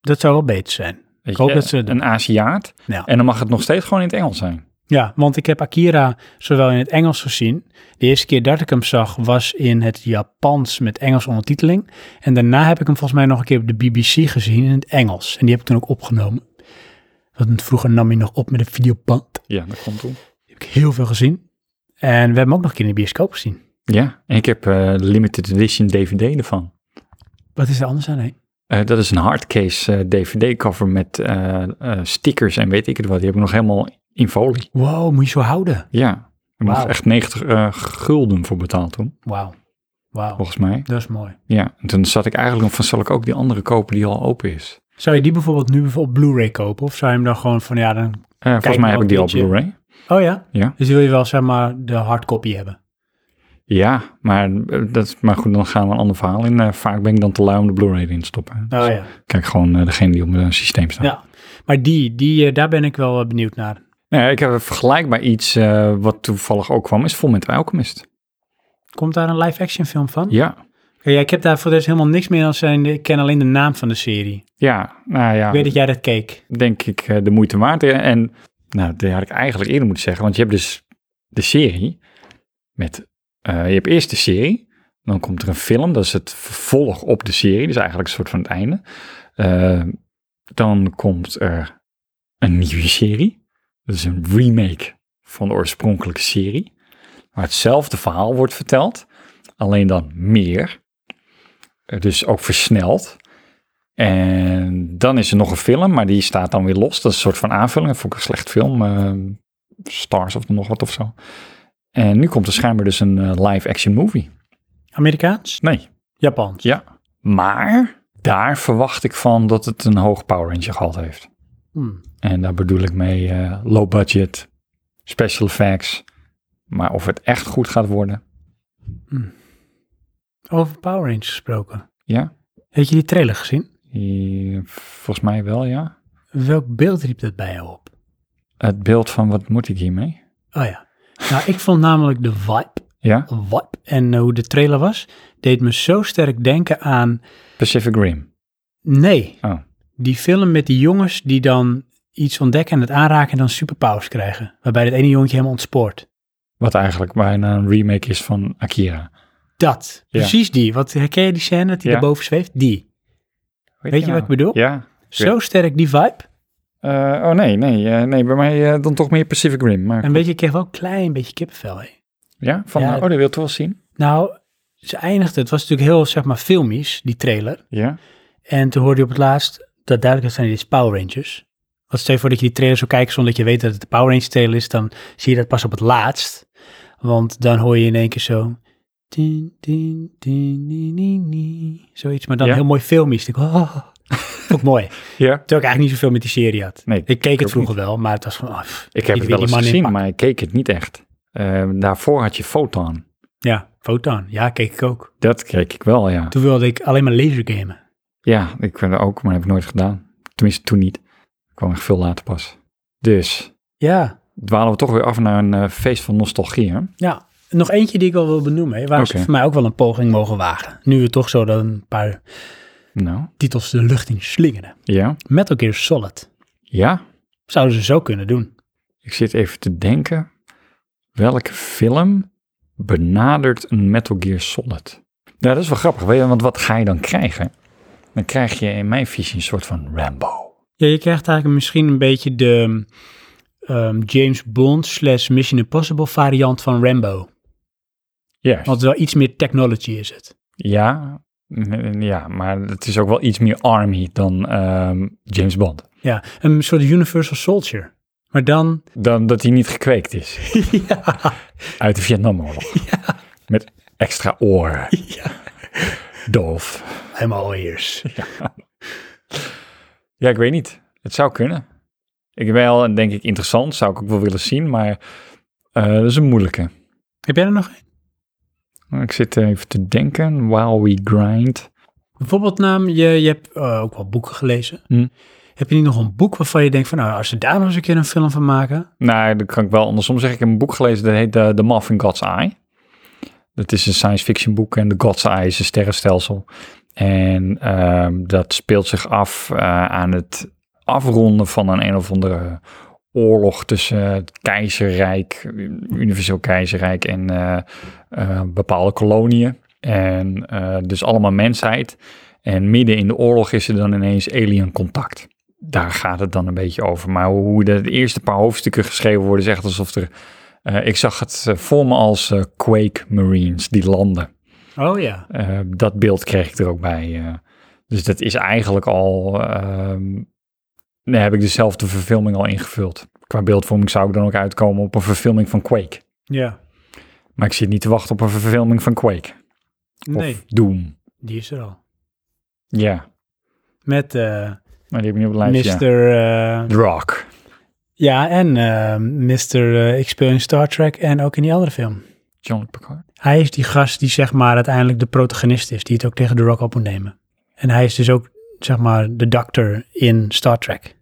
[SPEAKER 1] dat zou wel beter zijn.
[SPEAKER 2] Weet
[SPEAKER 1] Ik hoop
[SPEAKER 2] je, eh,
[SPEAKER 1] dat ze het doen.
[SPEAKER 2] Een Aziat.
[SPEAKER 1] Ja.
[SPEAKER 2] En dan mag het nog steeds gewoon in het Engels zijn.
[SPEAKER 1] Ja, want ik heb Akira zowel in het Engels gezien. De eerste keer dat ik hem zag was in het Japans met Engels ondertiteling. En daarna heb ik hem volgens mij nog een keer op de BBC gezien in het Engels. En die heb ik toen ook opgenomen. Want vroeger nam hij nog op met een videoband. Die
[SPEAKER 2] Ja, dat komt toe.
[SPEAKER 1] heb ik heel veel gezien. En we hebben hem ook nog een keer in de bioscoop gezien.
[SPEAKER 2] Ja, en ik heb eh, limited edition DVD ervan.
[SPEAKER 1] Wat is er anders aan heen?
[SPEAKER 2] Eh, dat is een hardcase eh, DVD cover met eh, eh, stickers en weet ik het wat. Die heb ik nog helemaal in folie.
[SPEAKER 1] Wow, moet je zo houden.
[SPEAKER 2] Ja, ik moest
[SPEAKER 1] Wauw.
[SPEAKER 2] echt 90 eh, gulden voor betaald toen,
[SPEAKER 1] Wauw. Wauw,
[SPEAKER 2] volgens mij.
[SPEAKER 1] dat is mooi.
[SPEAKER 2] Ja, en toen zat ik eigenlijk van, zal ik ook die andere kopen die al open is?
[SPEAKER 1] Zou je die bijvoorbeeld nu op Blu-ray kopen? Of zou je hem dan gewoon van, ja, dan...
[SPEAKER 2] Eh, volgens mij heb
[SPEAKER 1] nou,
[SPEAKER 2] ik die al op
[SPEAKER 1] weet je.
[SPEAKER 2] Blu-ray.
[SPEAKER 1] Oh ja?
[SPEAKER 2] Ja.
[SPEAKER 1] Dus wil je wel, zeg maar, de hardcopy hebben?
[SPEAKER 2] Ja, maar, eh, dat, is- maar goed, dan gaan we een ander verhaal in. Eh, vaak ben ik dan te lui om de Blu-ray erin te stoppen. Dus
[SPEAKER 1] Oh ja.
[SPEAKER 2] Kijk gewoon eh, degene die op mijn systeem staat.
[SPEAKER 1] Ja, maar die, die eh, daar ben ik wel eh, benieuwd naar.
[SPEAKER 2] Nou ja, ik heb een vergelijkbaar iets eh, wat toevallig ook kwam, is Full Metal Alchemist.
[SPEAKER 1] Komt daar een live-action film van?
[SPEAKER 2] Ja,
[SPEAKER 1] Oké, ja, ik heb daar voor de rest helemaal niks meer dan zijn. Ik ken alleen de naam van de serie.
[SPEAKER 2] ja, nou ja.
[SPEAKER 1] Ik weet dat jij dat keek.
[SPEAKER 2] denk ik eh, de moeite waard. En nou, dat had ik eigenlijk eerder moeten zeggen, want je hebt dus de serie met, eh, je hebt eerst de serie, dan komt er een film, dat is het vervolg op de serie, dus eigenlijk een soort van het einde. Eh, dan komt er een nieuwe serie, dat is een remake van de oorspronkelijke serie, waar hetzelfde verhaal wordt verteld, alleen dan meer, Eh, dus ook versneld. En dan is er nog een film, maar die staat dan weer los. Dat is een soort van aanvulling. Dat vond ik een slecht film. eh, Stars of nog wat of zo. En nu komt er schijnbaar dus een eh, live-action movie.
[SPEAKER 1] Amerikaans?
[SPEAKER 2] Nee.
[SPEAKER 1] Japans?
[SPEAKER 2] Ja. Maar daar verwacht ik van dat het een hoog Power Ranger gehad heeft.
[SPEAKER 1] Hmm.
[SPEAKER 2] En daar bedoel ik mee eh, low budget, special effects. Maar of het echt goed gaat worden.
[SPEAKER 1] Over Power Rangers gesproken.
[SPEAKER 2] Ja,
[SPEAKER 1] Heb je die trailer gezien?
[SPEAKER 2] eh, volgens mij wel ja.
[SPEAKER 1] Welk beeld riep dat bij jou op?
[SPEAKER 2] Het beeld van wat moet ik hiermee?
[SPEAKER 1] Oh ja. Nou, ik vond namelijk de vibe,
[SPEAKER 2] Ja,
[SPEAKER 1] vibe en eh, hoe de trailer was, deed me zo sterk denken aan
[SPEAKER 2] Pacific Rim.
[SPEAKER 1] Nee.
[SPEAKER 2] Oh.
[SPEAKER 1] Die film met die jongens die dan iets ontdekken en het aanraken en dan superpowers krijgen. Waarbij het ene jongetje helemaal ontspoort.
[SPEAKER 2] Wat eigenlijk bijna een remake is van Akira.
[SPEAKER 1] Dat.
[SPEAKER 2] Ja.
[SPEAKER 1] Precies die. Wat herken je die scène dat hij
[SPEAKER 2] Ja.
[SPEAKER 1] daarboven zweeft? Die. Weet je
[SPEAKER 2] nou?
[SPEAKER 1] wat ik bedoel?
[SPEAKER 2] Ja.
[SPEAKER 1] Zo sterk die vibe.
[SPEAKER 2] Eh, oh nee, nee, eh, nee, bij mij eh, dan toch meer Pacific Rim. Maar
[SPEAKER 1] En weet je, ik kreeg wel een klein beetje kippenvel. Hè.
[SPEAKER 2] ja, van,
[SPEAKER 1] Ja.
[SPEAKER 2] eh, oh, dat wil ik toch wel zien.
[SPEAKER 1] Nou, ze eindigde. Het was natuurlijk heel, zeg maar, filmisch, die trailer.
[SPEAKER 2] Ja.
[SPEAKER 1] En toen hoorde je op het laatst dat duidelijk zijn, dit is Power Rangers. Want stel je voor dat je die trailer zou kijken zonder dat je weet dat het de Power Rangers trailer is, dan zie je dat pas op het laatst. Want dan hoor je in één keer zo... Din, din, din, din, din, din. zoiets, maar dan
[SPEAKER 2] Ja.
[SPEAKER 1] heel mooi filmisch. Ik denk, oh, ook mooi. Terwijl
[SPEAKER 2] Ja.
[SPEAKER 1] ik eigenlijk niet zoveel met die serie had.
[SPEAKER 2] Nee,
[SPEAKER 1] ik keek het
[SPEAKER 2] ook
[SPEAKER 1] vroeger wel, maar het was van... ah, pff,
[SPEAKER 2] Ik heb
[SPEAKER 1] niet
[SPEAKER 2] het
[SPEAKER 1] weer
[SPEAKER 2] wel eens
[SPEAKER 1] die man in
[SPEAKER 2] gezien,
[SPEAKER 1] pak.
[SPEAKER 2] maar ik keek het niet echt. Eh, daarvoor had je Photon.
[SPEAKER 1] Ja, Photon. Ja, keek ik ook.
[SPEAKER 2] Dat keek ik wel, ja.
[SPEAKER 1] Toen wilde ik alleen maar lasergamen.
[SPEAKER 2] Ja, ik ben er ook, maar heb ik nooit gedaan. Tenminste, toen niet. Ik kwam echt veel later pas. Dus,
[SPEAKER 1] Ja.
[SPEAKER 2] dwalen we toch weer af naar een eh, feest van nostalgie, hè?
[SPEAKER 1] Ja, nog eentje die ik al wil benoemen, hè, waar ze
[SPEAKER 2] Oké.
[SPEAKER 1] voor mij ook wel een poging mogen wagen. Nu we toch zo dat een paar
[SPEAKER 2] Nou,
[SPEAKER 1] titels de lucht in slingeren.
[SPEAKER 2] ja.
[SPEAKER 1] Metal Gear Solid.
[SPEAKER 2] Ja,
[SPEAKER 1] Zouden ze zo kunnen doen.
[SPEAKER 2] Ik zit even te denken. Welke film benadert een Metal Gear Solid? Nou, dat is wel grappig, weet je, want wat ga je dan krijgen? Dan krijg je in mijn visie een soort van Rambo.
[SPEAKER 1] Ja, je krijgt eigenlijk misschien een beetje de ehm, James Bond slash Mission Impossible variant van Rambo.
[SPEAKER 2] Ja.
[SPEAKER 1] Want wel iets meer technology is het.
[SPEAKER 2] Ja, mm, ja, maar het is ook wel iets meer Army dan ehm, James Bond.
[SPEAKER 1] Ja, een soort Universal Soldier. Maar Maar dan,
[SPEAKER 2] Dan dat hij niet gekweekt is.
[SPEAKER 1] ja,
[SPEAKER 2] Uit de Vietnamoorlog. Met extra oren. Doof.
[SPEAKER 1] helemaal ears.
[SPEAKER 2] Ja, ik weet niet. Het zou kunnen. Ik wel, denk ik, interessant. Zou ik ook wel willen zien, maar eh, dat is een moeilijke.
[SPEAKER 1] Heb jij er nog een?
[SPEAKER 2] Ik zit even te denken. While we grind.
[SPEAKER 1] Bijvoorbeeld naam, je, je hebt eh, ook wel boeken gelezen.
[SPEAKER 2] Hm.
[SPEAKER 1] Heb je niet nog een boek waarvan je denkt van, nou, als ze daar nog eens een keer een film van maken.
[SPEAKER 2] Nou, dat kan ik wel andersom zeggen. Ik heb een boek gelezen, dat heet eh, The Moth in God's Eye. Dat is een science fiction boek en The God's Eye is een sterrenstelsel. En ehm, dat speelt zich af eh, aan het afronden van een een of andere oorlog tussen het keizerrijk, universeel keizerrijk en eh, eh, bepaalde koloniën. En eh, dus allemaal mensheid. En midden in de oorlog is er dan ineens alien contact. Daar gaat het dan een beetje over. Maar hoe de, de eerste paar hoofdstukken geschreven worden, is echt alsof er... eh, ik zag het eh, voor me als eh, Quake Marines, die landen.
[SPEAKER 1] Oh ja.
[SPEAKER 2] Eh, dat beeld kreeg ik er ook bij. eh. dus dat is eigenlijk al. ehm daar heb ik dezelfde verfilming al ingevuld. Qua beeldvorming zou ik dan ook uitkomen op een verfilming van Quake.
[SPEAKER 1] Ja.
[SPEAKER 2] Maar ik zit niet te wachten op een verfilming van Quake. Of
[SPEAKER 1] Nee,
[SPEAKER 2] Doom.
[SPEAKER 1] die is er al.
[SPEAKER 2] Ja,
[SPEAKER 1] Met eh
[SPEAKER 2] maar die heb ik niet op het
[SPEAKER 1] Mr.
[SPEAKER 2] lijstje. ja.
[SPEAKER 1] eh,
[SPEAKER 2] The Rock.
[SPEAKER 1] ja, en eh Mr. eh, ik speel in Star Trek en ook in die andere film.
[SPEAKER 2] John Picard.
[SPEAKER 1] Hij is die gast die zeg maar uiteindelijk de protagonist is, die het ook tegen The Rock op moet nemen. En hij is dus ook zeg maar de dokter in Star Trek.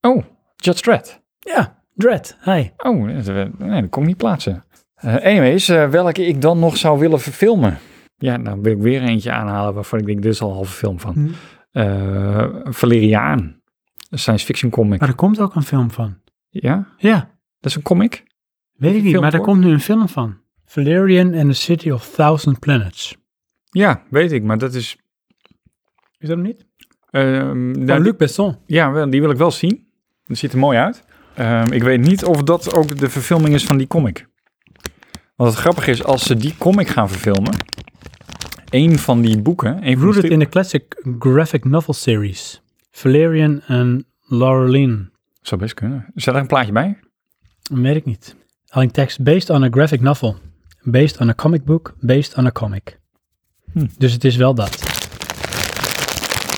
[SPEAKER 2] Oh, Judge Dredd.
[SPEAKER 1] Ja, Dredd, hi.
[SPEAKER 2] Oh, dat- eh, nee, dat kon ik niet plaatsen. Eh anyways, eh, welke ik dan nog zou willen verfilmen? Ja, nou wil ik weer eentje aanhalen waarvan ik denk, dit is al een halve film van.
[SPEAKER 1] Hm.
[SPEAKER 2] eh Valeriaan. Een science fiction comic.
[SPEAKER 1] Maar er komt ook een film van.
[SPEAKER 2] Ja?
[SPEAKER 1] Ja,
[SPEAKER 2] Dat is een comic?
[SPEAKER 1] weet ik niet,
[SPEAKER 2] Film
[SPEAKER 1] maar er
[SPEAKER 2] voor?
[SPEAKER 1] komt nu een film van. Valerian and the City of Thousand Planets.
[SPEAKER 2] Ja, weet ik, maar dat is...
[SPEAKER 1] Is dat hem niet?
[SPEAKER 2] ehm,
[SPEAKER 1] Van
[SPEAKER 2] nou,
[SPEAKER 1] Luc Besson.
[SPEAKER 2] die- ja, wel, die wil ik wel zien. Dat ziet er mooi uit. Ehm, ik weet niet of dat ook de verfilming is van die comic. Want het grappige is, als ze die comic gaan verfilmen... Een van die boeken... Een van die
[SPEAKER 1] Rooted
[SPEAKER 2] strip-
[SPEAKER 1] in the classic graphic novel series. Valerian and Laureline.
[SPEAKER 2] Zou best kunnen. Zet er een plaatje bij?
[SPEAKER 1] Weet ik niet. Alleen tekst based on a graphic novel. Based on a comic book. Based on a comic.
[SPEAKER 2] Hm.
[SPEAKER 1] Dus het is wel dat.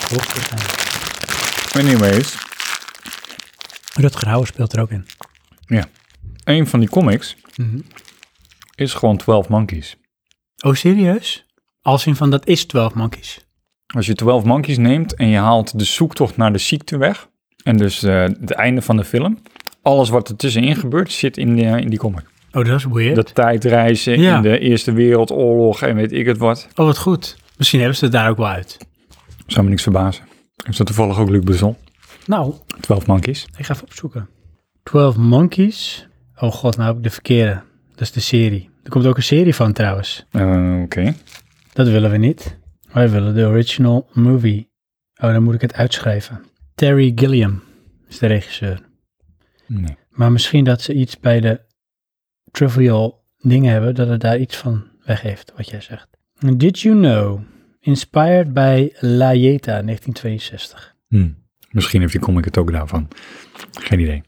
[SPEAKER 1] Hoogstwaarschijnlijk.
[SPEAKER 2] Anyways...
[SPEAKER 1] Rutger Hauer speelt er ook in.
[SPEAKER 2] Een van die comics is gewoon 12 Monkeys.
[SPEAKER 1] Oh, serieus? Als in van dat is 12 Monkeys.
[SPEAKER 2] Als je 12 Monkeys neemt en je haalt de zoektocht naar de ziekte weg. En dus eh, het einde van de film. Alles wat er tussenin gebeurt zit in, de, in die comic.
[SPEAKER 1] Oh, dat is weird.
[SPEAKER 2] Dat tijdreizen
[SPEAKER 1] Ja.
[SPEAKER 2] in de Eerste Wereldoorlog en weet ik het wat.
[SPEAKER 1] Oh, wat goed. Misschien hebben ze het daar ook wel uit.
[SPEAKER 2] Zou me niks verbazen. Is dat toevallig ook Luc Besson?
[SPEAKER 1] Nou,
[SPEAKER 2] 12 Monkeys.
[SPEAKER 1] ik ga even opzoeken. 12 Monkeys. Oh god, nou heb ik de verkeerde. Dat is de serie. Er komt ook een serie van trouwens.
[SPEAKER 2] Eh, Oké.
[SPEAKER 1] Dat willen we niet. Wij willen de original movie. Oh, dan moet ik het uitschrijven. Terry Gilliam is de regisseur.
[SPEAKER 2] Nee.
[SPEAKER 1] Maar misschien dat ze iets bij de trivial dingen hebben, dat het daar iets van weg heeft, wat jij zegt. Did you know? Inspired by La Yeta 1962.
[SPEAKER 2] Hm. Misschien heeft die comic het ook daarvan. Geen idee.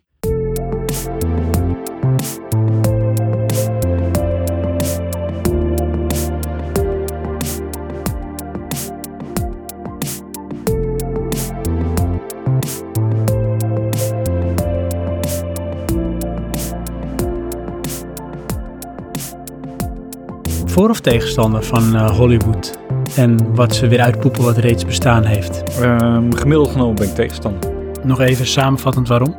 [SPEAKER 1] Voor of tegenstander van eh, Hollywood en wat ze weer uitpoepen wat reeds bestaan heeft.
[SPEAKER 2] Ehm, gemiddeld genomen ben ik tegenstander.
[SPEAKER 1] Nog even samenvattend waarom.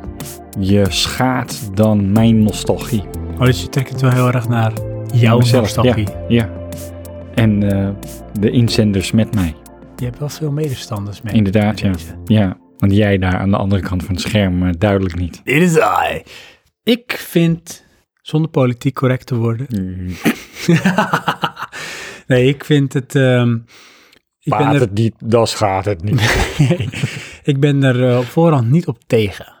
[SPEAKER 2] Je schaadt dan mijn nostalgie.
[SPEAKER 1] Oh, dus je trekt het wel heel erg naar jouw
[SPEAKER 2] Mezelf,
[SPEAKER 1] nostalgie.
[SPEAKER 2] Ja. En eh, de inzenders met mij.
[SPEAKER 1] Je hebt wel veel medestanders mee.
[SPEAKER 2] Inderdaad, ja.
[SPEAKER 1] Deze.
[SPEAKER 2] Ja, want jij daar aan de andere kant van het scherm eh, duidelijk niet.
[SPEAKER 1] Dit is I. Ik vind, zonder politiek correct te worden.
[SPEAKER 2] Mm,
[SPEAKER 1] nee, ik vind het. ehm, ik, ben er,
[SPEAKER 2] het niet, dan schaadt het niet.
[SPEAKER 1] ik ben er eh, op voorhand niet op tegen.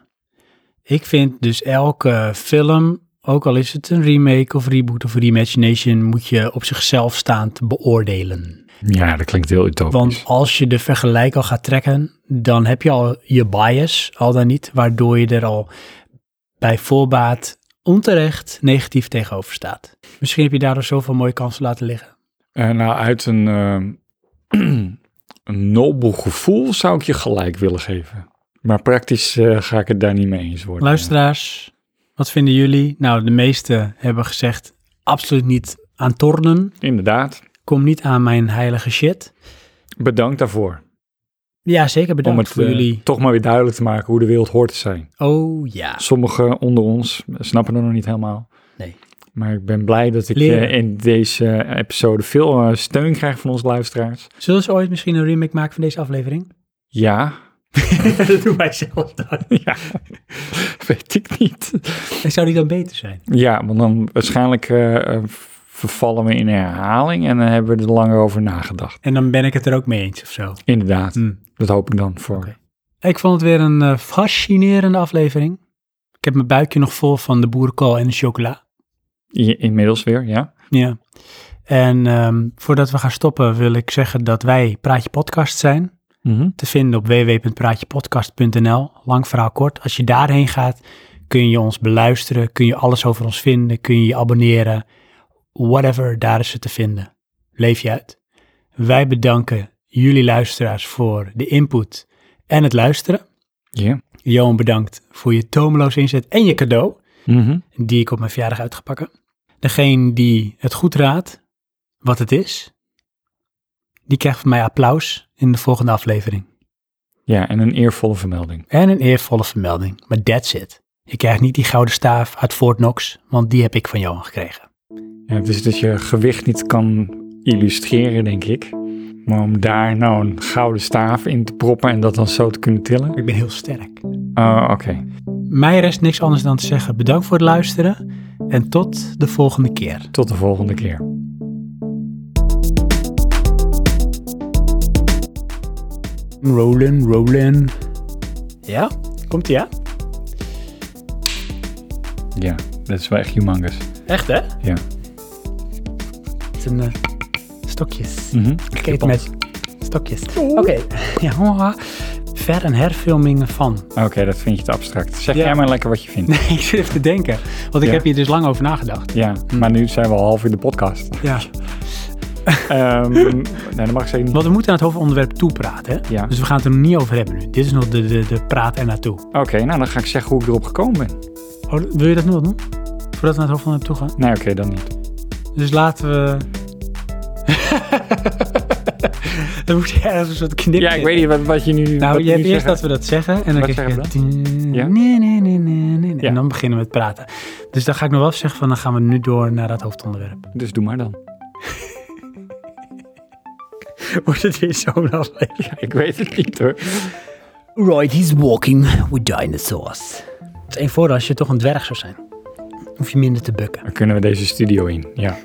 [SPEAKER 1] Ik vind dus elke film, ook al is het een remake of reboot of reimagination, moet je op zichzelf staand beoordelen.
[SPEAKER 2] ja, dat klinkt heel utopisch.
[SPEAKER 1] Want als je de vergelijk al gaat trekken, dan heb je al je bias, al dan niet, waardoor je er al bij voorbaat onterecht negatief tegenover staat. Misschien heb je daardoor zoveel mooie kansen laten liggen.
[SPEAKER 2] Eh, nou, uit een, eh, een nobel gevoel zou ik je gelijk willen geven. Maar praktisch eh, ga ik het daar niet mee eens worden.
[SPEAKER 1] Luisteraars, wat vinden jullie? Nou, de meesten hebben gezegd absoluut niet aan tornen.
[SPEAKER 2] Inderdaad.
[SPEAKER 1] Kom niet aan mijn heilige shit.
[SPEAKER 2] Bedankt daarvoor.
[SPEAKER 1] Ja, zeker bedankt
[SPEAKER 2] om het
[SPEAKER 1] voor
[SPEAKER 2] eh,
[SPEAKER 1] jullie.
[SPEAKER 2] toch maar weer duidelijk te maken hoe de wereld hoort te zijn.
[SPEAKER 1] Oh ja.
[SPEAKER 2] Sommigen onder ons snappen het nog niet helemaal.
[SPEAKER 1] Nee.
[SPEAKER 2] Maar ik ben blij dat ik
[SPEAKER 1] Leren.
[SPEAKER 2] eh, in deze episode veel eh, steun krijg van onze luisteraars.
[SPEAKER 1] Zullen ze ooit misschien een remake maken van deze aflevering?
[SPEAKER 2] Ja,
[SPEAKER 1] dat doen wij zelf dan.
[SPEAKER 2] ja. weet ik niet.
[SPEAKER 1] En zou die dan beter zijn?
[SPEAKER 2] Ja, want dan waarschijnlijk eh, eh, vervallen we in herhaling en dan hebben we er langer over nagedacht.
[SPEAKER 1] En dan ben ik het er ook mee eens of zo.
[SPEAKER 2] Inderdaad,
[SPEAKER 1] Hm.
[SPEAKER 2] dat hoop ik dan voor.
[SPEAKER 1] Oké. Ik vond het weer een eh, fascinerende aflevering. Ik heb mijn buikje nog vol van de boerenkool en de chocola.
[SPEAKER 2] I- inmiddels weer, ja.
[SPEAKER 1] Ja. En ehm, voordat we gaan stoppen wil ik zeggen dat wij Praatje Podcast zijn. Te vinden op www.praatjepodcast.nl. Lang verhaal kort. Als je daarheen gaat, kun je ons beluisteren. Kun je alles over ons vinden. Kun je je abonneren. Whatever, daar is het te vinden. Leef je uit. Wij bedanken jullie luisteraars voor de input en het luisteren.
[SPEAKER 2] Ja.
[SPEAKER 1] Johan, bedankt voor je tomeloos inzet en je cadeau,
[SPEAKER 2] Mhm.
[SPEAKER 1] die ik op mijn verjaardag uitgepakken. Degene die het goed raadt, wat het is, die krijgt van mij applaus in de volgende aflevering.
[SPEAKER 2] Ja, en een eervolle vermelding.
[SPEAKER 1] En een eervolle vermelding, maar that's it. Je krijgt niet die gouden staaf uit Fort Knox, want die heb ik van Johan gekregen.
[SPEAKER 2] Ja, het is dat je gewicht niet kan illustreren, denk ik. Maar om daar nou een gouden staaf in te proppen en dat dan zo te kunnen tillen.
[SPEAKER 1] Ik ben heel sterk.
[SPEAKER 2] Oh, oké.
[SPEAKER 1] Mij rest niks anders dan te zeggen bedankt voor het luisteren en tot de volgende keer.
[SPEAKER 2] Tot de volgende keer.
[SPEAKER 1] Rollen, rollen. Ja, komt-ie ja?
[SPEAKER 2] Ja, dat is wel echt humongous.
[SPEAKER 1] Echt hè?
[SPEAKER 2] Ja.
[SPEAKER 1] Het is een eh, stokje.
[SPEAKER 2] Mhm.
[SPEAKER 1] Kijk met stokjes. Oké. Ja, hoor. ver- en herfilmingen van.
[SPEAKER 2] Oké, dat vind je te abstract. Zeg
[SPEAKER 1] Ja.
[SPEAKER 2] jij maar lekker wat je vindt.
[SPEAKER 1] Nee, ik zit even te denken. Want ik
[SPEAKER 2] Ja.
[SPEAKER 1] heb hier dus lang over nagedacht.
[SPEAKER 2] Ja, maar nu zijn we al half in de podcast.
[SPEAKER 1] Ja.
[SPEAKER 2] Ehm nee, dat mag ik zeker niet.
[SPEAKER 1] Want we moeten aan het hoofdonderwerp toepraten. hè?
[SPEAKER 2] Ja.
[SPEAKER 1] Dus we gaan het er nog niet over hebben nu. Dit is nog de, de, de praat er naartoe.
[SPEAKER 2] Oké, nou dan ga ik zeggen hoe ik erop gekomen ben.
[SPEAKER 1] Oh, wil je dat nu al doen? Voordat we naar het hoofdonderwerp toe gaan.
[SPEAKER 2] Nee, oké, dan niet.
[SPEAKER 1] Dus laten we... Dan moet je ergens een soort knipje.
[SPEAKER 2] Ja, ik weet niet wat, wat je nu.
[SPEAKER 1] Nou,
[SPEAKER 2] wat
[SPEAKER 1] je hebt
[SPEAKER 2] nu
[SPEAKER 1] eerst dat
[SPEAKER 2] zegt.
[SPEAKER 1] we dat zeggen en dan
[SPEAKER 2] Wat
[SPEAKER 1] krijg je...
[SPEAKER 2] Ja?
[SPEAKER 1] Nee, nee, nee, nee, nee. nee.
[SPEAKER 2] Ja.
[SPEAKER 1] En dan beginnen we met praten. Dus dan ga ik nog wel zeggen van, dan gaan we nu door naar dat hoofdonderwerp.
[SPEAKER 2] Dus doe maar dan.
[SPEAKER 1] Wordt het weer zo'n aflevering?
[SPEAKER 2] Ja, ik weet het niet hoor.
[SPEAKER 1] Right, he's walking with dinosaurs. Het is één voordeel als je toch een dwerg zou zijn. Hoef je minder te bukken.
[SPEAKER 2] Dan kunnen we deze studio in. Ja.